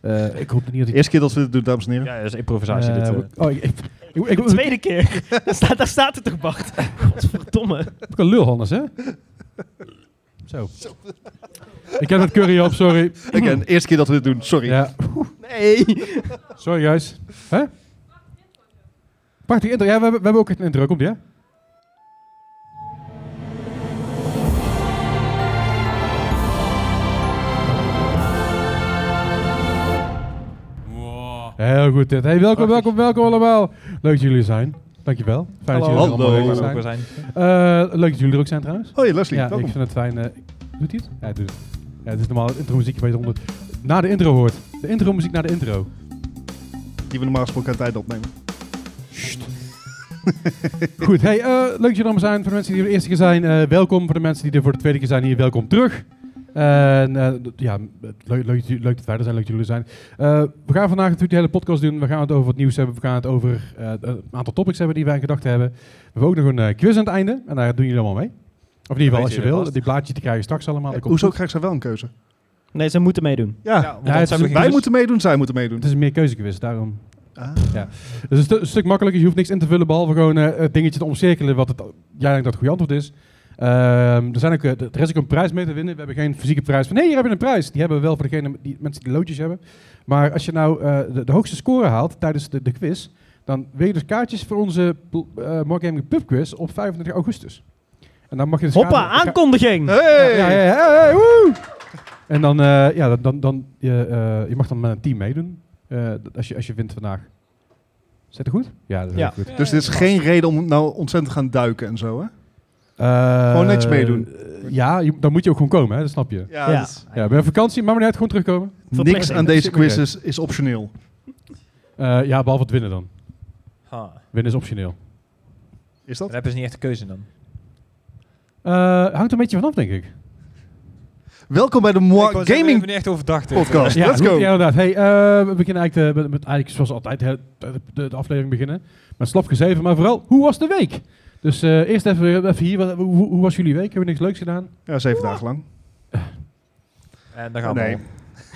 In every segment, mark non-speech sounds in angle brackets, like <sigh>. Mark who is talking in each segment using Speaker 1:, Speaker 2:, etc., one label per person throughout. Speaker 1: Eh, ik hoop niet dat ik...
Speaker 2: Eerste keer dat we dit doen, dames en heren.
Speaker 3: Ja, dat is improvisatie.
Speaker 1: Eh,
Speaker 3: dit, eh.
Speaker 1: oh, ik, ik, ik, ik-
Speaker 3: Tweede
Speaker 1: <laughs>
Speaker 3: keer. daar, staat, daar staat het toch, Bart? Godverdomme.
Speaker 1: ik heb een lul, Hannes, hè? Zo. Ik heb het curry op, sorry.
Speaker 2: Again, eerste keer dat we dit doen, sorry.
Speaker 1: Ja.
Speaker 3: Nee.
Speaker 1: Sorry, guys. Hè? Prachtig intro. Ja, we hebben, we hebben ook een intro. Komt die, hè? Heel goed dit. Hey, welkom, welkom, welkom allemaal. Leuk dat jullie er zijn. Dankjewel. Fijn dat jullie er allemaal
Speaker 2: Hallo.
Speaker 1: weer
Speaker 3: Waar we ook
Speaker 1: zijn.
Speaker 3: weer zijn.
Speaker 1: Eh, leuk dat jullie er ook zijn trouwens.
Speaker 2: Hoi Leslie,
Speaker 1: Ja, ik
Speaker 2: welkom.
Speaker 1: vind het fijn. eh, doet hij het? Ja, hij doet het. Ja, het is normaal het intro-muziekje waar je het onder... Na de intro hoort. De intro-muziek na de intro.
Speaker 2: Die we normaal gesproken aan tijd opnemen.
Speaker 1: <laughs> Goed, hey, eh, leuk dat jullie allemaal zijn. Voor de mensen die er voor de eerste keer zijn, eh, welkom. Voor de mensen die er voor de tweede keer zijn, hier welkom terug. En eh, d- ja, leuk, leuk, dat jullie- leuk dat wij er zijn, leuk dat jullie er zijn. Eh, we gaan vandaag natuurlijk de hele podcast doen. We gaan het over het nieuws hebben. We gaan het over eh, een aantal topics hebben die wij in gedachten hebben. We hebben ook nog een eh, quiz aan het einde. En daar doen jullie allemaal mee. Of in ieder geval,
Speaker 3: weet
Speaker 1: als je
Speaker 3: jullie
Speaker 1: wil.
Speaker 3: vast.
Speaker 1: Die blaadjes die krijg je straks allemaal. Dat komt
Speaker 2: Hoezo
Speaker 1: goed.
Speaker 2: krijgt zij wel een keuze?
Speaker 3: Nee, ze moeten meedoen.
Speaker 2: Ja,
Speaker 3: want
Speaker 1: Ja,
Speaker 3: anders
Speaker 1: het
Speaker 3: hebben
Speaker 1: is-
Speaker 3: we
Speaker 2: wij
Speaker 3: geen-
Speaker 2: moeten meedoen, zij moeten meedoen.
Speaker 1: Het is een meerkeuzequiz, daarom.
Speaker 2: Ah.
Speaker 1: Het is een, stu- een stuk makkelijker. Je hoeft niks in te vullen, behalve gewoon eh, het dingetje te omcirkelen wat het, jij denkt dat het goede antwoord is. Ehm, er, zijn ook, eh, d- er is ook een prijs mee te winnen. We hebben geen fysieke prijs van, nee, hier heb je een prijs. Die hebben we wel voor degene, die, mensen die loodjes hebben. Maar als je nou eh, de, de hoogste score haalt tijdens de, de quiz, dan wil je dus kaartjes voor onze pl- eh More Gaming Pub Quiz op 25 augustus. En dan mag je dus
Speaker 3: Hoppa,
Speaker 1: gaan- ga-
Speaker 3: aankondiging.
Speaker 2: Hey!
Speaker 1: ja, ja, ja, ja, hey, woe! En dan, eh, ja, dan, dan, dan je, eh, je mag dan met een team meedoen eh, d- als, je, als je wint vandaag. Is dat goed? Ja, dat is
Speaker 3: Ja.
Speaker 1: heel goed.
Speaker 2: Dus dit is geen reden om nou ontzettend te gaan duiken en zo, hè?
Speaker 1: Eh,
Speaker 2: Gewoon niks meedoen.
Speaker 1: eh, ja, je- dan moet je ook gewoon komen, hè, dat snap je.
Speaker 3: Ja.
Speaker 2: dat-
Speaker 1: Ja, ben je op vakantie, maar meneer, gewoon terugkomen.
Speaker 2: Niks aan deze
Speaker 1: Supergoed.
Speaker 2: quiz is, is optioneel.
Speaker 1: Eh, ja, behalve het winnen dan.
Speaker 3: Ha.
Speaker 1: Winnen is optioneel.
Speaker 2: Is
Speaker 3: Dan
Speaker 2: dat?
Speaker 3: hebben ze niet echt een keuze dan.
Speaker 1: Eh, hangt een beetje vanaf, denk ik.
Speaker 2: Welkom bij de Moi Gaming
Speaker 3: niet echt overdacht.
Speaker 2: Podcast. Let's
Speaker 1: goed,
Speaker 2: go.
Speaker 1: Ja, inderdaad. Hey, eh, we beginnen eigenlijk, eh, met, met eigenlijk zoals altijd hè, de, de- de aflevering beginnen. Met slap gezeven, maar vooral, hoe was de week? Dus eh, eerst even, weer- even hier, wat- hoe, hoe was jullie week? Hebben we niks leuks gedaan?
Speaker 2: Ja, zeven dagen lang.
Speaker 3: En daar gaan we.
Speaker 2: Nee.
Speaker 3: al.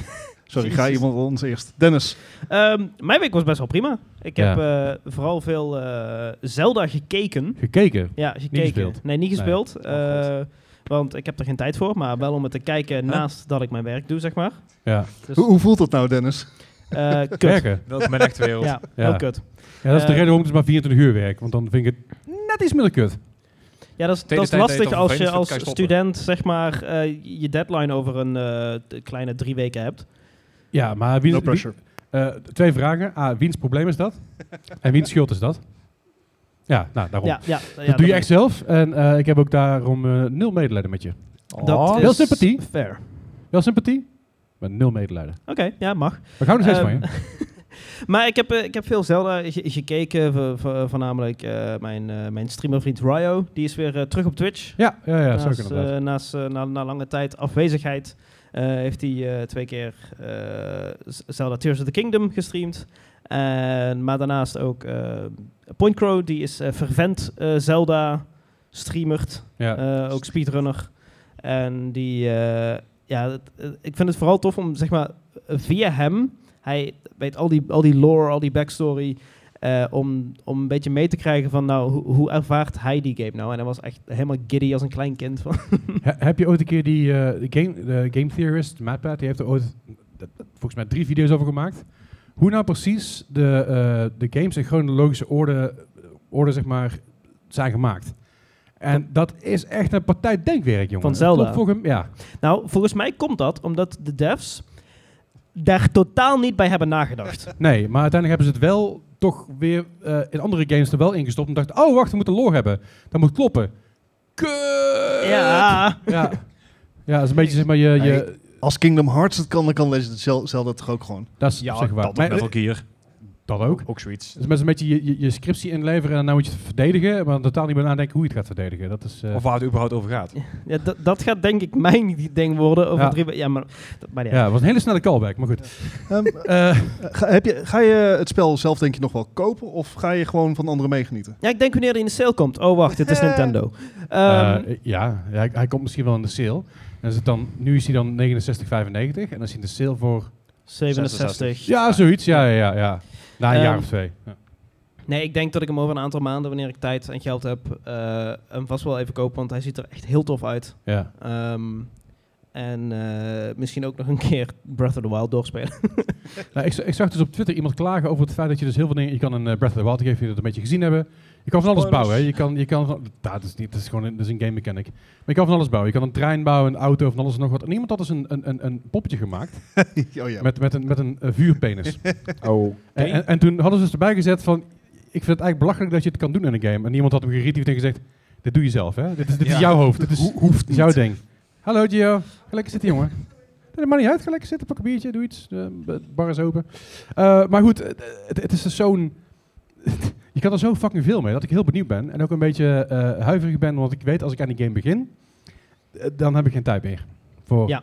Speaker 2: <laughs> Sorry, ga iemand ons eerst. Dennis.
Speaker 4: Ehm, mijn week was best wel prima. Ik
Speaker 1: Ja.
Speaker 4: heb eh, vooral veel eh, Zelda gekeken.
Speaker 1: Gekeken.
Speaker 4: Ja, gekeken.
Speaker 1: gespeeld?
Speaker 4: Nee, niet
Speaker 1: Nee.
Speaker 4: gespeeld.
Speaker 3: Oh,
Speaker 4: eh, want ik heb er geen tijd voor, maar wel om het te kijken naast dat ik mijn werk doe, zeg maar.
Speaker 1: Ja.
Speaker 4: Dus,
Speaker 2: Hoe, hoe voelt dat nou, Dennis?
Speaker 1: <laughs>
Speaker 4: eh, kut.
Speaker 1: Werken.
Speaker 3: Dat is mijn echte wereld.
Speaker 4: Ja,
Speaker 1: Ja.
Speaker 4: heel kut.
Speaker 1: Ja, dat is de
Speaker 4: Eh,
Speaker 1: reden waarom ik dus maar 24 uur werk. Want dan vind ik het net iets minder kut.
Speaker 4: Ja, dat is,
Speaker 3: Tweede
Speaker 4: dat is
Speaker 3: tijd dat je
Speaker 4: lastig
Speaker 3: het
Speaker 4: als je
Speaker 3: vervelend
Speaker 4: als
Speaker 3: vindt, kan je
Speaker 4: student, zeg maar, eh, je deadline over een eh, t- kleine drie weken hebt.
Speaker 1: Ja, maar wie,
Speaker 2: No
Speaker 1: wie-
Speaker 2: pressure.
Speaker 1: eh, twee vragen. A, wiens probleem is
Speaker 4: <laughs>
Speaker 1: dat? en wiens schuld is dat? Ja, nou, daarom.
Speaker 4: Ja, ja, ja,
Speaker 1: dat doe je echt zelf. En eh, ik heb ook daarom eh, nul medelijden met je.
Speaker 2: Oh.
Speaker 4: Dat
Speaker 1: Wel
Speaker 4: is
Speaker 1: Oh. sympathie.
Speaker 4: Fair. Oké,
Speaker 1: Wel sympathie, maar nul medelijden.
Speaker 4: ja, mag.
Speaker 1: We gaan nog steeds van
Speaker 4: Ehm,
Speaker 1: je.
Speaker 4: <laughs> Maar ik heb, eh, ik heb veel Zelda ge- gekeken, v- v- voornamelijk eh, mijn, eh, mijn streamervriend Ryo. Die is weer eh, terug op Twitch.
Speaker 1: Ja, ja, ja
Speaker 4: naast,
Speaker 1: zeker inderdaad.
Speaker 4: eh, naast, eh, na, na lange tijd afwezigheid eh, heeft hij eh, twee keer eh, Z- Zelda Tears of the Kingdom gestreamd. En, maar daarnaast ook eh Point Crow, die is eh, vervent eh, Zelda streamert,
Speaker 1: ja.
Speaker 4: eh, ook speedrunner. En die, eh, ja, het- eh, ik vind het vooral tof om zeg maar eh, via hem, hij weet al die, al die lore, al die backstory. eh, om, om een beetje mee te krijgen van, nou, ho- hoe ervaart hij die game nou? En hij was echt helemaal giddy als een klein kind. Van.
Speaker 1: He- heb je ooit een keer die eh, de game, de game theorist, Mattpad, die heeft er ooit dat- dat- volgens mij drie video's over gemaakt. Hoe nou precies de, eh, de games in chronologische orde, orde zeg maar, zijn gemaakt. En dat is echt een partij denkwerk, jongen.
Speaker 4: Van Zelda.
Speaker 1: Klopt volgens- ja.
Speaker 4: Nou, volgens mij komt dat omdat de devs daar totaal niet bij hebben nagedacht.
Speaker 1: Nee, maar uiteindelijk hebben ze het wel toch weer eh, in andere games er wel ingestopt. En dachten, oh wacht, we moeten lore hebben. Dat moet kloppen. Kut!
Speaker 3: Ah.
Speaker 4: ja,
Speaker 1: Ja, ja dat is een beetje zeg maar je... je
Speaker 2: Nee. Als Kingdom Hearts het kan, dan kan Legend Zel- Zelda toch ook gewoon.
Speaker 1: Dat is
Speaker 3: Ja,
Speaker 1: op zich waar.
Speaker 3: dat
Speaker 1: Maar-
Speaker 3: met Metal Gear.
Speaker 1: dat ook.
Speaker 3: Ook zoiets.
Speaker 1: Dus met een beetje je, je, je scriptie inleveren en dan moet je het verdedigen, maar totaal niet meer nadenken hoe je het gaat verdedigen. Dat is, eh,
Speaker 3: Of waar het überhaupt over gaat.
Speaker 4: ja dat- dat gaat denk ik mijn <laughs> ding worden over
Speaker 1: Ja.
Speaker 4: drie... we- Ja, maar... dat- maar ja.
Speaker 1: ja, het was een hele snelle callback, maar goed. <laughs>
Speaker 2: Ehm,
Speaker 1: Eh,
Speaker 2: ga, heb je, ga je het spel zelf denk je nog wel kopen of ga je gewoon van anderen meegenieten?
Speaker 4: Ja, ik denk wanneer hij in de sale komt. Oh, wacht, het is Nintendo. Ehm,
Speaker 1: eh, ja, ja, hij, hij komt misschien wel in de sale. En is het dan, nu is hij dan 69,95 en dan is hij in de sale voor 70,95.
Speaker 4: 67.
Speaker 1: Ja, zoiets. Ja, ja, ja. ja. Na een
Speaker 4: Ehm,
Speaker 1: jaar of twee. Ja.
Speaker 4: Nee, ik denk dat ik hem over een aantal maanden, wanneer ik tijd en geld heb, eh, hem vast wel even koop. Want hij ziet er echt heel tof uit.
Speaker 1: Ja.
Speaker 4: Ehm, en eh, misschien ook nog een <laughs> keer Breath of the Wild doorspelen.
Speaker 1: <laughs> Nou, ik, z- ik zag dus op Twitter iemand klagen over het feit dat je dus heel veel dingen... Je kan een eh, Breath of the Wild, ik geef je dat een beetje gezien hebben. Je kan van alles
Speaker 3: Spoilers.
Speaker 1: bouwen. Hè. Je kan, je kan van, nou, dat, is niet, dat is gewoon een, dat is een game mechanic. Maar je kan van alles bouwen. Je kan een trein bouwen, een auto, van alles en nog wat. En iemand had dus een, een, een, een poppetje gemaakt
Speaker 2: <laughs> oh ja.
Speaker 1: met, met een, met een eh, vuurpenis.
Speaker 2: <laughs>
Speaker 5: Oh.
Speaker 1: En, en, en toen hadden ze dus erbij gezet van, ik vind het eigenlijk belachelijk dat je het kan doen in een game. En iemand had hem geretiefd en gezegd, dit doe je zelf, hè? Dit is, dit is
Speaker 2: Ja.
Speaker 1: jouw hoofd, dit is,
Speaker 2: hoeft
Speaker 1: dit is jouw ding. Hallo Gio, ga lekker zitten jongen. Nee, maar niet uit, ga lekker zitten, pak een biertje, doe iets. De bar is open. Eh, maar goed, eh, het, het is dus zo'n... <laughs> je kan er zo fucking veel mee, dat ik heel benieuwd ben. En ook een beetje eh, huiverig ben, want ik weet als ik aan die game begin, eh, dan heb ik geen tijd meer. Voor,
Speaker 4: Ja.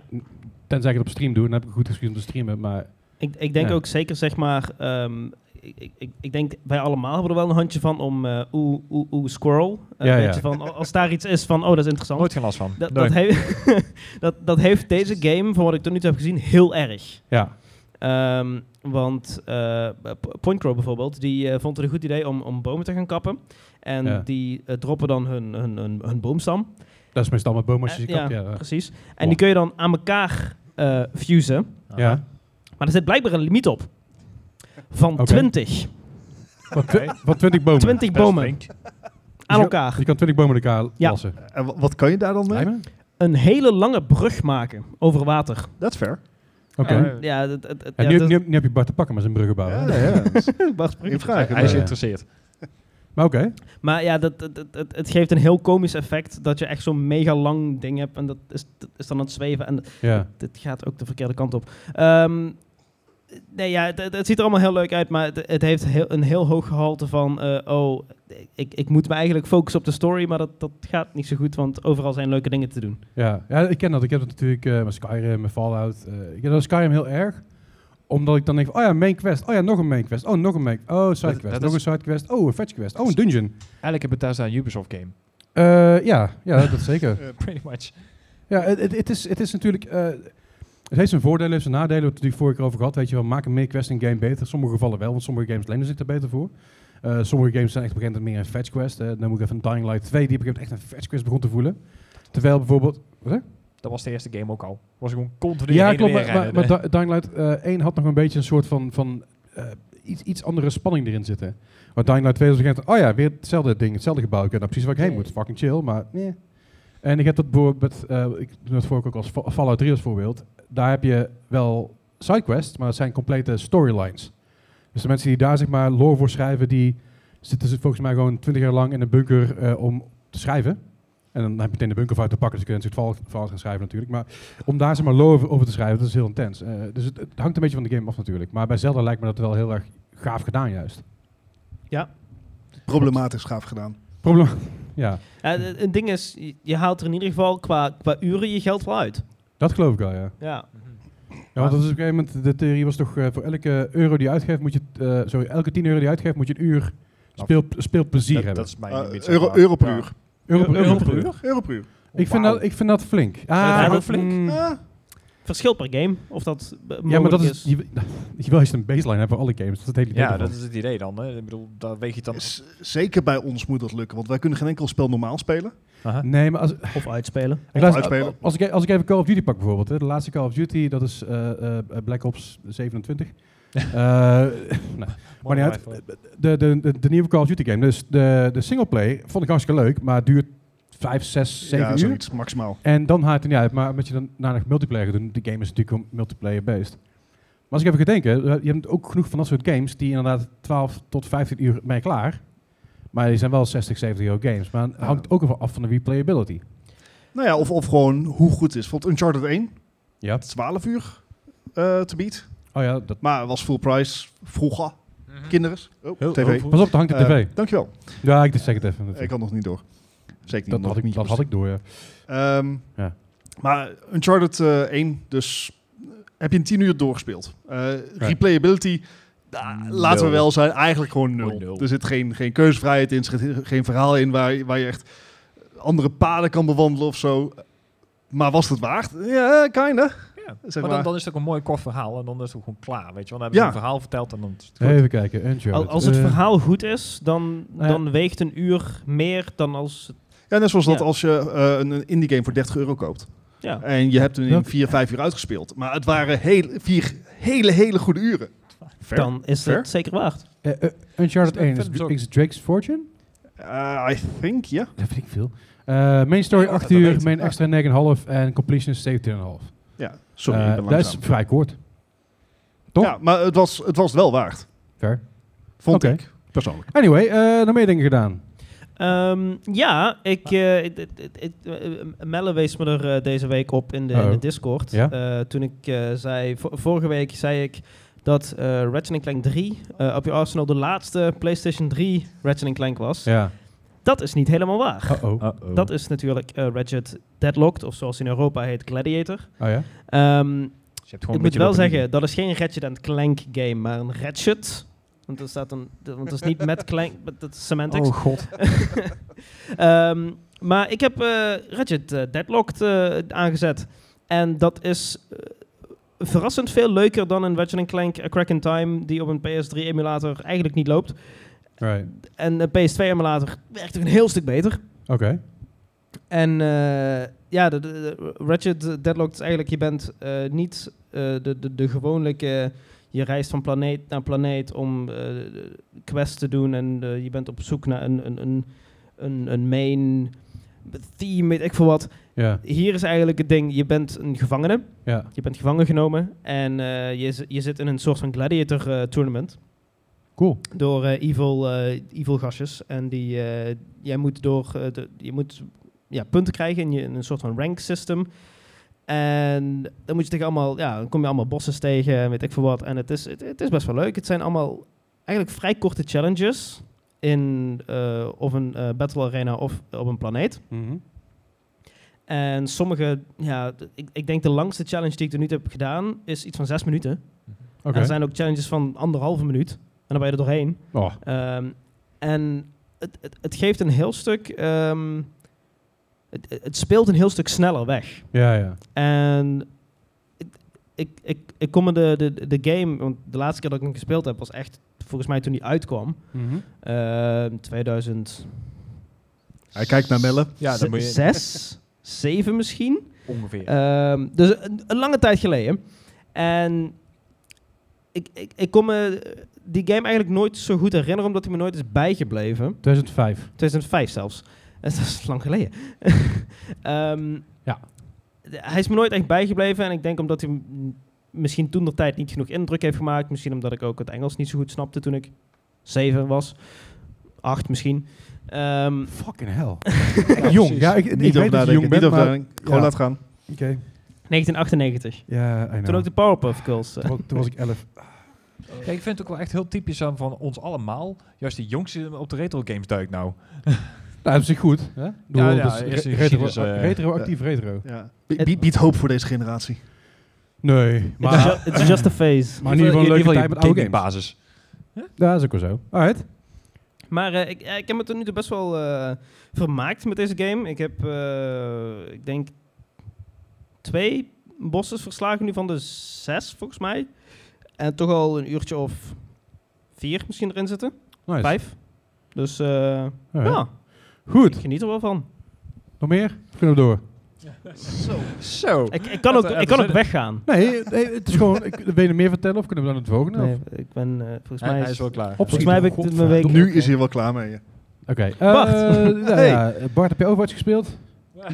Speaker 1: Tenzij ik het op stream doe, dan heb ik een goed excuus om te streamen, maar...
Speaker 4: Ik, ik denk
Speaker 1: Ja.
Speaker 4: ook zeker, zeg maar. ehm, ik, ik- ik, ik denk wij allemaal hebben er wel een handje van om. eh oeh, oeh, oeh, squirrel. Eh,
Speaker 1: Ja,
Speaker 4: een
Speaker 1: ja.
Speaker 4: beetje Van, als daar iets is van. Oh, dat is interessant.
Speaker 5: Nooit geen last van.
Speaker 4: Dat,
Speaker 5: Nee.
Speaker 4: dat, heeft, <laughs> dat, dat heeft deze game, voor wat ik tot nu toe heb gezien, heel erg.
Speaker 1: Ja,
Speaker 4: Ehm, want eh P- Point Crow bijvoorbeeld, die eh, vond het een goed idee om, om bomen te gaan kappen. En
Speaker 1: Ja.
Speaker 4: die eh, droppen dan hun, hun, hun, hun boomstam.
Speaker 1: dat is meestal met bomen als je
Speaker 4: Eh,
Speaker 1: ze kapt, ja.
Speaker 4: precies. En
Speaker 1: Wow.
Speaker 4: die kun je dan aan elkaar eh, fusen.
Speaker 1: Ja.
Speaker 4: Maar er zit blijkbaar een limiet op. Van
Speaker 1: Oké.
Speaker 4: 20.
Speaker 1: Wat, twi- wat 20 bomen. Dus
Speaker 4: 20
Speaker 5: Best
Speaker 4: bomen
Speaker 5: flink.
Speaker 4: aan elkaar.
Speaker 1: Je kan 20 bomen in elkaar
Speaker 4: Ja.
Speaker 1: lassen.
Speaker 2: En wa- wat kan je daar dan mee?
Speaker 1: Lijmen?
Speaker 4: Een hele lange brug maken over water.
Speaker 2: Dat is fair.
Speaker 1: Oké.
Speaker 5: Ja.
Speaker 4: Ja, dat, dat, dat-
Speaker 1: Eh, En
Speaker 4: ja,
Speaker 1: nu,
Speaker 4: dat-
Speaker 1: nu, nu heb je Bart te pakken met zijn bruggenbouw. hè? <laughs>
Speaker 2: ja. dat is
Speaker 4: Bart Spruit.
Speaker 2: geen vraag.
Speaker 5: Hij is
Speaker 1: Ja.
Speaker 5: geïnteresseerd.
Speaker 1: Maar oké.
Speaker 4: Maar ja, dat, dat, dat- het, het geeft een heel komisch effect dat je echt zo'n mega lang ding hebt en dat is, dat is dan aan het zweven en
Speaker 1: Ja.
Speaker 4: dit gaat ook de verkeerde kant op. Ehm, nee, ja, het, het- het ziet er allemaal heel leuk uit, maar het, het heeft heel, een heel hoog gehalte van, eh, oh, ik, ik moet me eigenlijk focussen op de story, maar dat, dat gaat niet zo goed, want overal zijn leuke dingen te doen.
Speaker 1: Ja. ja, ik ken dat. Ik heb dat natuurlijk eh, met Skyrim, met Fallout. eh, ik heb dat Skyrim heel erg. Omdat ik dan denk, van, oh ja, main quest. Oh ja, nog een main quest. Oh, nog een main Oh, side
Speaker 5: Dat-
Speaker 1: quest.
Speaker 5: dat
Speaker 1: nog
Speaker 5: is-
Speaker 1: een side quest. Oh, een fetch quest. Oh, een dungeon.
Speaker 5: Eigenlijk een Bethesda en Ubisoft game. Eh,
Speaker 1: Eh, ja, ja dat, dat zeker.
Speaker 5: <laughs> Pretty much.
Speaker 1: Ja, het, het, het is, het is natuurlijk... eh, het heeft zijn voordelen, heeft zijn nadelen. We hebben het natuurlijk vorige keer over gehad. Weet je wel, maak een main quest in game beter. Sommige gevallen wel, want sommige games lenen zich daar beter voor. Eh, sommige games zijn echt bekend met meer een fetch quest. Eh, dan moet ik even een Dying Light 2, die op een gegeven moment echt een fetch quest begon te voelen. Terwijl bijvoorbeeld...
Speaker 5: Dat was de eerste game ook al. Was gewoon continu
Speaker 1: Ja,
Speaker 5: heen en
Speaker 1: klopt.
Speaker 5: weer
Speaker 1: Maar, maar,
Speaker 5: rennen.
Speaker 1: maar Di- Dying Light eh 1 had nog een beetje een soort van... van eh, iets, iets andere spanning erin zitten. Maar Dying Light 2 was op een gegeven moment... Oh ja, weer hetzelfde ding, hetzelfde gebouw. Ik weet nou precies waar ik heen moet. Fucking chill, maar... nee. En ik heb dat bijvoorbeeld... met, eh, ik noem dat vorige ook als Fa- Fallout 3 als voorbeeld. Daar heb je wel sidequests, maar dat zijn complete storylines. Dus de mensen die daar zeg maar lore voor schrijven, die zitten ze volgens mij gewoon 20 jaar lang in een bunker eh, om te schrijven. En dan heb je meteen de bunkerfout te pakken, dus je kunt een soort verhaal- verhaal gaan schrijven natuurlijk. Maar om daar zeg maar lore over- over te schrijven, dat is heel intens. Eh, dus het, het hangt een beetje van de game af natuurlijk. Maar bij Zelda lijkt me dat wel heel erg gaaf gedaan juist.
Speaker 2: problematisch gaaf gedaan.
Speaker 1: Probleem. <laughs> Ja,
Speaker 4: Ja, d- een ding is, je, je haalt er in ieder geval qua, qua uren je geld wel uit.
Speaker 1: dat geloof ik wel, ja.
Speaker 4: Ja.
Speaker 1: Ja, want dat is op een gegeven moment, de theorie was toch, eh, voor elke euro die je uitgeeft, moet je, eh, sorry, elke 10 euro die je uitgeeft, moet je een uur speel, speelplezier
Speaker 5: dat,
Speaker 1: hebben.
Speaker 5: dat is mijn
Speaker 2: Eh,
Speaker 5: ambitie,
Speaker 2: euro,
Speaker 5: maar-
Speaker 2: euro per
Speaker 5: Ja.
Speaker 2: uur.
Speaker 1: euro, per- euro per uur?
Speaker 2: Euro per uur.
Speaker 1: Ik vind,
Speaker 5: Wauw.
Speaker 1: dat, ik vind dat flink.
Speaker 4: Ja, dat
Speaker 1: dat
Speaker 4: flink.
Speaker 1: mm,
Speaker 2: Ah,
Speaker 4: Verschil per game, of dat eh,
Speaker 1: ja, maar
Speaker 4: mogelijk
Speaker 1: dat is, je, <laughs> je wil eens een baseline hebben voor alle games. Dat is het hele idee
Speaker 5: Ja,
Speaker 1: ervan.
Speaker 5: dat is het idee dan. Hè. Eh, Ik bedoel, daar weeg je het dan...
Speaker 2: z- zeker bij ons moet dat lukken, want wij kunnen geen enkel spel normaal spelen.
Speaker 5: Aha.
Speaker 1: Nee, maar als,
Speaker 4: Of uitspelen.
Speaker 1: ik luister-
Speaker 2: uitspelen.
Speaker 1: als, ik, e- als ik even Call of Duty pak bijvoorbeeld. Hè, de laatste Call of Duty, dat is eh, eh, Black Ops
Speaker 5: <laughs>
Speaker 1: 27. Eh, <laughs> nou, maar niet uit. De, de, de, de nieuwe Call of Duty game, dus de, de singleplay, vond ik hartstikke leuk, maar duurt 5, 6, 7
Speaker 2: ja,
Speaker 1: uur.
Speaker 2: zoiets maximaal.
Speaker 1: En dan haalt het er niet uit. Maar omdat je dan naar multiplayer gaat doen, de game is natuurlijk gewoon multiplayer-based. Maar als ik even ga denken, eh, je hebt ook genoeg van dat soort games die inderdaad 12 tot 15 uur mee klaar. Maar die zijn wel 60, 70 euro games. Maar het hangt ook even af van de replayability.
Speaker 2: Nou ja, of, of gewoon hoe goed het is. Want Uncharted 1,
Speaker 1: Ja.
Speaker 2: 12 uur eh, te beat.
Speaker 1: Oh ja, dat...
Speaker 2: Maar was full price, vroeger,
Speaker 5: Mhm.
Speaker 2: kinderen. Oh, tv.
Speaker 1: Pas op, daar hangt de
Speaker 2: Eh,
Speaker 1: tv.
Speaker 2: dankjewel.
Speaker 1: Ja, ik zeg het even.
Speaker 2: Ik had nog niet door. Zeker
Speaker 1: dat
Speaker 2: niet.
Speaker 1: had ik,
Speaker 2: niet
Speaker 1: dat had ik door, ja.
Speaker 2: Ehm,
Speaker 1: Ja.
Speaker 2: Maar Uncharted eh 1, dus eh, heb je in 10 uur doorgespeeld. Eh, Replayability, ah, laten we
Speaker 5: Nul.
Speaker 2: wel zijn, eigenlijk gewoon nul.
Speaker 5: Gewoon nul.
Speaker 2: Er zit geen, geen keuzevrijheid in, er zit he- geen verhaal in waar, je- waar je echt andere paden kan bewandelen of zo. Maar was het waard? Ja, eh, kinda.
Speaker 5: ja.
Speaker 2: Zeg
Speaker 5: maar
Speaker 2: maar.
Speaker 5: dan, dan is het ook een mooi kort verhaal en dan is het ook gewoon klaar, weet je. wel. Dan hebben ze
Speaker 2: Ja.
Speaker 5: een verhaal verteld en dan is het goed.
Speaker 1: Even kijken. Uncharted.
Speaker 4: Al- als het
Speaker 1: Eh,
Speaker 4: verhaal goed is, dan,
Speaker 1: nou ja.
Speaker 4: dan weegt een uur meer dan als... het-
Speaker 2: Ja, net zoals dat
Speaker 4: Ja.
Speaker 2: als je eh, een, een indie game voor 30 euro koopt.
Speaker 4: Ja.
Speaker 2: En je hebt hem in
Speaker 1: Dat-
Speaker 2: 4, 5 uur uitgespeeld. Maar het waren heel, vier hele, hele goede uren. Fair.
Speaker 4: Dan is
Speaker 2: Fair.
Speaker 4: het zeker waard.
Speaker 1: eh, eh, Uncharted
Speaker 5: Is dat
Speaker 1: 1 is,
Speaker 5: verder zo-
Speaker 1: is Drake's Fortune.
Speaker 2: Eh, I think, ja.
Speaker 1: Dat vind ik veel. Eh, main story
Speaker 5: Ja, dat
Speaker 1: 8 uur,
Speaker 5: weet.
Speaker 1: main
Speaker 2: Ja.
Speaker 1: extra 9,5 en completion is 17,5.
Speaker 2: Ja, sorry,
Speaker 1: Eh,
Speaker 2: ik ben
Speaker 1: dat
Speaker 2: langzaam.
Speaker 1: is vrij kort. toch?
Speaker 2: Ja, maar het was het was het wel waard.
Speaker 1: Ver.
Speaker 2: Vond
Speaker 1: Oké.
Speaker 2: ik, persoonlijk.
Speaker 1: Anyway, eh nog meer dingen gedaan.
Speaker 4: Ehm, ja,
Speaker 1: Ah.
Speaker 4: ik, eh, ik- ik- ik- ik- eh, Melle wees me er eh, deze week op in de, in
Speaker 1: Uh-oh.
Speaker 4: de Discord.
Speaker 1: Oh. Ja?
Speaker 4: Eh, toen ik eh, zei, vo- vorige week zei ik dat eh Ratchet Clank 3 eh, op je Arsenal de laatste PlayStation 3 Ratchet Clank was.
Speaker 1: Ja.
Speaker 4: Dat is niet helemaal waar.
Speaker 1: Uh-oh. Oh
Speaker 5: Uh-oh.
Speaker 4: Dat is natuurlijk eh Ratchet Deadlocked, of zoals in Europa heet Gladiator.
Speaker 1: Oh, ja.
Speaker 4: Ehm
Speaker 5: Dus je hebt gewoon
Speaker 4: Ik
Speaker 5: een
Speaker 4: moet
Speaker 5: beetje
Speaker 4: wel
Speaker 5: wat
Speaker 4: zeggen, dat is geen Ratchet and Clank game, maar een Ratchet. Want er staat een, d- want dat is niet met Clank, maar dat is
Speaker 5: bedienen.
Speaker 4: semantics.
Speaker 5: Oh god.
Speaker 4: <laughs> Ehm, maar ik heb eh Ratchet eh, Deadlocked eh, aangezet. En dat is eh, verrassend veel leuker dan een Ratchet and Clank A Crack in Time, die op een PS3 emulator eigenlijk niet loopt.
Speaker 1: Right.
Speaker 4: En een PS2 emulator werkt ook een heel stuk beter.
Speaker 1: Oké.
Speaker 4: En eh, ja, de, de, de- Ratchet Deadlocked is eigenlijk, je bent eh, niet eh, de, de, de gewoonlijke, je reist van planeet naar planeet om eh, de- de quests te doen en eh, je bent op zoek naar een, een, een, een, een main theme, weet ik veel wat.
Speaker 1: Ja.
Speaker 4: Hier is eigenlijk het ding, je bent een gevangene,
Speaker 1: Ja.
Speaker 4: je bent gevangen genomen en eh, je, zi- je zit in een soort van gladiator eh, tournament
Speaker 1: Cool.
Speaker 4: door eh, evil, eh, evil gastjes. En die, eh, jij moet, door, eh, de- je moet ja, punten krijgen in, je, in een soort van rank system. En dan moet je tegen allemaal, ja, dan kom je allemaal bosses tegen en weet ik veel wat. En het is, het, het is best wel leuk. Het zijn allemaal eigenlijk vrij korte challenges in eh, of een eh, battle arena of op een planeet. En sommige, ja, d- ik, ik denk de langste challenge die ik er nu toe heb gedaan is iets van zes minuten.
Speaker 1: Mhm. Oké.
Speaker 4: En er zijn ook challenges van anderhalve minuut. En dan ben je er doorheen.
Speaker 1: Oh,
Speaker 4: Ehm, en het, het, het geeft een heel stuk. ehm, het, het- het speelt een heel stuk sneller weg.
Speaker 1: ja, ja.
Speaker 4: En ik, ik, ik, ik kom in de, de, de game. Want de laatste keer dat ik hem gespeeld heb was echt volgens mij toen die uitkwam.
Speaker 1: Mhm.
Speaker 4: Ehm 2000.
Speaker 2: Hij kijkt naar Melle.
Speaker 5: Ja, dan moet je...
Speaker 2: <laughs>
Speaker 4: 6, 7 misschien.
Speaker 5: Ongeveer.
Speaker 4: Ehm, dus een, een lange tijd geleden. En ik, ik, ik kon me die game eigenlijk nooit zo goed herinneren, omdat hij me nooit is bijgebleven.
Speaker 1: 2005.
Speaker 4: 2005 zelfs. <laughs> Dat is lang geleden. <laughs> Ehm,
Speaker 1: Ja.
Speaker 4: de- Hij is me nooit echt bijgebleven. En ik denk omdat hij m- misschien toen de tijd niet genoeg indruk heeft gemaakt. Misschien omdat ik ook het Engels niet zo goed snapte toen ik zeven was. Acht misschien.
Speaker 2: <laughs>
Speaker 4: Ehm,
Speaker 1: Fucking
Speaker 4: <laughs>
Speaker 1: hell. jong.
Speaker 2: Precies.
Speaker 1: Ja, ik, ik
Speaker 2: niet
Speaker 1: weet dat je
Speaker 2: over nadenken,
Speaker 1: jong
Speaker 2: niet
Speaker 1: bent,
Speaker 2: over
Speaker 1: maar...
Speaker 2: nadenken. Gewoon
Speaker 1: ja.
Speaker 2: laat gaan.
Speaker 1: Oké.
Speaker 4: 1998.
Speaker 1: Ja, I know.
Speaker 4: Toen ook de Powerpuff Girls. eh.
Speaker 1: Toen wa- toen was ik 11.
Speaker 5: Ja, ik vind het ook wel echt heel typisch aan van ons allemaal. Juist de jongste op de retro games duikt nou.
Speaker 1: Nou, op zich goed. Hè? Ik bedoel,
Speaker 5: Ja, ja,
Speaker 1: dat is
Speaker 5: eerst
Speaker 1: re-
Speaker 5: die
Speaker 1: retro,
Speaker 5: geschiedenis, eh,
Speaker 1: retroactief retro.
Speaker 2: Ja. Bie-
Speaker 4: Het-
Speaker 2: bie- Biedt hoop voor deze generatie.
Speaker 1: Nee,
Speaker 4: It's,
Speaker 1: maar...
Speaker 4: ju- it's just a
Speaker 1: <laughs>
Speaker 4: phase.
Speaker 1: Maar in ieder geval een leuke tijd met oude games.
Speaker 5: basis.
Speaker 1: Ja, dat is ook wel zo. Alright.
Speaker 4: Maar eh, ik, eh, ik heb me tot nu toe best wel eh, vermaakt met deze game. Ik heb, eh, ik denk, twee bosses verslagen nu van de zes, volgens mij. En toch al een uurtje of vier misschien erin zitten.
Speaker 1: Nice.
Speaker 4: Vijf. Dus eh,
Speaker 1: Alright.
Speaker 4: ja,
Speaker 1: Goed.
Speaker 4: ik geniet er wel van.
Speaker 1: Nog meer? Kunnen we door?
Speaker 5: Zo. Zo.
Speaker 4: Ik, ik kan
Speaker 5: Laten
Speaker 4: ook,
Speaker 5: we
Speaker 4: ik
Speaker 5: even
Speaker 4: kan ook
Speaker 5: zitten.
Speaker 4: weggaan.
Speaker 1: Nee, nee, het is
Speaker 5: <laughs>
Speaker 1: gewoon... Ik, wil je er meer vertellen of kunnen we dan het volgende?
Speaker 4: Nee,
Speaker 1: Of?
Speaker 4: ik ben, eh, volgens
Speaker 5: Hij,
Speaker 4: mij...
Speaker 5: hij is wel klaar.
Speaker 1: Opschieten.
Speaker 4: volgens mij heb ik dit mijn week-
Speaker 2: Nu is hij wel klaar mee.
Speaker 1: Oké. eh,
Speaker 4: Bart.
Speaker 1: nou
Speaker 2: Hey.
Speaker 1: ja, Bart, heb je Overwatch gespeeld?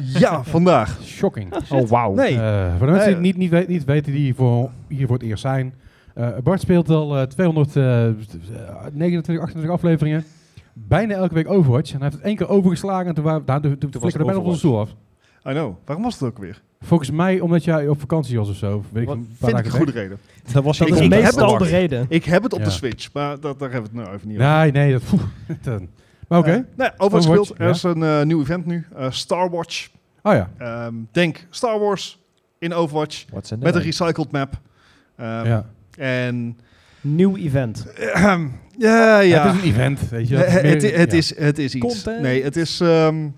Speaker 2: Ja, vandaag.
Speaker 1: Shocking.
Speaker 5: Oh, wauw.
Speaker 2: Nee.
Speaker 1: Eh, voor de mensen die
Speaker 2: Nee.
Speaker 1: het niet, niet, weet- niet weten, die voor, hier voor het eerst zijn. eh, Bart speelt al eh, 229, 28 afleveringen. Bijna elke week Overwatch. En hij heeft het één keer overgeslagen. En toen, waren, daar, toen, toen
Speaker 5: het
Speaker 1: flikkerde bijna op onze stoel af.
Speaker 2: I know. Waarom was het ook weer?
Speaker 1: Volgens mij omdat jij op vakantie was of zo. of Weet ik,
Speaker 4: Wat
Speaker 1: een paar dagen
Speaker 2: Vind ik een
Speaker 1: weg.
Speaker 2: goede reden.
Speaker 5: Dat was
Speaker 4: dat
Speaker 2: Ik
Speaker 4: is
Speaker 2: heb
Speaker 4: meestal
Speaker 2: het
Speaker 4: de
Speaker 2: ook.
Speaker 4: reden.
Speaker 2: Ik heb het op
Speaker 1: Ja.
Speaker 2: de Switch, maar dat, daar hebben we het nou even niet over.
Speaker 1: Nee, nee. Dat, <laughs> poeh, dan. maar oké.
Speaker 2: Eh, nee, Overwatch
Speaker 1: Overwatch,
Speaker 2: speelt. Er is een eh, nieuw event nu. eh, Star Watch.
Speaker 1: oh ja.
Speaker 2: Ehm, denk Star Wars in Overwatch. Met een recycled map. Ehm,
Speaker 1: ja.
Speaker 2: En...
Speaker 4: Nieuw event.
Speaker 2: ehm, <clears throat> ja, ja.
Speaker 1: Het is een event, weet je.
Speaker 2: Eh,
Speaker 1: dat is
Speaker 2: eh, Het,
Speaker 1: meer-
Speaker 2: het,
Speaker 1: ja.
Speaker 2: is, het is iets.
Speaker 5: Content.
Speaker 2: Nee, het is... ehm,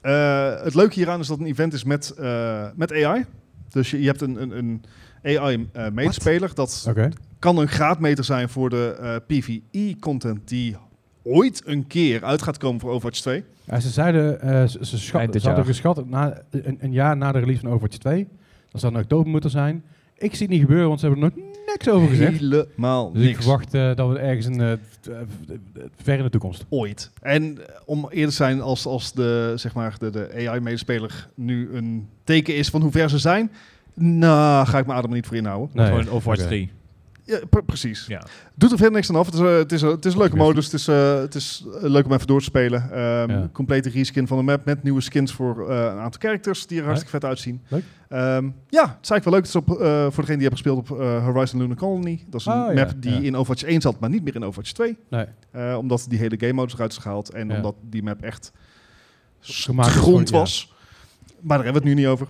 Speaker 2: eh, het leuke hieraan is dat het een event is met, eh, met AI. Dus je, je hebt een, een, een AI-meetspeler. dat
Speaker 1: Oké.
Speaker 2: kan een graadmeter zijn voor de eh, PvE-content E die ooit een keer uit gaat komen voor Overwatch 2.
Speaker 1: Ja, ze zeiden, eh, ze, ze, schat,
Speaker 5: Eind dit
Speaker 1: ze hadden
Speaker 5: jaar.
Speaker 1: geschat na, een, een jaar na de release van Overwatch 2. Dat zou in oktober moeten zijn. Ik zie het niet gebeuren, want ze hebben er nog niks over gezegd.
Speaker 2: Helemaal
Speaker 1: Dus ik
Speaker 2: niks.
Speaker 1: verwacht eh, dat we ergens in eh, t- eh, ver in de toekomst.
Speaker 2: ooit. En eh, om eerder te zijn, als, als de, zeg maar, de, de AI-medespeler nu een teken is van hoe ver ze zijn, nou, ga ik mijn adem er niet voor inhouden.
Speaker 1: Nee.
Speaker 5: Gewoon Overwatch
Speaker 1: Oké.
Speaker 5: 3.
Speaker 2: Ja, pre- precies.
Speaker 5: Ja.
Speaker 2: Doet er verder niks aan af. Het is, eh, het is, het is een leuke
Speaker 1: Optimistisch.
Speaker 2: modus. Het is, eh, het is eh, leuk om even door te spelen. Ehm,
Speaker 1: Ja.
Speaker 2: Complete reskin van de map met nieuwe skins voor eh, een aantal characters die er hartstikke vet uitzien.
Speaker 1: Leuk.
Speaker 2: Ehm, ja, het is eigenlijk wel leuk. Het is op, eh, voor degene die hebben gespeeld op eh, Horizon Lunar Colony. Dat is een
Speaker 1: Oh, ja,
Speaker 2: map die
Speaker 1: ja.
Speaker 2: in Overwatch 1 zat, maar niet meer in Overwatch 2.
Speaker 1: Nee.
Speaker 2: Eh, omdat die hele game modus eruit is gehaald en
Speaker 1: Ja.
Speaker 2: omdat die map echt
Speaker 1: Gemaakt is
Speaker 2: grond
Speaker 1: voor- ja.
Speaker 2: was. Maar daar hebben we het nu niet over.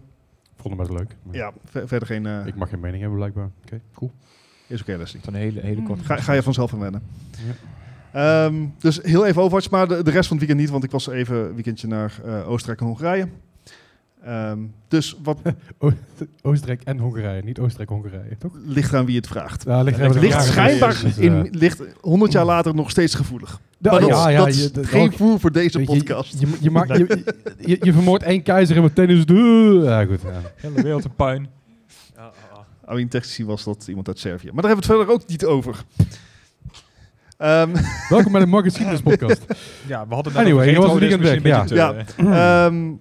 Speaker 1: Vonden we dat leuk. Maar
Speaker 2: Ja, ver- verder geen... eh,
Speaker 1: Ik mag geen mening hebben, blijkbaar. Oké, cool.
Speaker 2: Is oké, Leslie.
Speaker 5: Zo'n hele, hele korte...
Speaker 2: Ga, ga je vanzelf aan wennen. Ehm, dus heel even Overwatch, maar de, de rest van het weekend niet, want ik was even een weekendje naar eh, Oostenrijk en Hongarije. Ehm,
Speaker 1: <laughs>
Speaker 2: dus wat
Speaker 1: Oostenrijk en Hongarije, niet Oostenrijk-Hongarije, toch?
Speaker 2: ligt eraan wie het vraagt.
Speaker 1: Ja, ligt,
Speaker 2: Het ligt
Speaker 5: vraag
Speaker 2: schijnbaar
Speaker 1: Dus, eh,
Speaker 2: in, ligt 100 jaar later nog steeds gevoelig.
Speaker 1: Ja,
Speaker 2: Maar dat,
Speaker 1: ja, ja,
Speaker 2: dat is
Speaker 1: je- dat-
Speaker 2: geen
Speaker 1: ook-
Speaker 2: voer voor deze
Speaker 1: weet je,
Speaker 2: podcast.
Speaker 1: Je, je, maakt-
Speaker 2: <laughs>
Speaker 1: je, je, je vermoordt één keizer en meteen is het... Ja, goed. Ja.
Speaker 5: Hele wereld een puin. ah,
Speaker 2: I mean, technisch gezien was dat iemand uit Servië. Maar daar hebben we het verder ook niet over. Ehm,
Speaker 1: Welkom bij de Market
Speaker 2: <laughs>
Speaker 1: Geschiedenis podcast.
Speaker 5: Ja, we hadden
Speaker 1: net Anyway, over je was retro, het dus weekend misschien
Speaker 2: weg, een
Speaker 5: eh,
Speaker 2: <clears throat> Ehm,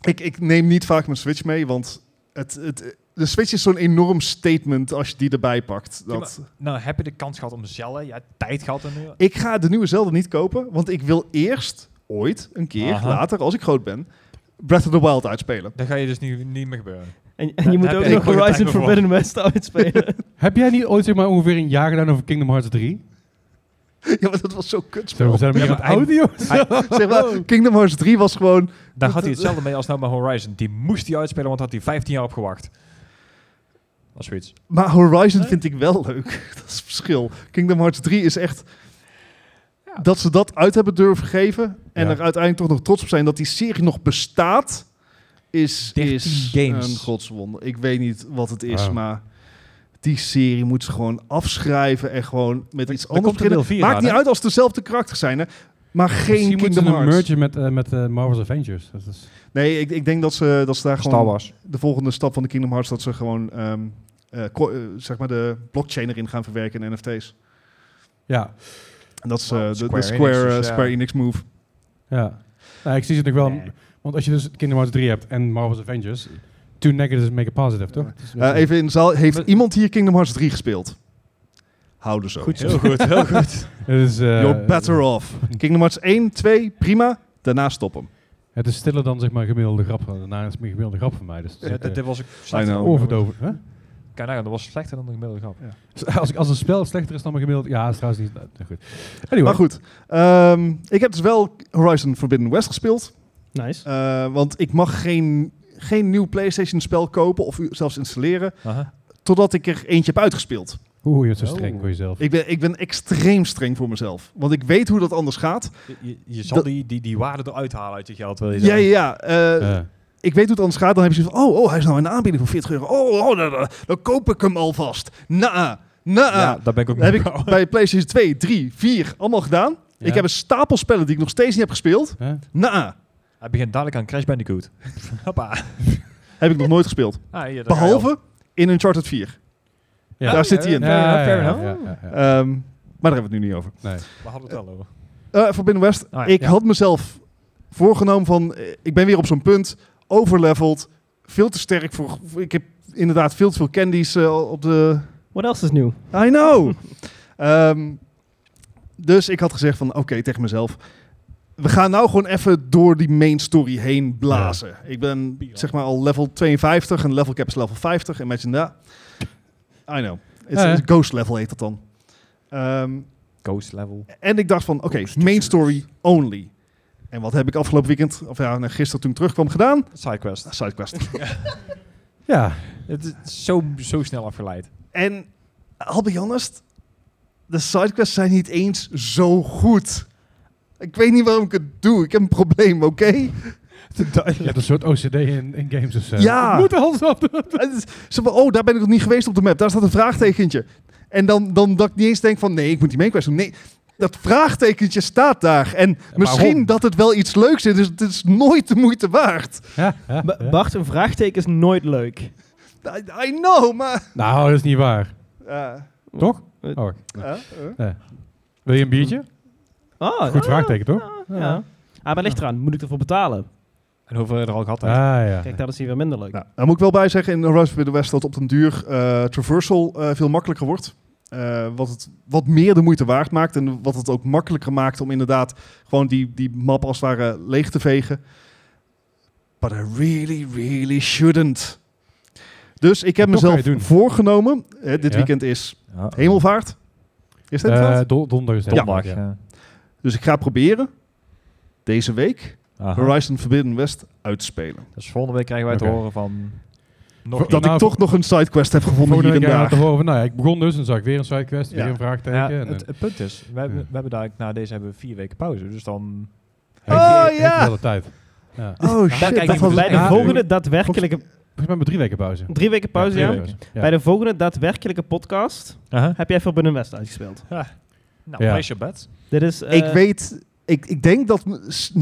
Speaker 2: ik, ik neem niet vaak mijn Switch mee, want het, het, de Switch is zo'n enorm statement als je die erbij pakt.
Speaker 5: Ja,
Speaker 2: Dat,
Speaker 5: Nou, heb je de kans gehad om te zellen? Ja, tijd gehad en nu.
Speaker 2: ik ga de nieuwe Zelda niet kopen, want ik wil eerst ooit, een keer
Speaker 5: Aha.
Speaker 2: later, als ik groot ben, Breath of the Wild uitspelen.
Speaker 5: Dat ga je dus niet, niet meer gebeuren.
Speaker 4: En, en je moet
Speaker 5: heb
Speaker 4: ook
Speaker 5: ik
Speaker 4: nog
Speaker 5: ook een
Speaker 4: Horizon
Speaker 5: timer voor.
Speaker 4: Forbidden West uitspelen.
Speaker 1: <laughs> Heb jij niet ooit zeg maar, ongeveer een jaar gedaan over Kingdom Hearts 3?
Speaker 2: ja, maar <laughs> dat was zo kut.
Speaker 1: Zo, we zijn een
Speaker 5: Ja,
Speaker 1: beetje
Speaker 5: maar
Speaker 1: aan het audio.
Speaker 2: Zeg
Speaker 4: Oh.
Speaker 2: maar, Kingdom Hearts 3 was gewoon...
Speaker 5: Daar had hij hetzelfde mee als nou bij Horizon. Die moest hij uitspelen, want had hij 15 jaar op gewacht. Als zoiets.
Speaker 2: Maar Horizon vind ik wel leuk. <laughs> dat is het verschil. Kingdom Hearts 3 is echt... Dat ze dat uit hebben durven geven en
Speaker 1: Ja.
Speaker 2: er uiteindelijk toch nog trots op zijn dat die serie nog bestaat, is,
Speaker 5: 13
Speaker 2: is
Speaker 5: games.
Speaker 2: een godswonder. Ik weet niet wat het is,
Speaker 1: Wow.
Speaker 2: maar die serie moet ze gewoon afschrijven en gewoon met iets
Speaker 5: komt
Speaker 2: anders
Speaker 5: een
Speaker 2: beginnen.
Speaker 5: deel vier
Speaker 2: Maakt
Speaker 5: aan,
Speaker 2: niet
Speaker 5: hè?
Speaker 2: uit als het dezelfde karakters zijn, hè? maar geen
Speaker 1: Misschien moeten
Speaker 2: Kingdom
Speaker 1: ze een
Speaker 2: Hearts.
Speaker 1: merge met, eh, met eh, Marvel's Avengers. Dat is,
Speaker 2: Nee, ik, ik denk dat ze, dat ze daar
Speaker 5: Star
Speaker 2: gewoon
Speaker 5: Wars.
Speaker 2: de volgende stap van de Kingdom Hearts dat ze gewoon ehm, eh, ko- eh, zeg maar de blockchain erin gaan verwerken in NFT's.
Speaker 1: ja,
Speaker 2: En dat is
Speaker 5: Wow,
Speaker 2: eh, de, de
Speaker 5: Square Enix,
Speaker 2: Square, eh,
Speaker 5: dus ja.
Speaker 2: Square Enix move.
Speaker 1: ja. Nou, ik zie het nog wel.
Speaker 5: Nee.
Speaker 1: Want als je dus Kingdom Hearts 3 hebt en Marvel's Avengers, two negatives make a positive, toch?
Speaker 2: Ja.
Speaker 1: Het is een
Speaker 2: Eh,
Speaker 1: beetje-
Speaker 2: even in de zaal. Heeft
Speaker 5: Wat-
Speaker 2: iemand hier Kingdom Hearts 3 gespeeld? Houden zo.
Speaker 1: Goed zo.
Speaker 5: Heel goed, heel
Speaker 1: Het
Speaker 5: goed.
Speaker 1: is, eh,
Speaker 2: You're better off. Kingdom Hearts 1, 2, prima. Daarna stop hem.
Speaker 1: Het is stiller dan zeg maar gemiddelde grap. van- Daarna is het meer gemiddelde grap van mij. Dus het is
Speaker 5: Ja,
Speaker 1: echt, eh,
Speaker 5: dit, dit was ook
Speaker 2: I
Speaker 5: slechter
Speaker 2: know.
Speaker 5: dan-
Speaker 1: oorverdoven. Hè?
Speaker 5: Kijk nou, dat was slechter dan de gemiddelde grap.
Speaker 1: Als, ik- als een spel slechter is dan mijn gemiddelde... Ja, is trouwens niet... nou, goed. Anyway.
Speaker 2: Maar goed, ehm, ik heb dus wel Horizon Forbidden West gespeeld.
Speaker 4: nice.
Speaker 2: eh, want ik mag geen, geen nieuw PlayStation spel kopen of u- zelfs installeren.
Speaker 5: Aha.
Speaker 2: Totdat ik er eentje heb uitgespeeld.
Speaker 1: Oeh, je bent zo streng
Speaker 5: Oh.
Speaker 1: voor jezelf.
Speaker 2: Ik ben, ik ben extreem streng voor mezelf. Want ik weet hoe dat anders gaat.
Speaker 5: Je, je, je zal
Speaker 2: Dat-
Speaker 5: die, die, die waarde eruit halen uit je geld, wil je
Speaker 2: Ja, ja,
Speaker 5: zeggen.
Speaker 2: ja. eh,
Speaker 1: Eh,
Speaker 2: ik weet hoe het anders gaat. Dan heb je zoiets van, oh, oh, hij is nou in de aanbieding voor 40 euro. Oh, oh dan, dan- dan koop ik hem alvast. Na, na.
Speaker 5: Ja, daar ben ik ook
Speaker 2: Dat heb
Speaker 5: mee.
Speaker 2: ik bij PlayStation 2, 3, 4 allemaal gedaan.
Speaker 1: Ja.
Speaker 2: Ik heb een stapel spellen die ik nog steeds niet heb gespeeld.
Speaker 1: hè?
Speaker 2: Na,
Speaker 5: Hij begint dadelijk aan Crash Bandicoot. Hoppa.
Speaker 2: <laughs> heb ik nog nooit gespeeld.
Speaker 5: Ah, hier, daar ga je al.
Speaker 2: Behalve in Uncharted 4.
Speaker 1: Ja.
Speaker 2: Daar zit hij in.
Speaker 5: Fair enough, fair enough.
Speaker 1: ja, ja, ja.
Speaker 2: Ehm, maar daar hebben we het nu niet over.
Speaker 1: Nee.
Speaker 5: We hadden het wel over.
Speaker 2: Eh voor Binnen West,
Speaker 5: ja,
Speaker 2: ik
Speaker 1: Ah, ja.
Speaker 2: had mezelf voorgenomen van... eh, Ik ben weer op zo'n punt, overleveld, veel te sterk voor... voor- Ik heb inderdaad veel te veel candies eh, op de
Speaker 4: What else is nieuw?
Speaker 2: I
Speaker 4: <laughs>
Speaker 2: know. Ehm, dus ik had gezegd van, oké, tegen mezelf. We gaan nou gewoon even door die main story heen blazen. Ik ben zeg maar al level 52 en level cap is level 50. Imagine that. I know. It's,
Speaker 1: Ja,
Speaker 2: it's
Speaker 1: hè?
Speaker 2: ghost level heet dat dan. Ehm,
Speaker 5: Ghost level.
Speaker 2: en ik dacht van, oké,
Speaker 5: dus.
Speaker 2: main story only. En wat heb ik afgelopen weekend, of ja, nou, gisteren toen ik terugkwam, gedaan? Ah,
Speaker 5: Sidequest. <laughs>
Speaker 2: Sidequest.
Speaker 1: Ja.
Speaker 5: Het is zo, zo snel afgeleid.
Speaker 2: en I'll be honest, de sidequests zijn niet
Speaker 5: <laughs>
Speaker 2: eens zo goed. Ik weet niet waarom ik het doe. Ik heb een probleem, oké?
Speaker 1: Je hebt een soort OCD in, in games of zo.
Speaker 2: Ja.
Speaker 1: Ik moet alles af.
Speaker 2: Het is zo van, oh, daar ben ik nog niet geweest op de map. Daar staat een vraagtekentje. En dan, dan dat ik niet eens denk van, nee, ik moet die main quest doen. Nee, dat vraagtekentje staat daar. En misschien
Speaker 1: waarom?
Speaker 2: dat het wel iets leuks is. Dus het is nooit de moeite waard.
Speaker 1: Ja, ja,
Speaker 4: Ba-
Speaker 1: ja.
Speaker 4: Bart, een vraagteken is nooit leuk.
Speaker 2: I, I know, maar...
Speaker 1: Nou, dat is niet waar.
Speaker 2: Eh,
Speaker 1: Toch?
Speaker 4: Eh,
Speaker 1: Oh,
Speaker 2: eh, eh.
Speaker 1: wil je een biertje?
Speaker 4: Ah,
Speaker 1: Goed vraagteken, toch?
Speaker 4: ja. ja. Ah, maar ligt eraan. Moet ik ervoor betalen?
Speaker 5: En hoeveel je er al gehad
Speaker 1: Ah,
Speaker 5: hebt.
Speaker 1: ja.
Speaker 4: Kijk, dat is hier weer minder leuk.
Speaker 2: Nou, daar moet ik wel bij zeggen in Horizon Forbidden West dat op den duur eh, traversal eh, veel makkelijker wordt. Eh, wat het wat meer de moeite waard maakt en wat het ook makkelijker maakt om inderdaad gewoon die, die map als het ware leeg te vegen. But I really, really shouldn't. Dus ik heb
Speaker 1: Toch ga je
Speaker 2: mezelf
Speaker 1: het doen.
Speaker 2: voorgenomen, eh, dit
Speaker 1: Ja.
Speaker 2: weekend is
Speaker 5: Ja.
Speaker 2: hemelvaart. Is dit
Speaker 1: Eh,
Speaker 2: het?
Speaker 1: don- donderdag is het.
Speaker 5: Donderdag,
Speaker 1: Ja.
Speaker 5: ja.
Speaker 2: Dus ik ga proberen deze week
Speaker 5: Aha.
Speaker 2: Horizon Forbidden West uit te spelen.
Speaker 5: Dus volgende week krijgen wij te
Speaker 1: Oké.
Speaker 5: horen van... Nog
Speaker 1: Voor-
Speaker 5: niet.
Speaker 2: Dat ik
Speaker 1: Nou,
Speaker 2: toch nog een sidequest heb gevonden
Speaker 1: Volgende
Speaker 2: hier en
Speaker 1: week aan te
Speaker 2: daar.
Speaker 1: horen van, nou ja, ik begon dus en zag ik weer een sidequest,
Speaker 2: Ja.
Speaker 1: weer een vraagteken.
Speaker 5: Ja,
Speaker 1: en,
Speaker 5: het, het punt is, we hebben,
Speaker 1: Ja.
Speaker 5: we hebben daar, na deze hebben we vier weken pauze. Dus dan...
Speaker 1: eh,
Speaker 2: Oh,
Speaker 1: heeft- heeft
Speaker 2: ja.
Speaker 1: de hele tijd. eh, Ja.
Speaker 2: Oh
Speaker 5: kijk ik
Speaker 2: shit, dat
Speaker 5: niet
Speaker 2: was
Speaker 4: Nou, Bij de
Speaker 1: Ja,
Speaker 4: volgende
Speaker 1: tuurlijk.
Speaker 4: daadwerkelijke...
Speaker 1: Volgens mij met drie weken pauze.
Speaker 4: Drie weken pauze,
Speaker 5: drie
Speaker 4: ja?
Speaker 5: weken.
Speaker 1: Ja.
Speaker 4: Bij de volgende daadwerkelijke podcast
Speaker 5: Aha.
Speaker 4: heb jij Forbidden West uitgespeeld.
Speaker 5: Nou,
Speaker 1: Ja.
Speaker 5: ja. je bed.
Speaker 4: Dit is... eh,
Speaker 2: ik weet, ik, ik denk dat m- s-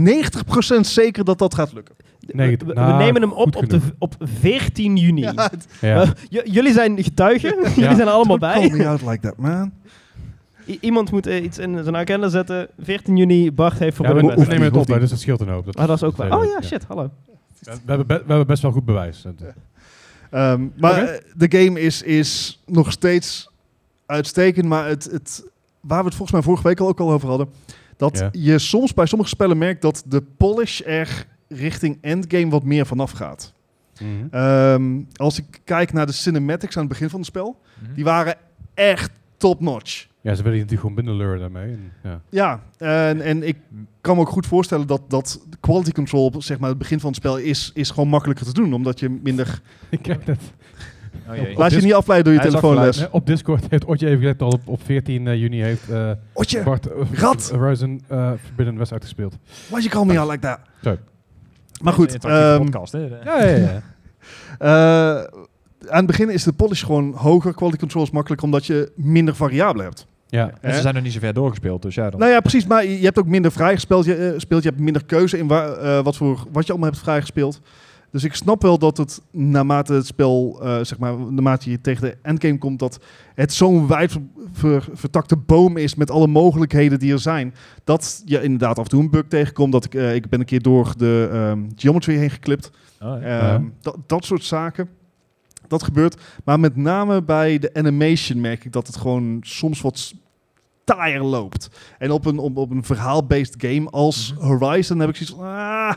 Speaker 2: 90% zeker dat dat gaat lukken.
Speaker 1: Nee,
Speaker 4: we, we
Speaker 1: nou,
Speaker 4: nemen hem op <laughs>
Speaker 1: goed
Speaker 4: op, de, v- op 14 juni.
Speaker 2: Ja, het
Speaker 1: Ja.
Speaker 4: Eh, j- jullie zijn getuigen. jullie
Speaker 1: Ja.
Speaker 4: zijn er allemaal
Speaker 2: don't call
Speaker 4: bij.
Speaker 2: me out like that, man.
Speaker 4: I- iemand moet eh, iets in zijn agenda zetten. 14 juni, Bart heeft
Speaker 1: Ja, we,
Speaker 4: Forbidden
Speaker 1: we
Speaker 4: West.
Speaker 2: Hoeft
Speaker 1: nemen
Speaker 2: niet,
Speaker 1: het op,
Speaker 2: hoeft niet.
Speaker 1: hè, dus dat scheelt een hoop. Dat,
Speaker 4: Ah, dat is ook waar.
Speaker 1: dat-
Speaker 4: Oh ja, shit, hallo.
Speaker 1: We, we hebben be- we hebben best wel goed bewijs. Dat-
Speaker 2: Ehm, maar
Speaker 1: Oké.
Speaker 2: eh, de game is, is nog steeds uitstekend. Maar het, het, waar we het volgens mij vorige week al ook al over hadden. Dat
Speaker 1: Ja.
Speaker 2: je soms bij sommige spellen merkt dat de polish er richting endgame wat meer vanaf gaat.
Speaker 1: Mhm.
Speaker 2: Ehm, als ik kijk naar de cinematics aan het begin van het spel.
Speaker 1: Mhm.
Speaker 2: Die waren echt top-notch.
Speaker 1: Ja, ze willen je natuurlijk gewoon binnenluren daarmee. En, ja.
Speaker 2: Ja, en, en ik kan me ook goed voorstellen dat, dat quality control, op, zeg maar, het begin van het spel is, is gewoon makkelijker te doen. Omdat je minder.
Speaker 1: <laughs> Ik kijk dat.
Speaker 5: Oh, jee.
Speaker 2: Laat je
Speaker 1: Disc-
Speaker 2: niet afleiden door je
Speaker 5: Hij is
Speaker 2: telefoonles.
Speaker 1: Nee, op Discord heeft Otje even gezegd dat op, op 14 eh, juni heeft eh,
Speaker 2: Otje,
Speaker 1: Bart eh,
Speaker 2: rat.
Speaker 1: Horizon eh, Forbidden West uitgespeeld.
Speaker 2: why you call me out like that?
Speaker 1: Zo.
Speaker 2: Maar
Speaker 5: Dat is een
Speaker 2: goed,
Speaker 5: interactieve
Speaker 2: ehm,
Speaker 5: podcast, hè?
Speaker 1: Ja, ja, ja.
Speaker 2: <laughs> eh, aan het begin is de polish gewoon hoger. Quality control is makkelijker omdat je minder variabelen hebt.
Speaker 1: ja.
Speaker 5: En ze
Speaker 2: Hè?
Speaker 5: zijn nog niet zo ver doorgespeeld, dus ja, dan...
Speaker 2: Nou ja, precies. Maar je je hebt ook minder vrijgespeeld. Je, eh, speelt, je hebt minder keuze in wa- eh, wat, voor, wat je allemaal hebt vrijgespeeld. Dus ik snap wel dat het naarmate het spel, eh, zeg maar, naarmate je tegen de endgame komt, dat het zo'n wijd ver- ver- vertakte boom is met alle mogelijkheden die er zijn. Dat je inderdaad af en toe een bug tegenkomt. Dat ik, eh, ik ben een keer door de ehm, geometry heen geklipt.
Speaker 5: Oh, ja.
Speaker 2: Ehm,
Speaker 1: Ja.
Speaker 2: dat, dat soort zaken. Dat gebeurt. Maar met name bij de animation merk ik dat het gewoon soms wat s- taaier loopt. En op een, op, op een verhaal-based game als
Speaker 1: Mhm.
Speaker 2: Horizon heb ik zoiets van... ah,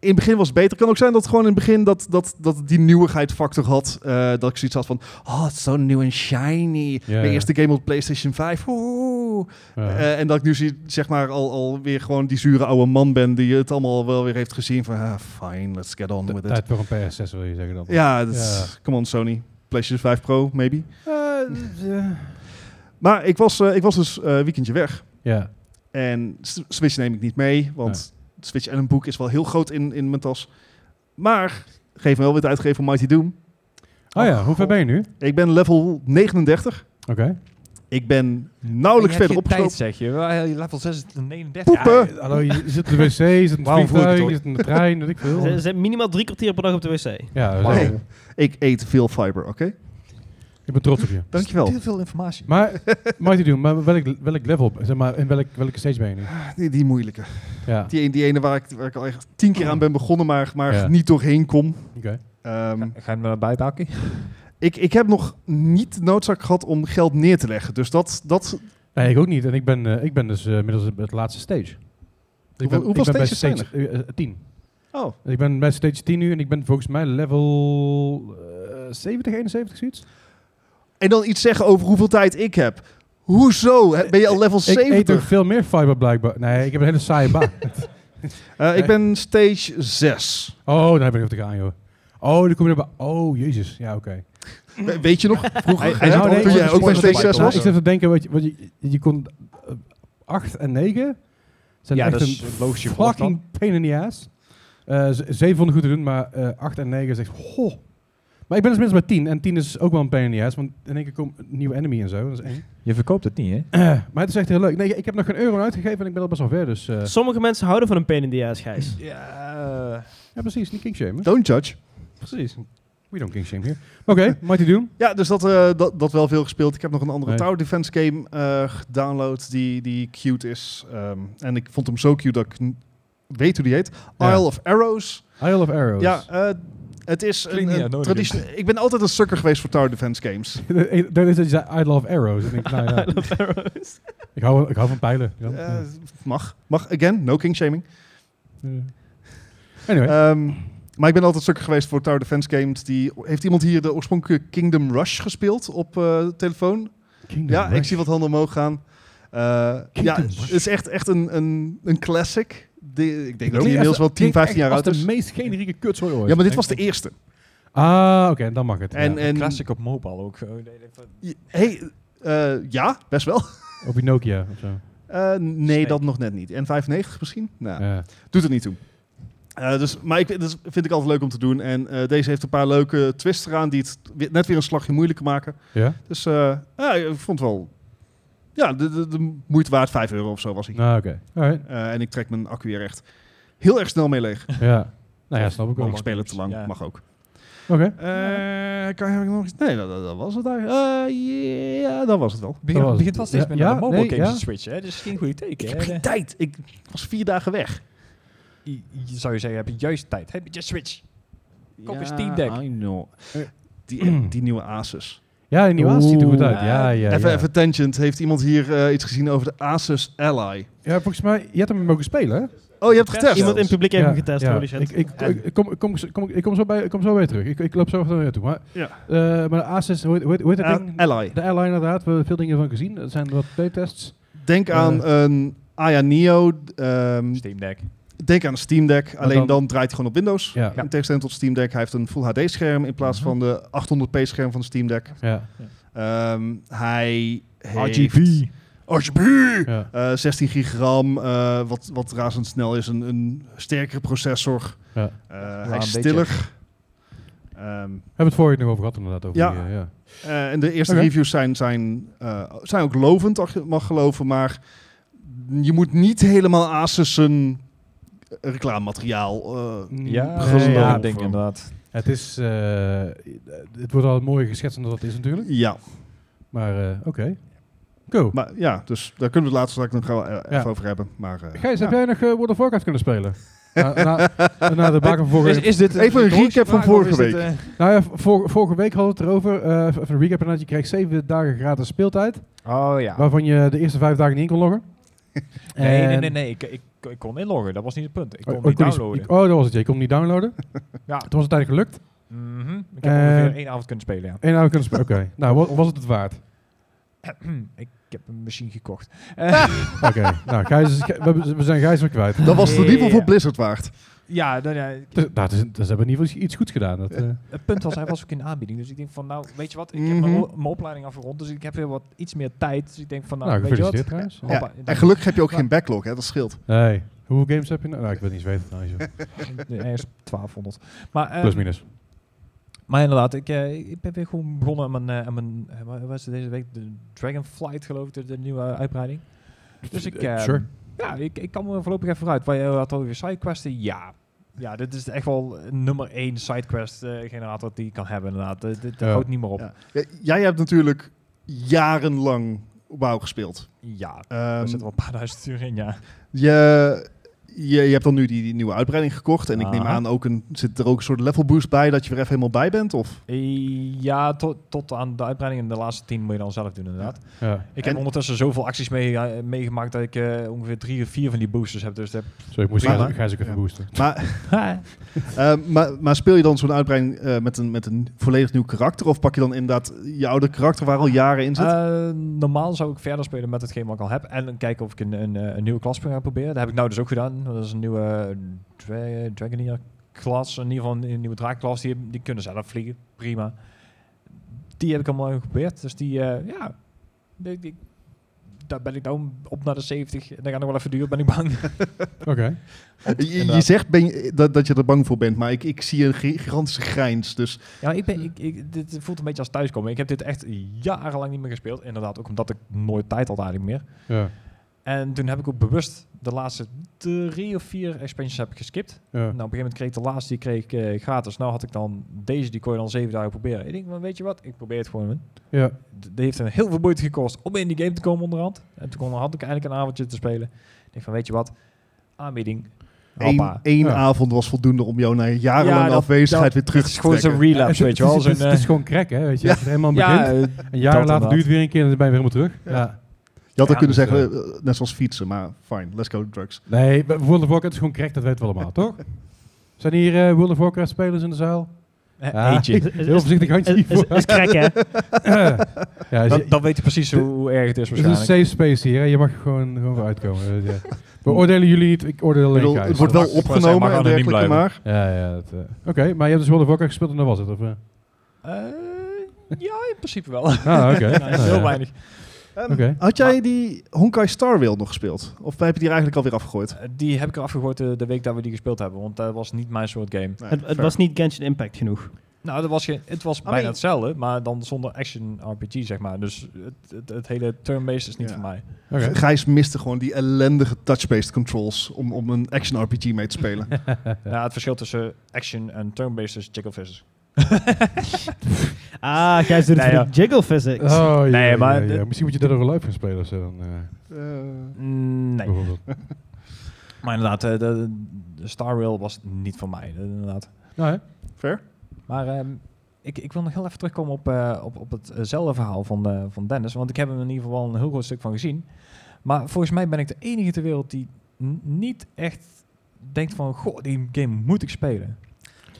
Speaker 2: in het begin was het beter. Het kan ook zijn dat het gewoon in het begin dat, dat, dat het die nieuwigheid factor had. eh, dat ik zoiets had van... Oh, het is zo nieuw en shiny.
Speaker 1: Ja,
Speaker 2: de
Speaker 1: ja.
Speaker 2: eerste game op PlayStation 5. Oeh.
Speaker 1: Ja.
Speaker 2: Eh, en dat ik nu zie, zeg maar, al, alweer gewoon die zure oude man ben die het allemaal wel weer heeft gezien. Van, ah, fine, let's get on
Speaker 1: T-
Speaker 2: with it.
Speaker 1: Tijd voor een PS6 wil je zeggen dan.
Speaker 2: Ja, dat
Speaker 1: Ja. Eh,
Speaker 2: is- come on Sony. PlayStation 5 Pro, maybe.
Speaker 1: ja.
Speaker 2: Maar ik was, eh, ik was dus eh, weekendje weg.
Speaker 1: ja.
Speaker 2: En S- Switch neem ik niet mee, want Switch en een boek is wel heel groot in, in mijn tas. Maar, geef me wel weer tijd geven voor Mighty Doom.
Speaker 1: Oh ja, hoe ver ben je nu? Oké.
Speaker 2: Ik ben level 39. Ik ben nauwelijks
Speaker 5: Je hebt
Speaker 2: verder
Speaker 5: geen tijd,
Speaker 2: opgelopen.
Speaker 5: zeg je. Wel, Eh, je Level 6 is 39.
Speaker 2: Poepen.
Speaker 5: Ja,
Speaker 1: Hallo, je zit op de wc, je zit in het
Speaker 5: Waarom vroeg ik het
Speaker 1: vliegtuig,
Speaker 5: ooit?
Speaker 1: je zit in de trein, weet ik veel.
Speaker 4: Ze ze zijn minimaal drie kwartier per dag op de wc.
Speaker 1: Ja, we
Speaker 5: Wauw.
Speaker 1: zijn-
Speaker 2: Ik eet veel fiber, oké?
Speaker 1: ik ben trots op je.
Speaker 2: Dankjewel.
Speaker 5: Heel veel informatie.
Speaker 1: Maar, Mighty Doom, maar welk, welk level, zeg maar, in welk, welke stage ben je nu?
Speaker 2: Die, die moeilijke.
Speaker 1: Ja,
Speaker 2: Die, die ene waar ik, waar ik al echt tien keer aan ben begonnen, maar, maar
Speaker 1: Ja.
Speaker 2: niet doorheen kom.
Speaker 1: oké.
Speaker 2: Ehm,
Speaker 5: Ga ga je hem naar buiten hakken?
Speaker 2: ik, ik heb nog niet de noodzaak gehad om geld neer te leggen. Dus dat, dat
Speaker 1: Nee, ik ook niet. En ik ben, eh, ik ben dus eh, inmiddels het laatste stage. Ik ben,
Speaker 2: Hoeveel- hoeveel
Speaker 1: ik ben
Speaker 2: stages zijn
Speaker 1: bij stage 10.
Speaker 2: Oh.
Speaker 1: Eh, Ik ben bij stage 10 nu en ik ben volgens mij level eh, 70, 71, zoiets.
Speaker 2: En dan iets zeggen over hoeveel tijd ik heb. Hoezo? He- Ben je al level
Speaker 1: Ik eet ook
Speaker 2: 70?
Speaker 1: veel meer fiber blijkbaar. Nee, ik heb een hele saaie baan.
Speaker 2: <laughs> Eh, ik ben stage 6.
Speaker 1: oh, daar heb ik nog te gaan, joh. Oh, dan kom je erbij. Oh, jezus. Ja, oké.
Speaker 2: We- weet je nog? Vroeger,
Speaker 5: Hij- hij
Speaker 2: hè,
Speaker 5: zat
Speaker 2: toen
Speaker 5: al-
Speaker 2: jij ook bij
Speaker 5: spoiler
Speaker 2: stage
Speaker 5: bij
Speaker 2: 6
Speaker 5: Python.
Speaker 1: Nou,
Speaker 2: was?
Speaker 1: ik zit te denken, wat je, wat je, je kon 8 en 9 zijn
Speaker 5: Ja,
Speaker 1: echt
Speaker 5: dat is
Speaker 1: een
Speaker 5: logisch, je volgt
Speaker 1: fucking pain in the ass. Eh, z- zeven vonden goed te doen, maar eh, acht en negen zegt, goh. Maar ik ben dus minstens bij tien. En tien is ook wel een pain in the ass, want in één keer komt een nieuwe enemy en zo. Dat is eng.
Speaker 5: Je verkoopt het niet, hè?
Speaker 1: Eh, <clears throat> maar het is echt heel leuk. Nee, ik heb nog geen euro aan uitgegeven en ik ben al best wel ver, dus... eh,
Speaker 4: Sommige mensen houden van een pain in the ass, Gijs.
Speaker 5: Ja.
Speaker 2: Eh.
Speaker 1: ja, precies. Niet kingshamen.
Speaker 2: Don't judge.
Speaker 1: Precies. We don't kingshame here. Maar Oké, Mighty Doom.
Speaker 2: Ja, dus dat, eh, dat, dat wel veel gespeeld. Ik heb nog een andere
Speaker 1: Nee.
Speaker 2: Tower Defense game eh, gedownload die, die cute is. Ehm, en ik vond hem zo cute dat ik n- weet hoe die heet.
Speaker 1: Ja.
Speaker 2: Isle of Arrows.
Speaker 1: Isle of Arrows. <laughs>
Speaker 2: Ja, eh, het is
Speaker 5: Klinkt niet
Speaker 2: een, een
Speaker 5: uitnodigend.
Speaker 2: tradition. Ik ben altijd een sukker geweest voor Tower Defense games.
Speaker 1: Dat is dat je zei Isle of Arrows. Ik denk,
Speaker 2: <laughs>
Speaker 1: nou ja, ik, hou, ik hou van pijlen. Ja.
Speaker 2: Eh, mag. Mag, again, no king shaming.
Speaker 1: Ja. Anyway.
Speaker 2: Ehm, maar ik ben altijd sukker geweest voor Tower Defense games. Die, heeft iemand hier de oorspronkelijke Kingdom Rush gespeeld op eh, telefoon?
Speaker 1: Kingdom
Speaker 2: Ja, ik
Speaker 1: Rush.
Speaker 2: zie wat handen omhoog gaan. Eh, ja,
Speaker 1: Kingdom Rush.
Speaker 2: het is echt, echt een, een, een classic. Die- ik denk dat
Speaker 1: Klinkt
Speaker 2: die inmiddels
Speaker 1: echt-
Speaker 2: wel 10,
Speaker 1: klinkt
Speaker 2: 15 jaar
Speaker 1: echt
Speaker 2: oud
Speaker 1: als
Speaker 2: is.
Speaker 1: de meest generieke kutzooi ooit.
Speaker 2: Ja, maar dit was de eerste.
Speaker 1: Ah, oké, dan mag het.
Speaker 2: En,
Speaker 1: ja.
Speaker 2: en
Speaker 5: Classic op mobile ook. Oh, nee, nee, van-
Speaker 2: hey, eh, ja, best wel. <laughs>
Speaker 1: Op je Nokia of zo.
Speaker 2: Eh, nee,
Speaker 5: Snake.
Speaker 2: dat nog net niet. N95 misschien? Nou,
Speaker 1: Ja.
Speaker 2: Doet het niet toe. Eh, dus, maar ik, dat vind ik altijd leuk om te doen. En eh, deze heeft een paar leuke twists eraan die het weer- net weer een slagje moeilijker maken.
Speaker 1: Ja?
Speaker 2: Dus eh, ja, ik vond het wel... Ja, de, de, de moeite waard. 5 euro of zo was hij.
Speaker 5: Ah,
Speaker 1: Nou, oké. Alright.
Speaker 2: Eh, en ik trek mijn accu weer echt heel erg snel mee leeg.
Speaker 1: Ja. Nou ja, snap ik wel.
Speaker 2: ik
Speaker 1: Oké.
Speaker 2: speel het te lang.
Speaker 5: Ja.
Speaker 2: Mag ook. Eh, kan heb ik nog iets? Nee, dat, dat- dat was het eigenlijk. Eh, Ja, dat was het wel.
Speaker 5: Begin,
Speaker 1: was het.
Speaker 5: begint wel steeds
Speaker 1: Ja,
Speaker 5: meer naar
Speaker 1: ja,
Speaker 5: de mobile
Speaker 1: nee,
Speaker 5: games
Speaker 1: ja.
Speaker 5: te switchen, hè? Dus geen goede
Speaker 2: Ik
Speaker 5: teken,
Speaker 2: heb
Speaker 5: hè?
Speaker 2: geen tijd. Ik was vier dagen weg.
Speaker 5: Je- je Zou je zeggen, heb je juist tijd? Heb je je Switch? Koop eens Steam Deck.
Speaker 2: I know.
Speaker 5: eh,
Speaker 2: Die, die nieuwe Asus.
Speaker 1: Eh. Ja, die nieuwe Asus ziet er goed uit.
Speaker 5: Oeh.
Speaker 1: Ja, ja,
Speaker 2: even,
Speaker 1: ja.
Speaker 2: even tangent. Heeft iemand hier eh, iets gezien over de Asus Ally?
Speaker 1: Ja, volgens mij, je hebt hem mogen spelen, hè?
Speaker 2: Oh, je hebt getest.
Speaker 4: Iemand in het publiek heeft
Speaker 1: Ja,
Speaker 4: hem getest,
Speaker 1: ja.
Speaker 4: holy shit.
Speaker 1: Ik, ik, ik, kom, ik, kom, kom, ik, kom zo bij, ik kom zo weer terug. Ik, ik loop zo even naar je toe. Maar,
Speaker 2: Ja.
Speaker 1: Eh, maar de Asus, hoe heet, hoe heet- hoe heet dat ding?
Speaker 2: Eh, Ally.
Speaker 1: De airline inderdaad, we hebben veel dingen van gezien. Er zijn wat playtests. Eh,
Speaker 2: Denk aan een Aya Neo. ehm,
Speaker 5: Steam Deck.
Speaker 2: denk aan een Steam Deck. Alleen
Speaker 1: dan-
Speaker 2: dan, draait hij gewoon op Windows.
Speaker 1: Ja.
Speaker 5: Ja.
Speaker 2: In tegenstelling tot Steam Deck. Hij heeft een Full HD scherm in plaats
Speaker 5: Mhm.
Speaker 2: van de 800p scherm van de Steam Deck.
Speaker 1: Ja.
Speaker 2: Ehm, hij heeft...
Speaker 5: RGB.
Speaker 2: RGB!
Speaker 1: ja.
Speaker 2: Eh, 16 gigram, eh, wat, wat razendsnel is. Een, een sterkere processor.
Speaker 1: Ja.
Speaker 2: Eh,
Speaker 5: een
Speaker 2: hij is
Speaker 5: beetje.
Speaker 2: stiller. Ehm,
Speaker 1: We hebben het vorige nog over gehad inderdaad. Over
Speaker 2: Ja.
Speaker 1: die, eh, ja.
Speaker 2: Eh, en de eerste
Speaker 1: Oké.
Speaker 2: reviews zijn, zijn, eh, zijn ook lovend, als je het mag geloven. Maar je moet niet helemaal Asus' zijn reclamemateriaal. eh,
Speaker 5: Ja,
Speaker 2: Geloven.
Speaker 5: nee, ja,
Speaker 2: Geloven.
Speaker 5: ik denk inderdaad.
Speaker 1: Het is, eh, het wordt al mooier geschetst dan dat het is natuurlijk.
Speaker 2: ja,
Speaker 1: Maar eh, oké. Cool.
Speaker 2: maar ja, dus daar kunnen we het later straks nog wel eh, even
Speaker 1: Ja.
Speaker 2: over hebben. Maar, eh,
Speaker 1: Gijs, heb
Speaker 2: ja.
Speaker 1: jij nog eh, World of Warcraft kunnen spelen? na,
Speaker 5: <laughs>
Speaker 1: na, na de baken van vorige
Speaker 5: Is, is dit
Speaker 2: Even een
Speaker 5: doorgevraagd
Speaker 2: recap van
Speaker 5: of
Speaker 2: vorige
Speaker 5: is dit,
Speaker 2: week.
Speaker 5: eh,
Speaker 1: Nou ja, vor- vorige week hadden we het erover. eh, even een recap inderdaad. Je kreeg zeven dagen gratis speeltijd.
Speaker 5: Oh ja.
Speaker 1: Waarvan je de eerste vijf dagen niet in kon loggen.
Speaker 5: <laughs> Nee, nee,
Speaker 1: En-
Speaker 5: nee, nee. Ik, ik, ik kon inloggen. Dat was niet het punt. Ik kon
Speaker 1: Oh,
Speaker 5: niet
Speaker 1: kon je-
Speaker 5: downloaden.
Speaker 1: ik- oh, dat was het. ja. Je kon hem niet downloaden.
Speaker 5: <laughs> Ja.
Speaker 1: Het was uiteindelijk gelukt.
Speaker 5: Mhm. Ik heb
Speaker 1: Eh,
Speaker 5: ongeveer één avond kunnen spelen, ja.
Speaker 1: En nou kunnen spelen. Oké. Nou, wa- was het het waard?
Speaker 5: Hm, ik heb hem <clears throat> misschien gekocht. <laughs>
Speaker 1: <laughs> Oké. nou, Gijs is, Gij- we, hebben- we zijn Gijs weer kwijt.
Speaker 2: Dat was het in ieder geval
Speaker 5: Ja.
Speaker 2: voor Blizzard waard.
Speaker 5: Ja, nou, ja,
Speaker 1: Dus, nou, het is, dus hebben we in ieder geval iets goeds gedaan. Dat, eh,
Speaker 5: het punt was, hij was ook in de aanbieding. Dus ik denk van, nou, weet je wat? Ik heb
Speaker 2: Mhm.
Speaker 5: mijn, o- mijn opleiding afgerond, dus ik heb weer wat iets meer tijd. Dus ik denk van, nou,
Speaker 1: nou,
Speaker 5: weet je wat?
Speaker 1: gefeliciteerd trouwens.
Speaker 5: Ja.
Speaker 2: Ja,
Speaker 5: Hoppa,
Speaker 2: en
Speaker 5: dank.
Speaker 2: gelukkig heb je ook
Speaker 5: Maar-
Speaker 2: geen backlog, hè, dat scheelt.
Speaker 1: Nee. Hoeveel games heb je nou? Nou, ik wil niet eens weten trouwens. joh.
Speaker 5: Nee, Ergens 1200. Maar, eh,
Speaker 1: Plus minus.
Speaker 5: maar inderdaad, ik, eh, ik ben weer gewoon begonnen aan mijn, eh, aan mijn eh, wat was het deze week? De Dragonflight, geloof ik, de, de nieuwe uitbreiding. Dus ik, eh,
Speaker 1: Sure.
Speaker 5: ja, ik, ik kan me voorlopig even vooruit. Waar je had over sidequesten, ja. Ja, dit is echt wel nummer één sidequest eh, generator die je kan hebben inderdaad. Dit, dit
Speaker 1: Ja.
Speaker 5: houdt niet meer op. Ja,
Speaker 2: Ja. J- Jij hebt natuurlijk jarenlang WoW gespeeld.
Speaker 5: daar
Speaker 2: Ehm,
Speaker 5: Ah, zitten wel een paar duizend uur in, ja.
Speaker 2: Je, je, je hebt dan nu die, die nieuwe uitbreiding gekocht. En ik neem
Speaker 5: Aha.
Speaker 2: aan, ook een, zit er ook een soort level boost bij dat je er even helemaal bij bent? Of?
Speaker 5: Eh, Ja, tot, tot aan de uitbreiding in de laatste tien moet je dan zelf doen inderdaad.
Speaker 1: Ja.
Speaker 5: Ik
Speaker 2: En-
Speaker 5: heb ondertussen zoveel acties mee, eh, meegemaakt dat ik eh, ongeveer drie of vier van die boosters heb. Dus dat
Speaker 1: Zo, ik moest
Speaker 2: Maar-
Speaker 1: Gijs, Gijs ook even
Speaker 2: Ja.
Speaker 1: boosten.
Speaker 5: <laughs>
Speaker 2: Maar,
Speaker 5: heb
Speaker 2: eh, maar, maar speel je dan zo'n uitbreiding eh, met, een, met een volledig nieuw karakter? Of pak je dan inderdaad je oude karakter waar al jaren in zit?
Speaker 5: Eh, normaal zou ik verder spelen met hetgeen wat ik al heb. En dan kijken of ik een, een, eh, een nieuwe klas kan proberen. Dat heb ik nou dus ook gedaan. Dat is een nieuwe eh, dra- Dragoneer klas. In ieder geval een, een nieuwe draakklas. Die, die kunnen zelf vliegen. Prima. Die heb ik allemaal geprobeerd. Dus die, eh, ja. Die, die- daar ben ik nou op naar de 70. En dat gaat nog wel even duur, ben ik bang.
Speaker 1: Oké.
Speaker 2: Je, je
Speaker 5: inderdaad.
Speaker 2: zegt ben je- dat, dat je er bang voor bent, maar ik, ik zie een gi- gigantische grijns. Dus
Speaker 5: ja, ik ben, ik, ik- dit voelt een beetje als thuiskomen. Ik heb dit echt jarenlang niet meer gespeeld. Inderdaad, ook omdat ik nooit tijd had eigenlijk meer.
Speaker 1: Ja.
Speaker 5: En toen heb ik ook bewust de laatste drie of vier expansions heb ik geskipt.
Speaker 1: Ja.
Speaker 5: Nou, op een gegeven moment kreeg ik de laatste, die kreeg ik eh, gratis. Nou had ik dan deze, die kon je dan zeven dagen proberen. Ik denk, maar weet je wat, ik probeer het gewoon. man.
Speaker 1: ja.
Speaker 5: D- Die heeft een heel veel moeite gekost om in die game te komen onderhand. En toen kon- had ik eindelijk een avondje te spelen. Ik denk van, weet je wat, aanbieding.
Speaker 2: één,
Speaker 5: Hoppa.
Speaker 2: één
Speaker 1: Ja.
Speaker 2: avond was voldoende om jou na jarenlange
Speaker 5: Ja, dat-
Speaker 2: afwezigheid
Speaker 5: dat-
Speaker 2: weer terug
Speaker 5: Het
Speaker 2: te
Speaker 5: is gewoon zo'n
Speaker 2: trekken.
Speaker 1: Ja, het
Speaker 5: relapse,
Speaker 1: is-
Speaker 5: weet je
Speaker 1: het
Speaker 5: wel.
Speaker 1: is- Het is-
Speaker 5: zo'n,
Speaker 1: het is gewoon crack, hè? Weet je, als je er helemaal
Speaker 5: eh,
Speaker 1: aan begint.
Speaker 5: ja, eh,
Speaker 1: Een jaar later
Speaker 5: inderdaad.
Speaker 1: duurt het weer een keer en dan ben je weer helemaal terug.
Speaker 2: Ja.
Speaker 1: Ja.
Speaker 2: Je had ook
Speaker 5: Ja,
Speaker 2: kunnen
Speaker 5: dus,
Speaker 2: zeggen, eh, net zoals fietsen, maar fine, let's go drugs.
Speaker 1: Nee, bij World of Warcraft is gewoon crack, dat weten we allemaal,
Speaker 4: <laughs>
Speaker 1: toch? Zijn hier eh, World of Warcraft spelers in de zaal?
Speaker 5: eh, eentje.
Speaker 1: Ah. Heel voorzichtig handje
Speaker 4: Is,
Speaker 1: hiervoor.
Speaker 4: is
Speaker 1: <laughs>
Speaker 4: crack, hè? <clears throat>
Speaker 1: ja, is-
Speaker 5: Dan, dan weet je precies hoe, hoe erg
Speaker 2: dus
Speaker 5: het is
Speaker 1: het is een
Speaker 5: waarschijnlijk.
Speaker 1: safe space hier, hè? je mag er gewoon, gewoon voor uitkomen. Eh, Ja.
Speaker 4: <laughs>
Speaker 1: We oordelen jullie niet, ik oordeel
Speaker 2: Ik
Speaker 1: alleen
Speaker 2: bedoel,
Speaker 1: Gijs.
Speaker 2: het wordt wel
Speaker 5: mag- mag- mag
Speaker 2: opgenomen en
Speaker 5: anoniem
Speaker 2: dergelijke,
Speaker 5: blijven.
Speaker 2: maar...
Speaker 1: Ja, ja. dat, eh, Oké, maar je hebt dus World of Warcraft gespeeld en dat was het, of? eh?
Speaker 5: Eh, ja, in principe wel.
Speaker 1: Ah,
Speaker 2: <laughs>
Speaker 5: <laughs>
Speaker 1: oké.
Speaker 5: Ja,
Speaker 1: Ah,
Speaker 5: heel
Speaker 1: ja.
Speaker 5: weinig.
Speaker 2: Ehm,
Speaker 1: Oké.
Speaker 2: Had jij die Honkai Star Rail nog gespeeld? Of heb je die eigenlijk alweer afgegooid?
Speaker 5: Eh, Die heb ik eraf gegooid eh, de week dat we die gespeeld hebben, want dat was niet mijn soort game.
Speaker 2: Nee,
Speaker 4: het, het
Speaker 2: fair.
Speaker 4: was niet Oh, Genshin Impact genoeg.
Speaker 5: Nou, dat was geen, het was
Speaker 2: maar
Speaker 5: bijna
Speaker 2: je-
Speaker 5: hetzelfde, maar dan zonder action RPG, zeg maar. Dus het, het, het hele turn-based is niet
Speaker 2: Ja.
Speaker 5: voor mij.
Speaker 1: Oké.
Speaker 2: Gijs miste gewoon die ellendige touch-based controls om, om een action RPG mee
Speaker 1: <laughs>
Speaker 2: te spelen.
Speaker 5: <laughs> Ja. het verschil tussen action en turn-based is chicken visses.
Speaker 4: Ah, Gijs doet het
Speaker 5: Nee,
Speaker 4: voor
Speaker 5: ja.
Speaker 4: de jiggle physics.
Speaker 1: Oh, ja,
Speaker 5: Nee,
Speaker 1: ja,
Speaker 5: maar
Speaker 1: ja,
Speaker 5: dit-
Speaker 1: ja. Misschien moet je dat over live gaan spelen of zo dan. eh,
Speaker 2: Eh,
Speaker 5: Nee,
Speaker 1: bijvoorbeeld.
Speaker 5: maar inderdaad, eh, de, de Star Rail was niet voor mij, eh, inderdaad.
Speaker 1: Nou, hè?
Speaker 2: Fair?
Speaker 5: Maar ehm, ik, ik wil nog heel even terugkomen op, eh, op, op hetzelfde verhaal van, eh, van Dennis, want ik heb hem in ieder geval een heel groot stuk van gezien. Maar volgens mij ben ik de enige ter wereld die n- niet echt denkt van, goh, die game moet ik spelen.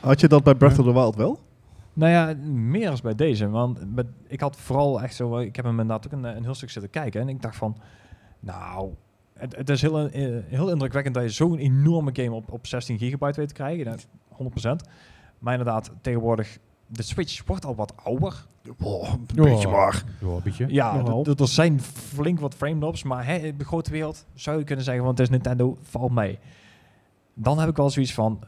Speaker 2: Had je dat bij Breath of the Wild wel?
Speaker 5: Nou ja, meer als bij deze. Want met- ik had vooral echt zo... Ik heb hem inderdaad ook een, eh, een heel stuk zitten kijken. En ik dacht van... Nou, het, het is heel, eh, heel indrukwekkend dat je zo'n enorme game op, op 16 gigabyte weet te krijgen. Dat- 100%. Maar inderdaad, tegenwoordig... De Switch wordt al wat ouder.
Speaker 2: Oh,
Speaker 1: Ja.
Speaker 2: een beetje maar.
Speaker 1: Wel een beetje.
Speaker 5: Ja,
Speaker 4: Nogal.
Speaker 5: d- d- er zijn flink wat frame drops. Maar hè, in de grote wereld zou je kunnen zeggen... Want het is Nintendo, valt mee. Dan heb ik wel zoiets van...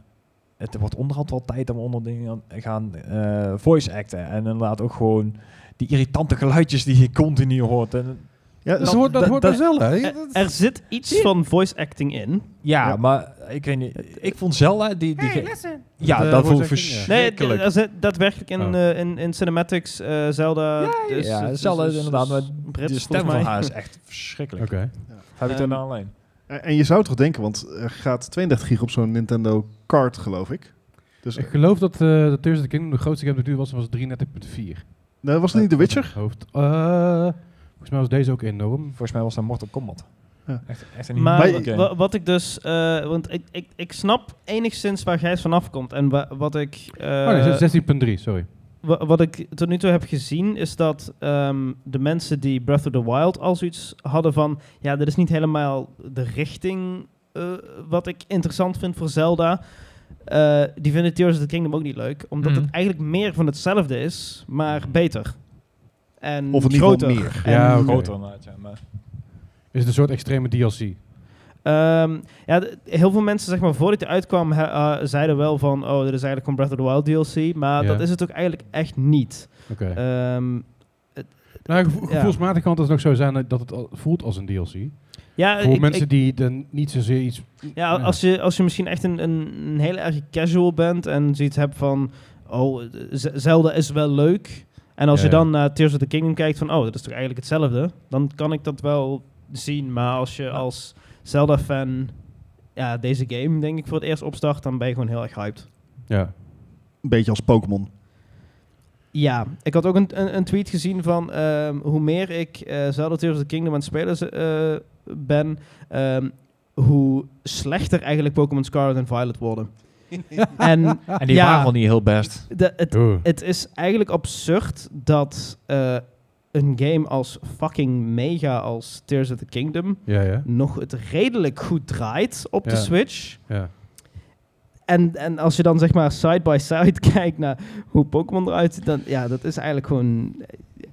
Speaker 5: Het wordt onderhand wel tijd dat we onder dingen gaan eh, voice acten. En inderdaad ook gewoon die irritante geluidjes die je continu hoort. En,
Speaker 2: Ja,
Speaker 1: Dat,
Speaker 2: zo-
Speaker 1: hoort, dat,
Speaker 5: dat-
Speaker 1: hoort
Speaker 2: dus
Speaker 5: dat- eh,
Speaker 1: er zelf, hè?
Speaker 4: Er, er zit iets van voice acting in.
Speaker 5: ja,
Speaker 2: Ja.
Speaker 5: maar ik weet niet. Ik vond Zelda die... die ge- ja,
Speaker 1: Dat, eh,
Speaker 5: dat vond
Speaker 1: voice acting, ja.
Speaker 5: ik
Speaker 4: Nee,
Speaker 5: verschrikkelijk.
Speaker 4: het- er zit daadwerkelijk in,
Speaker 1: Oh.
Speaker 4: eh, in, in cinematics eh, Zelda. dus-
Speaker 5: ja,
Speaker 4: dus-
Speaker 5: Zelda
Speaker 4: dus-
Speaker 5: inderdaad, maar
Speaker 4: Brits,
Speaker 5: de stem van
Speaker 4: volgens mij. <laughs>
Speaker 5: haar is echt verschrikkelijk.
Speaker 1: Oké.
Speaker 5: Heb ik
Speaker 4: Ehm,
Speaker 5: er nou alleen?
Speaker 2: En en je zou toch denken, want er gaat 32 gig op zo'n Nintendo Card, geloof ik. Dus
Speaker 1: Ik geloof dat eh de Tears of the Kingdom de grootste game die duur was, was 33.4.
Speaker 2: nou, was het niet The Witcher?
Speaker 1: Hoofd. Eh, volgens mij was deze ook enorm.
Speaker 5: Volgens mij was dat Mortal Kombat.
Speaker 2: Ja.
Speaker 5: Echt, echt een
Speaker 4: Maar
Speaker 5: enorme
Speaker 4: wa-
Speaker 5: game.
Speaker 4: wa- wat ik dus, eh, want ik, ik, ik snap enigszins waar Gijs vanaf komt. En wa- wat ik, eh,
Speaker 1: oh nee, zes- 16.3, sorry.
Speaker 4: wa- wat ik tot nu toe heb gezien, is dat ehm, de mensen die Breath of the Wild al zoiets hadden van, ja, dit is niet helemaal de richting eh, wat ik interessant vind voor Zelda. Eh, die vinden Tears of the Kingdom ook niet leuk, omdat
Speaker 5: Mhm.
Speaker 4: het eigenlijk meer van hetzelfde is, maar beter. En
Speaker 2: Of in ieder geval
Speaker 4: groter.
Speaker 2: meer.
Speaker 1: Mhm.
Speaker 4: En-
Speaker 1: Ja, oké.
Speaker 5: Groter inderdaad, ja. Maar
Speaker 1: Is het een soort extreme DLC?
Speaker 4: Ehm, ja, d- heel veel mensen, zeg maar, voordat hij uitkwam, he- eh, zeiden wel van, oh, dit is eigenlijk gewoon Breath of the Wild DLC. Maar
Speaker 1: Ja.
Speaker 4: dat is het ook eigenlijk echt niet.
Speaker 1: Oké.
Speaker 4: Ehm,
Speaker 1: nou, gevo-
Speaker 4: ja.
Speaker 1: gevoelsmatig kan het dus nog zo zijn dat het al voelt als een DLC.
Speaker 4: ja,
Speaker 1: Voor
Speaker 4: ik-
Speaker 1: mensen
Speaker 4: ik-
Speaker 1: die dan niet zozeer iets...
Speaker 4: ja,
Speaker 1: ja.
Speaker 4: als je, als je misschien echt een, een, een hele erg casual bent en zoiets hebt van, oh, Z- Zelda is wel leuk. En als
Speaker 1: Ja,
Speaker 4: je
Speaker 1: ja.
Speaker 4: dan naar Tears of the Kingdom kijkt van, oh, dat is toch eigenlijk hetzelfde. Dan kan ik dat wel zien. Maar als je als Zelda-fan ja, deze game, denk ik, voor het eerst opstart, dan ben je gewoon heel erg hyped.
Speaker 1: Ja.
Speaker 2: Een beetje als Pokémon.
Speaker 4: Ja, ik had ook een, een, een tweet gezien van ehm, hoe meer ik eh Zelda Tears of the Kingdom aan het spelen eh, ben, ehm, hoe slechter eigenlijk Pokémon Scarlet en Violet
Speaker 1: <laughs>
Speaker 4: worden. en
Speaker 5: En die
Speaker 4: Ja.
Speaker 5: waren al niet heel best.
Speaker 4: de, het,
Speaker 1: Oeh.
Speaker 4: het is eigenlijk absurd dat eh, een game als fucking mega als Tears of the Kingdom
Speaker 1: Ja, ja.
Speaker 4: nog het redelijk goed draait op de
Speaker 1: Ja.
Speaker 4: Switch.
Speaker 1: Ja.
Speaker 4: En, en als je dan zeg maar side by side <laughs> kijkt naar hoe Pokémon eruit ziet, dan ja, dat is eigenlijk gewoon eh,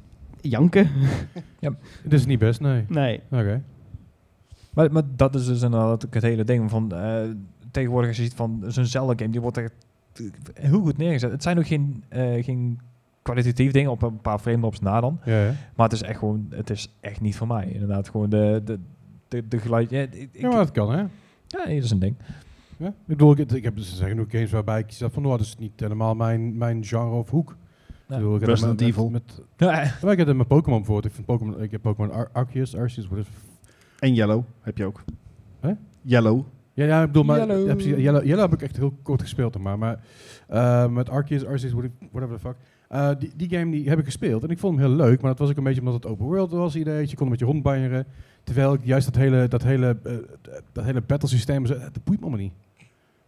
Speaker 4: janken.
Speaker 1: Dit is niet best, nee.
Speaker 4: Nee.
Speaker 1: Oké.
Speaker 5: Maar, maar dat is dus inderdaad ook het hele ding van eh, tegenwoordig als je ziet van zo'n Zelda game, die wordt echt heel goed neergezet. Het zijn ook geen, eh, geen kwalitatief dingen op een paar frame drops na dan,
Speaker 1: Ja, ja.
Speaker 5: maar het is echt gewoon, het is echt niet voor mij. Inderdaad, gewoon de, de, de, de geluid. Ja, ik- ik-
Speaker 1: ja, maar dat kan, hè?
Speaker 5: ja, nee, dat is een ding.
Speaker 1: Ja? Ik bedoel, ik, ik heb, er zijn genoeg games waarbij ik zelf van, nou, dat is niet helemaal mijn, mijn genre of hoek.
Speaker 5: Ja.
Speaker 1: Ik bedoel, ik heb
Speaker 2: Resident
Speaker 1: met,
Speaker 2: Evil.
Speaker 1: Met,
Speaker 5: Ja,
Speaker 1: maar ik heb het met Pokémon bijvoorbeeld. Ik, vind Pokémon, ik heb Pokémon Ar Arceus, Arceus, wat is
Speaker 2: En Yellow heb je ook.
Speaker 1: Hè?
Speaker 2: Yellow.
Speaker 1: Ja, ja, ik bedoel, maar
Speaker 5: Yellow.
Speaker 1: ja, precies, Yellow, Yellow heb ik echt heel kort gespeeld, maar, maar eh, met Arceus, Arceus, what- whatever the fuck. Eh, die, die game die heb ik gespeeld en ik vond hem heel leuk, maar dat was ook een beetje omdat het open world was, idee, je kon met je rondbanjeren. Terwijl ik juist dat hele, dat hele, eh, dat hele battlesysteem, zo- dat boeit me allemaal niet.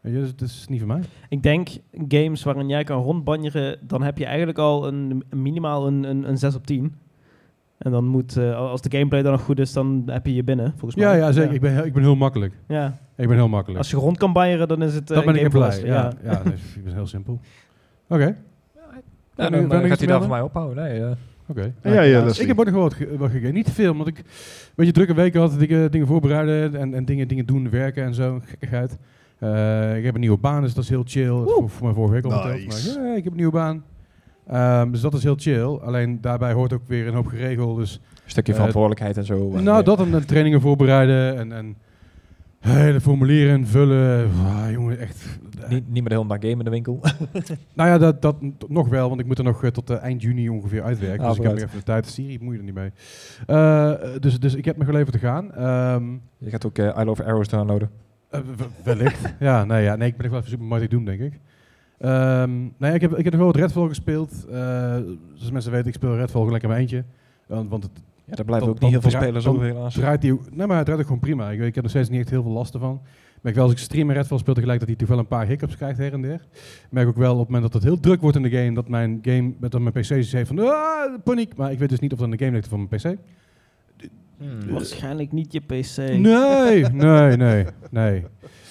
Speaker 1: Weet je, dus dat is niet voor mij.
Speaker 4: Ik denk games waarin jij kan rondbanjeren, dan heb je eigenlijk al een, een minimaal een, een, een 6 op 10. En dan moet, eh, als de gameplay dan nog goed is, dan heb je je binnen, volgens
Speaker 1: Ja,
Speaker 4: mij.
Speaker 1: ja, zeker. Ik, ben, heel- ik ben heel makkelijk.
Speaker 4: Ja.
Speaker 1: Ik ben heel makkelijk.
Speaker 4: Als je rond kan banjeren, dan is het eh,
Speaker 1: dat ben ik
Speaker 4: game
Speaker 1: in blij.
Speaker 4: verlassen,
Speaker 1: Ja, ja. nee, ik ben heel simpel. Oké,
Speaker 5: dan,
Speaker 1: nu-
Speaker 5: eh,
Speaker 1: dan nu
Speaker 5: gaat
Speaker 1: iets
Speaker 5: hij daar
Speaker 1: melden?
Speaker 5: voor mij ophouden. Nee, eh.
Speaker 1: oké.
Speaker 2: En jij, eh, Leslie?
Speaker 1: Ik heb ook nog wel wat, ge- wat gegeven. Niet veel, want ik een beetje drukke weken had. dat Ik eh, dingen voorbereiden en, en dingen, dingen doen, werken en zo. Gekkigheid. Eh, ik heb een nieuwe baan, dus dat is heel chill. Voor, voor mijn vorige week al verteld.
Speaker 2: Nice.
Speaker 1: Maar, ja, ik heb een nieuwe baan. Ehm, dus dat is heel chill. Alleen daarbij hoort ook weer een hoop geregeld. Dus
Speaker 5: stukje
Speaker 1: Eh,
Speaker 5: verantwoordelijkheid en zo.
Speaker 1: nou, dat en, en trainingen voorbereiden en, en hele formulieren invullen. Ah, jongen, echt.
Speaker 5: Niet, niet meer de hele dag game in de winkel. <laughs>
Speaker 1: Nou ja, dat, dat n- t- nog wel, want ik moet er nog eh, tot eh, eind juni ongeveer uitwerken.
Speaker 5: Ah,
Speaker 1: dus ik heb nog
Speaker 5: vooruit.
Speaker 1: even de tijd. Siri, moet je er niet mee. Eh, dus, dus ik heb nog wel even te gaan. Ehm,
Speaker 5: je gaat ook eh I Love Arrows downloaden.
Speaker 1: eh, w-
Speaker 5: <laughs>
Speaker 1: wellicht. ja, nee, ja, nee, ik ben nog wel even super Mighty Doom, denk ik. Ehm nee, ik, heb, ik heb nog wel wat Redfall gespeeld. Eh, zoals mensen weten, ik speel Redfall gewoon lekker in mijn eentje. Want, want het
Speaker 5: Ja, daar blijven
Speaker 1: Dan-
Speaker 5: ook niet heel veel
Speaker 1: dan-
Speaker 5: spelers
Speaker 1: dan-
Speaker 5: over helaas.
Speaker 1: draait die, nee, maar het draait ook gewoon prima. Ik, ik heb nog steeds niet echt heel veel last ervan. Ik Merk wel als ik stream en Redfall speel tegelijk dat hij toch wel een paar hiccups krijgt her en der. Ik Merk ook wel op het moment dat het heel druk wordt in de game, dat mijn game, dat mijn PC zoiets heeft van ah, paniek. Maar ik weet dus niet of dat in de game ligt of van mijn PC.
Speaker 4: Waarschijnlijk niet je PC. <laughs>
Speaker 1: Nee, nee, nee, nee.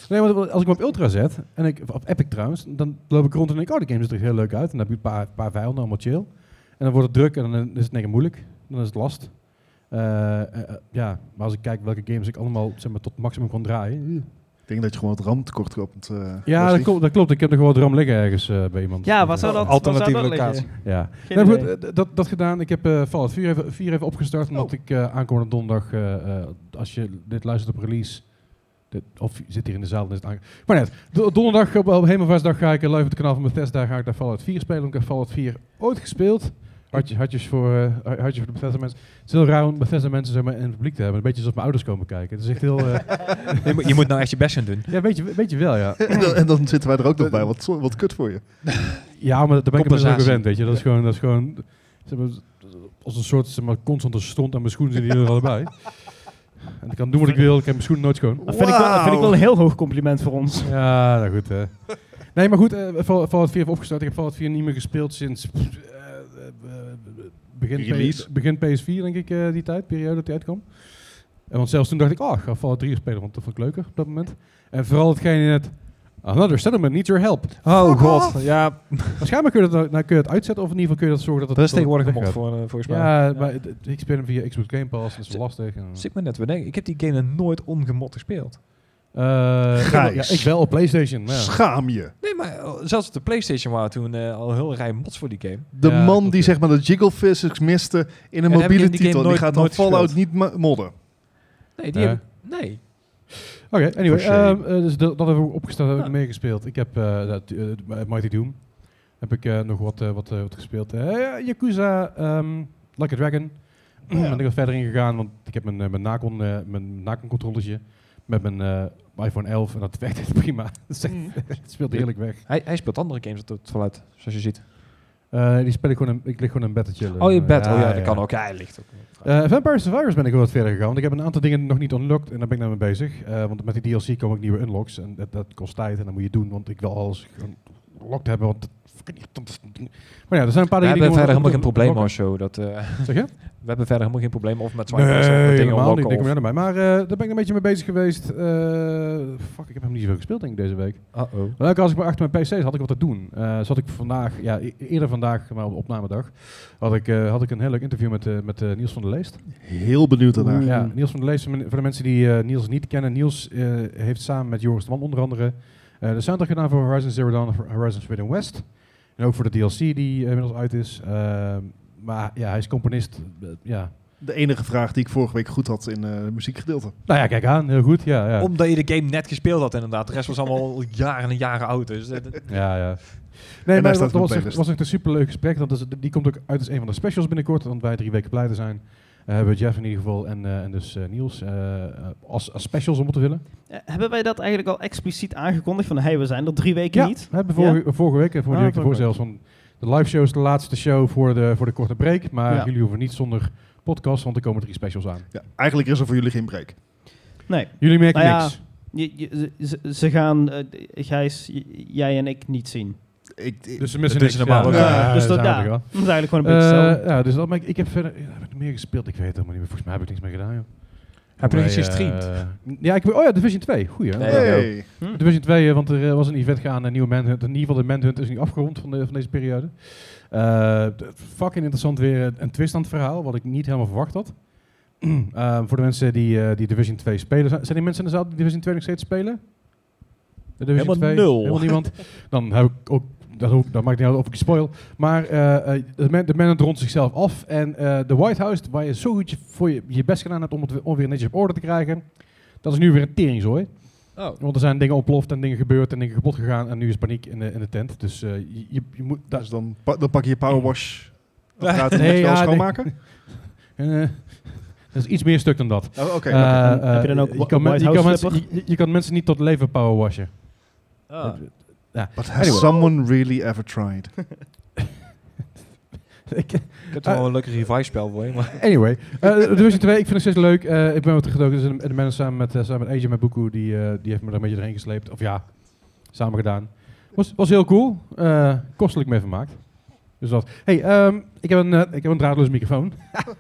Speaker 1: Nee, want als ik hem op Ultra zet, en ik, of op Epic trouwens, dan loop ik rond en denk ik, oh, de game ziet er echt heel leuk uit. En dan heb je een paar, paar vijanden, allemaal chill. En dan wordt het druk en dan is het in één keer moeilijk. Dan is het last. Eh, eh, eh, ja, maar als ik kijk welke games ik allemaal zeg maar, tot maximum kon draaien. eh.
Speaker 2: Ik denk dat je gewoon het ramtekort komt. eh,
Speaker 1: Ja, dat
Speaker 2: Leslie.
Speaker 1: klopt, dat klopt. Ik heb er gewoon wat ram liggen ergens eh, bij iemand.
Speaker 4: Ja, wat zou
Speaker 1: Dus,
Speaker 4: dat,
Speaker 1: eh,
Speaker 5: Alternatieve
Speaker 4: waar zou dat
Speaker 5: locatie.
Speaker 4: liggen?
Speaker 1: Ja.
Speaker 4: Geen
Speaker 1: Nee, maar
Speaker 4: idee. Oh.
Speaker 1: goed, eh, dat, dat gedaan. Ik heb eh Fallout 4 even, 4 even opgestart. Omdat ik eh, aankomende donderdag, eh, eh, als je dit luistert op release... Dit, of je zit hier in de zaal, dan is het aange- Maar net, do- donderdag op, op Hemelvaartsdag ga ik eh, live op het kanaal van Bethesda ga ik daar Fallout 4 spelen. want Ik heb Fallout 4 ooit gespeeld. Hartjes, hartjes, voor, eh, har- hartjes voor de Bethesda mensen. Het is heel raar om Bethesda mensen zeg maar, in het publiek te hebben. Een beetje zoals mijn ouders komen kijken. Het is echt heel... eh,
Speaker 5: <laughs> je, moet- je moet nou echt je best gaan doen.
Speaker 1: ja, weet je, weet je wel, ja.
Speaker 2: <laughs> en, dan, en dan zitten wij er ook nog bij. Wat, zo- wat kut voor je.
Speaker 1: Ja, maar daar ben ik inmiddels aan
Speaker 5: Compensatie.
Speaker 1: gewend, weet je. Dat is gewoon, dat is gewoon zeg maar, als een soort zeg maar, constante stond aan mijn schoenen zitten die er allebei. En ik kan doen wat ik wil, ik heb mijn schoenen nooit schoon.
Speaker 4: Dat vind, ik wel, dat vind ik wel een heel hoog compliment voor ons.
Speaker 1: Ja, nou goed. hè. Nee, maar goed, eh, Fall- Fallout 4 heeft opgestart. Ik heb Fallout 4 niet meer gespeeld sinds pff, eh, eh, eh, begin,
Speaker 2: Release. <laughs>
Speaker 1: P- begin PS4, denk ik, eh, die tijd, periode dat die uitkwam. En want zelfs toen dacht ik, oh, ik ga Fallout 3 spelen, want dat vond ik leuker op dat moment. En vooral hetgeen in het... Another settlement needs your help.
Speaker 5: Oh god, ja.
Speaker 1: <laughs> Waarschijnlijk kun je, dat, nou, kun je het uitzetten of in ieder geval kun je dat zorgen dat
Speaker 5: Dat
Speaker 1: het
Speaker 5: is tegenwoordig een
Speaker 1: dat het
Speaker 5: mod
Speaker 1: weggaat.
Speaker 5: voor, eh, volgens mij.
Speaker 1: Ja, maar het- het- ik speel hem via Xbox Game Pass, dat is
Speaker 5: Zit-
Speaker 1: lastig. En,
Speaker 5: Zit me net weer denken. Ik heb die game nog nooit ongemod gespeeld.
Speaker 1: Eh,
Speaker 2: Gijs.
Speaker 1: ja, ik wel op PlayStation. maar ja.
Speaker 2: Schaam je.
Speaker 5: Nee, maar eh, zelfs op de PlayStation waren toen eh, al een heel rij mods voor die game.
Speaker 2: De
Speaker 1: Ja,
Speaker 2: man
Speaker 1: klopt,
Speaker 2: die
Speaker 1: ja.
Speaker 2: zeg maar de jiggle physics miste in een
Speaker 5: heb ik in
Speaker 2: mobiele
Speaker 5: die
Speaker 2: titel.
Speaker 5: game
Speaker 2: Die
Speaker 5: nooit-
Speaker 2: gaat dan
Speaker 5: nooit
Speaker 2: Fallout
Speaker 5: gespeeld.
Speaker 2: niet ma- modden.
Speaker 5: Nee, die
Speaker 1: Ja.
Speaker 5: heb ik... Nee.
Speaker 1: Oké, anyway.
Speaker 2: For shame.
Speaker 1: ehm, eh, dus dat, dat hebben we opgesteld, heb ik
Speaker 5: Ja.
Speaker 1: meegespeeld. Ik heb eh, dat, eh, Mighty Doom. Heb ik eh, nog wat, eh, wat, eh, wat gespeeld. Eh Yakuza, ehm, Like a Dragon.
Speaker 2: Ja.
Speaker 1: ben ik wat verder ingegaan, want ik heb mijn, eh, mijn Nacon, eh, mijn Nacon controllertje met mijn eh, iPhone 11 en dat <laughs> werkt echt prima. Dat is echt- het speelt heerlijk weg.
Speaker 5: Hij, hij speelt andere games op het vanuit, zoals je ziet.
Speaker 1: Eh, die speel ik gewoon in, ik lig gewoon in bed te chillen.
Speaker 5: Oh, je
Speaker 1: Eh,
Speaker 5: bed. oh ja, dat kan ook. Ja, hij ligt ook.
Speaker 1: Eh, Vampire Survivors ben ik wel wat verder gegaan, want ik heb een aantal dingen nog niet unlocked en daar ben ik nou mee bezig. Eh, want met die DLC komen ook nieuwe unlocks en dat, dat kost tijd en dat moet je doen, want ik wil alles gewoon unlocked hebben, want dat Maar ja, er zijn een paar
Speaker 5: We
Speaker 1: dingen...
Speaker 5: hebben
Speaker 1: die
Speaker 5: verder helemaal geen
Speaker 1: gewoon-
Speaker 5: probleem of zo. Dat, eh,
Speaker 1: Zeg je?
Speaker 5: we hebben verder helemaal geen probleem of met
Speaker 1: Nee,
Speaker 5: swipen of met dingen
Speaker 1: helemaal niet.
Speaker 5: unlocken
Speaker 1: Ik kom
Speaker 5: of-
Speaker 1: er bij. Maar eh, daar ben ik een beetje mee bezig geweest. Eh, fuck, ik heb hem niet zoveel gespeeld denk ik deze week.
Speaker 5: Uh-oh.
Speaker 1: Maar elke keer als ik maar achter mijn PC zat, had ik wat te doen. Eh, zat ik vandaag, ja, e- eerder vandaag, maar op opnamedag, had ik, eh, had ik een heel leuk interview met, eh, met eh, Niels van der Leest.
Speaker 2: Heel benieuwd daarnaar.
Speaker 4: Mm.
Speaker 1: Ja, Niels van der Leest, voor de mensen die eh, Niels niet kennen, Niels eh, heeft samen met Joris de Man onder andere eh, de soundtrack gedaan voor Horizon Zero Dawn en voor Horizon Forbidden West. En ook voor de DLC die eh, inmiddels uit is. Ehm, maar ja, hij is componist. eh, ja.
Speaker 2: De enige vraag die ik vorige week goed had in eh het muziekgedeelte.
Speaker 1: Nou ja, kijk aan, heel goed. Ja, ja.
Speaker 5: Omdat je de game net gespeeld had inderdaad. De rest was allemaal al jaren en jaren oud. Dus eh, dat-
Speaker 1: Ja, ja. Nee, maar
Speaker 2: daar staat
Speaker 1: dat
Speaker 2: het
Speaker 1: was, dus
Speaker 2: op
Speaker 1: echt,
Speaker 2: playlist.
Speaker 1: was echt een superleuk gesprek. Dat is, die komt ook uit als een van de specials binnenkort, want wij drie weken blijven zijn. Eh, hebben we Jeff in ieder geval en, eh, en dus eh, Niels eh, eh, als, als specials om te willen.
Speaker 4: Eh, hebben wij dat eigenlijk al expliciet aangekondigd? Van, hey, we zijn er drie weken
Speaker 1: ja,
Speaker 4: niet.
Speaker 1: we hebben vorige, vorige week en vorige
Speaker 4: Ah,
Speaker 1: week ervoor
Speaker 4: vorige
Speaker 1: zelfs. Van de live show is de laatste show voor de, voor de korte break, maar
Speaker 4: Ja.
Speaker 1: jullie hoeven niet zonder podcast, want er komen drie specials aan.
Speaker 2: Ja, eigenlijk is er voor jullie geen break.
Speaker 4: Nee.
Speaker 1: Jullie merken
Speaker 4: Nou ja,
Speaker 1: niks.
Speaker 4: Je, je- ze, ze gaan eh, Gijs, j- jij en ik niet zien.
Speaker 2: Ik, ik-
Speaker 1: Dus ze missen
Speaker 5: Het is
Speaker 1: niks.
Speaker 5: normaal ook.
Speaker 2: Ja,
Speaker 4: dus dat,
Speaker 1: zijn we
Speaker 4: ja,
Speaker 1: er wel.
Speaker 4: dat is eigenlijk gewoon een beetje hetzelfde.
Speaker 1: Eh, ja, dus dat, maar ik, ik heb verder ja, heb ik meer gespeeld. Ik weet het helemaal niet meer. Volgens mij heb ik niks meer gedaan. Joh.
Speaker 5: heb je nog iets
Speaker 1: Nee,
Speaker 5: gestreamd?
Speaker 1: eh, ja, ik, wil- oh ja, Division 2. Goeie. hè?
Speaker 5: Nee.
Speaker 2: hey.
Speaker 1: Division 2, eh, want er eh, was een event gaan, een nieuwe Manhunt. In ieder geval de Manhunt is nu afgerond van, de, van deze periode. Eh, d- fucking interessant weer eh, een twist aan het verhaal, wat ik niet helemaal verwacht had. <clears throat> Eh, voor de mensen die, eh, die Division 2 spelen. Zijn zijn die mensen in de zaal die Division 2 nog steeds spelen? De Division
Speaker 5: Helemaal
Speaker 1: 2?
Speaker 5: nul.
Speaker 1: Helemaal niemand. Dan heb ik ook... Dat, hoef, dat maakt niet uit of ik je spoil. Maar eh, eh, de, man, de Manhunt rondt zichzelf af. En eh, de White House, waar je zo goed je, voor je, je best gedaan hebt om het weer- om weer netjes op orde te krijgen. Dat is nu weer een teringzooi.
Speaker 5: Oh.
Speaker 1: Want er zijn dingen ontploft en dingen gebeurd en dingen kapot gegaan. En nu is paniek in de, in de tent. Dus eh, je, je, je moet... daar-
Speaker 2: Dus dan, pa- dan pak je je
Speaker 1: <laughs>
Speaker 2: powerwash. Dan gaat het
Speaker 1: Nee,
Speaker 2: nee,
Speaker 1: ja,
Speaker 2: wel
Speaker 1: nee.
Speaker 2: schoonmaken?
Speaker 1: <laughs> eh, dat is iets meer stuk dan dat.
Speaker 2: Oh, Oké.
Speaker 1: Eh, eh,
Speaker 4: Heb je dan ook
Speaker 1: je
Speaker 4: wa-
Speaker 1: kan, men-
Speaker 4: White
Speaker 1: je, kan
Speaker 4: House
Speaker 1: mensen, je, je kan mensen niet tot leven powerwashen.
Speaker 5: Ah.
Speaker 2: But has someone really ever tried?
Speaker 1: Ik-
Speaker 5: Ik heb toch wel een lekker revive-spel voor je, maar...
Speaker 1: anyway, eh, Division 2, ik vind het steeds leuk. Eh, ik ben wat teruggedoken. Dus de mensen samen met, eh, samen met AJ met Boekoe, die, eh, die heeft me daar een beetje doorheen gesleept. Of ja, samen gedaan. Was, was heel cool. Eh, kostelijk mee vermaakt. Dus dat. Hey, ehm, ik, heb een, eh, ik heb een draadloos microfoon.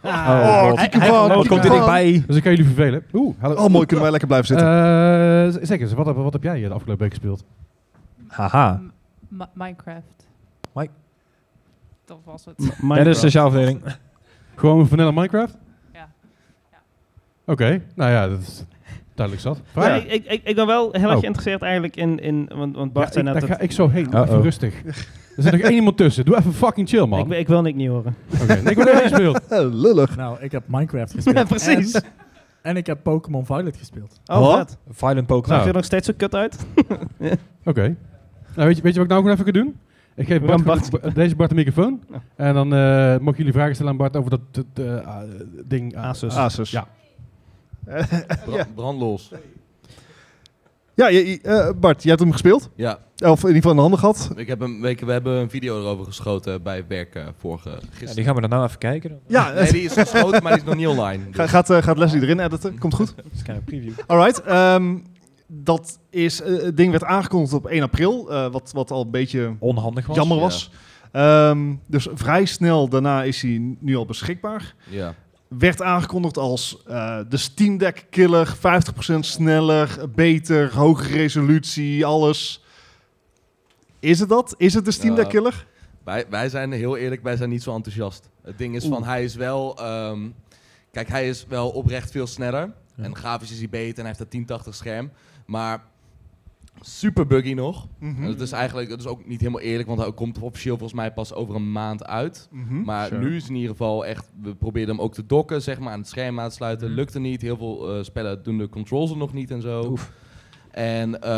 Speaker 5: Oh,
Speaker 2: oh,
Speaker 5: God.
Speaker 2: kieke van,
Speaker 5: Wat
Speaker 2: kieke
Speaker 5: komt er
Speaker 2: van.
Speaker 5: dichtbij?
Speaker 1: Dus ik ga jullie vervelen. Oeh, hallo.
Speaker 2: Oh, mooi, kunnen wij lekker blijven zitten.
Speaker 1: Eh, z- zeg eens, wat, heb- wat heb jij eh, de afgelopen week gespeeld?
Speaker 5: Haha.
Speaker 6: M- Ma- Minecraft.
Speaker 5: Mi-
Speaker 6: Dat was het.
Speaker 4: M-
Speaker 5: Dit is
Speaker 4: Minecraft.
Speaker 5: de zelfverdeling.
Speaker 1: Gewoon vanilla Minecraft?
Speaker 6: Ja.
Speaker 1: Oké, nou ja, dat is duidelijk zat. Vraag.
Speaker 4: Ja, ik, ik, ik- ik ben wel heel
Speaker 1: Oh.
Speaker 4: erg geïnteresseerd eigenlijk in, in want, want Bart
Speaker 1: Ja,
Speaker 4: zei
Speaker 1: ik,
Speaker 4: net
Speaker 1: daar
Speaker 4: dat...
Speaker 1: ga ik zo heen. Doe
Speaker 5: Uh-oh.
Speaker 1: Even rustig. Er zit nog één iemand tussen. Doe even fucking chill, man.
Speaker 4: Ik, wil- ik wil niks niet horen.
Speaker 1: Oké, nee, ik word even gespeeld. <laughs>
Speaker 2: Eh, lullig.
Speaker 7: Nou, ik heb Minecraft gespeeld.
Speaker 4: Ja, precies.
Speaker 7: En, en ik heb Pokémon Violet gespeeld.
Speaker 4: <laughs> Oh,
Speaker 2: Wat?
Speaker 4: wat?
Speaker 5: Violent
Speaker 4: Zag
Speaker 5: Pokémon.
Speaker 4: je er nog steeds zo kut
Speaker 1: <laughs>
Speaker 4: uit?
Speaker 1: Nou, Oké. Nou, weet je, weet je wat ik nou gewoon even kan doen? Ik geef
Speaker 4: We
Speaker 1: Bart,
Speaker 4: gaan Bart-
Speaker 1: Ba- deze Bart de microfoon.
Speaker 4: Ja.
Speaker 1: En dan eh mogen jullie vragen stellen aan Bart over dat dat, eh, ah, ding. ah,
Speaker 4: Asus.
Speaker 2: Asus.
Speaker 1: Ja.
Speaker 2: Ja.
Speaker 8: Brandlos.
Speaker 2: Ja, je- je- eh, Bart, je hebt hem gespeeld.
Speaker 8: Ja,
Speaker 2: Of in ieder geval in de handen gehad.
Speaker 8: ik heb een, we, we hebben een video erover geschoten bij werk eh, vorige
Speaker 5: Ja,
Speaker 8: gisteren.
Speaker 5: die gaan we daarna even kijken.
Speaker 2: Ja,
Speaker 8: Nee, die is geschoten, maar die is nog niet online.
Speaker 2: Ga-
Speaker 8: Dus.
Speaker 2: gaat, eh, gaat Leslie erin editen? Komt goed.
Speaker 5: Dat Mm. <laughs> is een kleine preview.
Speaker 2: Alright, ehm, dat is, eh, het ding werd aangekondigd op 1 april, eh, wat, wat al een beetje
Speaker 5: Onhandig was.
Speaker 2: jammer
Speaker 8: ja.
Speaker 2: was. Ehm, dus vrij snel daarna is hij nu al beschikbaar.
Speaker 8: Ja.
Speaker 2: Werd aangekondigd als eh, de Steam Deck killer, 50% sneller, beter, hogere resolutie, alles. Is het dat? Is het de Steam Deck
Speaker 8: Ja.
Speaker 2: killer?
Speaker 8: Wij, wij zijn heel eerlijk, wij zijn niet zo enthousiast. Het ding is van, hij is wel... ehm, kijk, hij is wel oprecht veel sneller.
Speaker 5: Ja.
Speaker 8: En grafisch is hij beter en hij heeft een 1080 scherm. Maar super buggy nog.
Speaker 2: Mhm.
Speaker 8: En dat is eigenlijk dat is ook niet helemaal eerlijk, want hij komt officieel volgens mij pas over een maand uit.
Speaker 2: Mhm.
Speaker 8: Maar
Speaker 2: Sure.
Speaker 8: nu is het in ieder geval echt, we probeerden hem ook te dokken, zeg maar, aan het scherm aan te sluiten.
Speaker 5: Mhm.
Speaker 8: Lukte niet, heel veel eh, spellen doen de controls er nog niet en zo.
Speaker 5: Oef.
Speaker 8: En eh,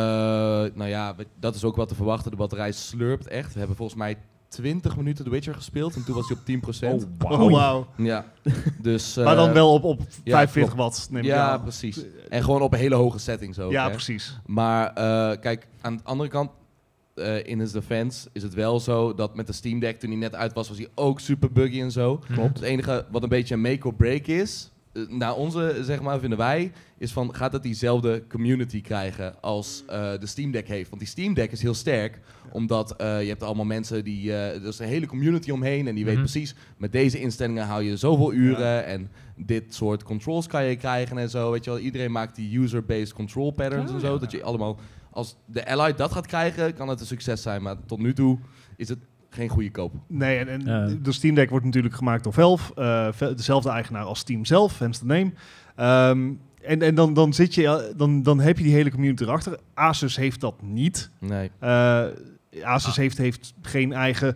Speaker 8: nou ja, we- dat is ook wat te verwachten. De batterij slurpt echt. We hebben volgens mij 20 minuten The Witcher gespeeld en toen was hij op 10%.
Speaker 5: Oh,
Speaker 2: Oh,
Speaker 5: wauw.
Speaker 2: wauw.
Speaker 8: Ja, dus... eh,
Speaker 2: maar dan wel op, op
Speaker 8: klopt.
Speaker 2: 45 watt, neem ik
Speaker 8: Ja,
Speaker 2: aan.
Speaker 8: precies. En gewoon op een hele hoge setting zo.
Speaker 2: Ja, precies.
Speaker 8: Maar eh, kijk, aan de andere kant, eh, in his defense, is het wel zo dat met de Steam Deck, toen hij net uit was, was hij ook super buggy en zo.
Speaker 5: Klopt.
Speaker 8: Het enige wat een beetje een make or break is, eh, naar onze, zeg maar, vinden wij, is van gaat het diezelfde community krijgen als eh, de Steam Deck heeft? Want die Steam Deck is heel sterk, omdat eh, je hebt allemaal mensen die, eh er is een hele community omheen en die
Speaker 5: Mhm.
Speaker 8: weet precies, met deze instellingen hou je zoveel uren en dit soort controls kan je krijgen en zo, weet je wel. Iedereen maakt die user-based control patterns
Speaker 5: Oh,
Speaker 8: en zo, dat je allemaal, als de Ally dat gaat krijgen, kan het een succes zijn, maar tot nu toe is het geen goede koop.
Speaker 2: Nee, en, en
Speaker 7: Ja.
Speaker 2: de Steam Deck wordt natuurlijk gemaakt door Valve. eh, Ve- dezelfde eigenaar als Steam zelf, hence the name. Ehm, en en dan, dan, zit je, eh, dan, dan heb je die hele community erachter. Asus heeft dat niet.
Speaker 8: Nee.
Speaker 2: Eh, Asus
Speaker 5: Ah.
Speaker 2: heeft, heeft geen eigen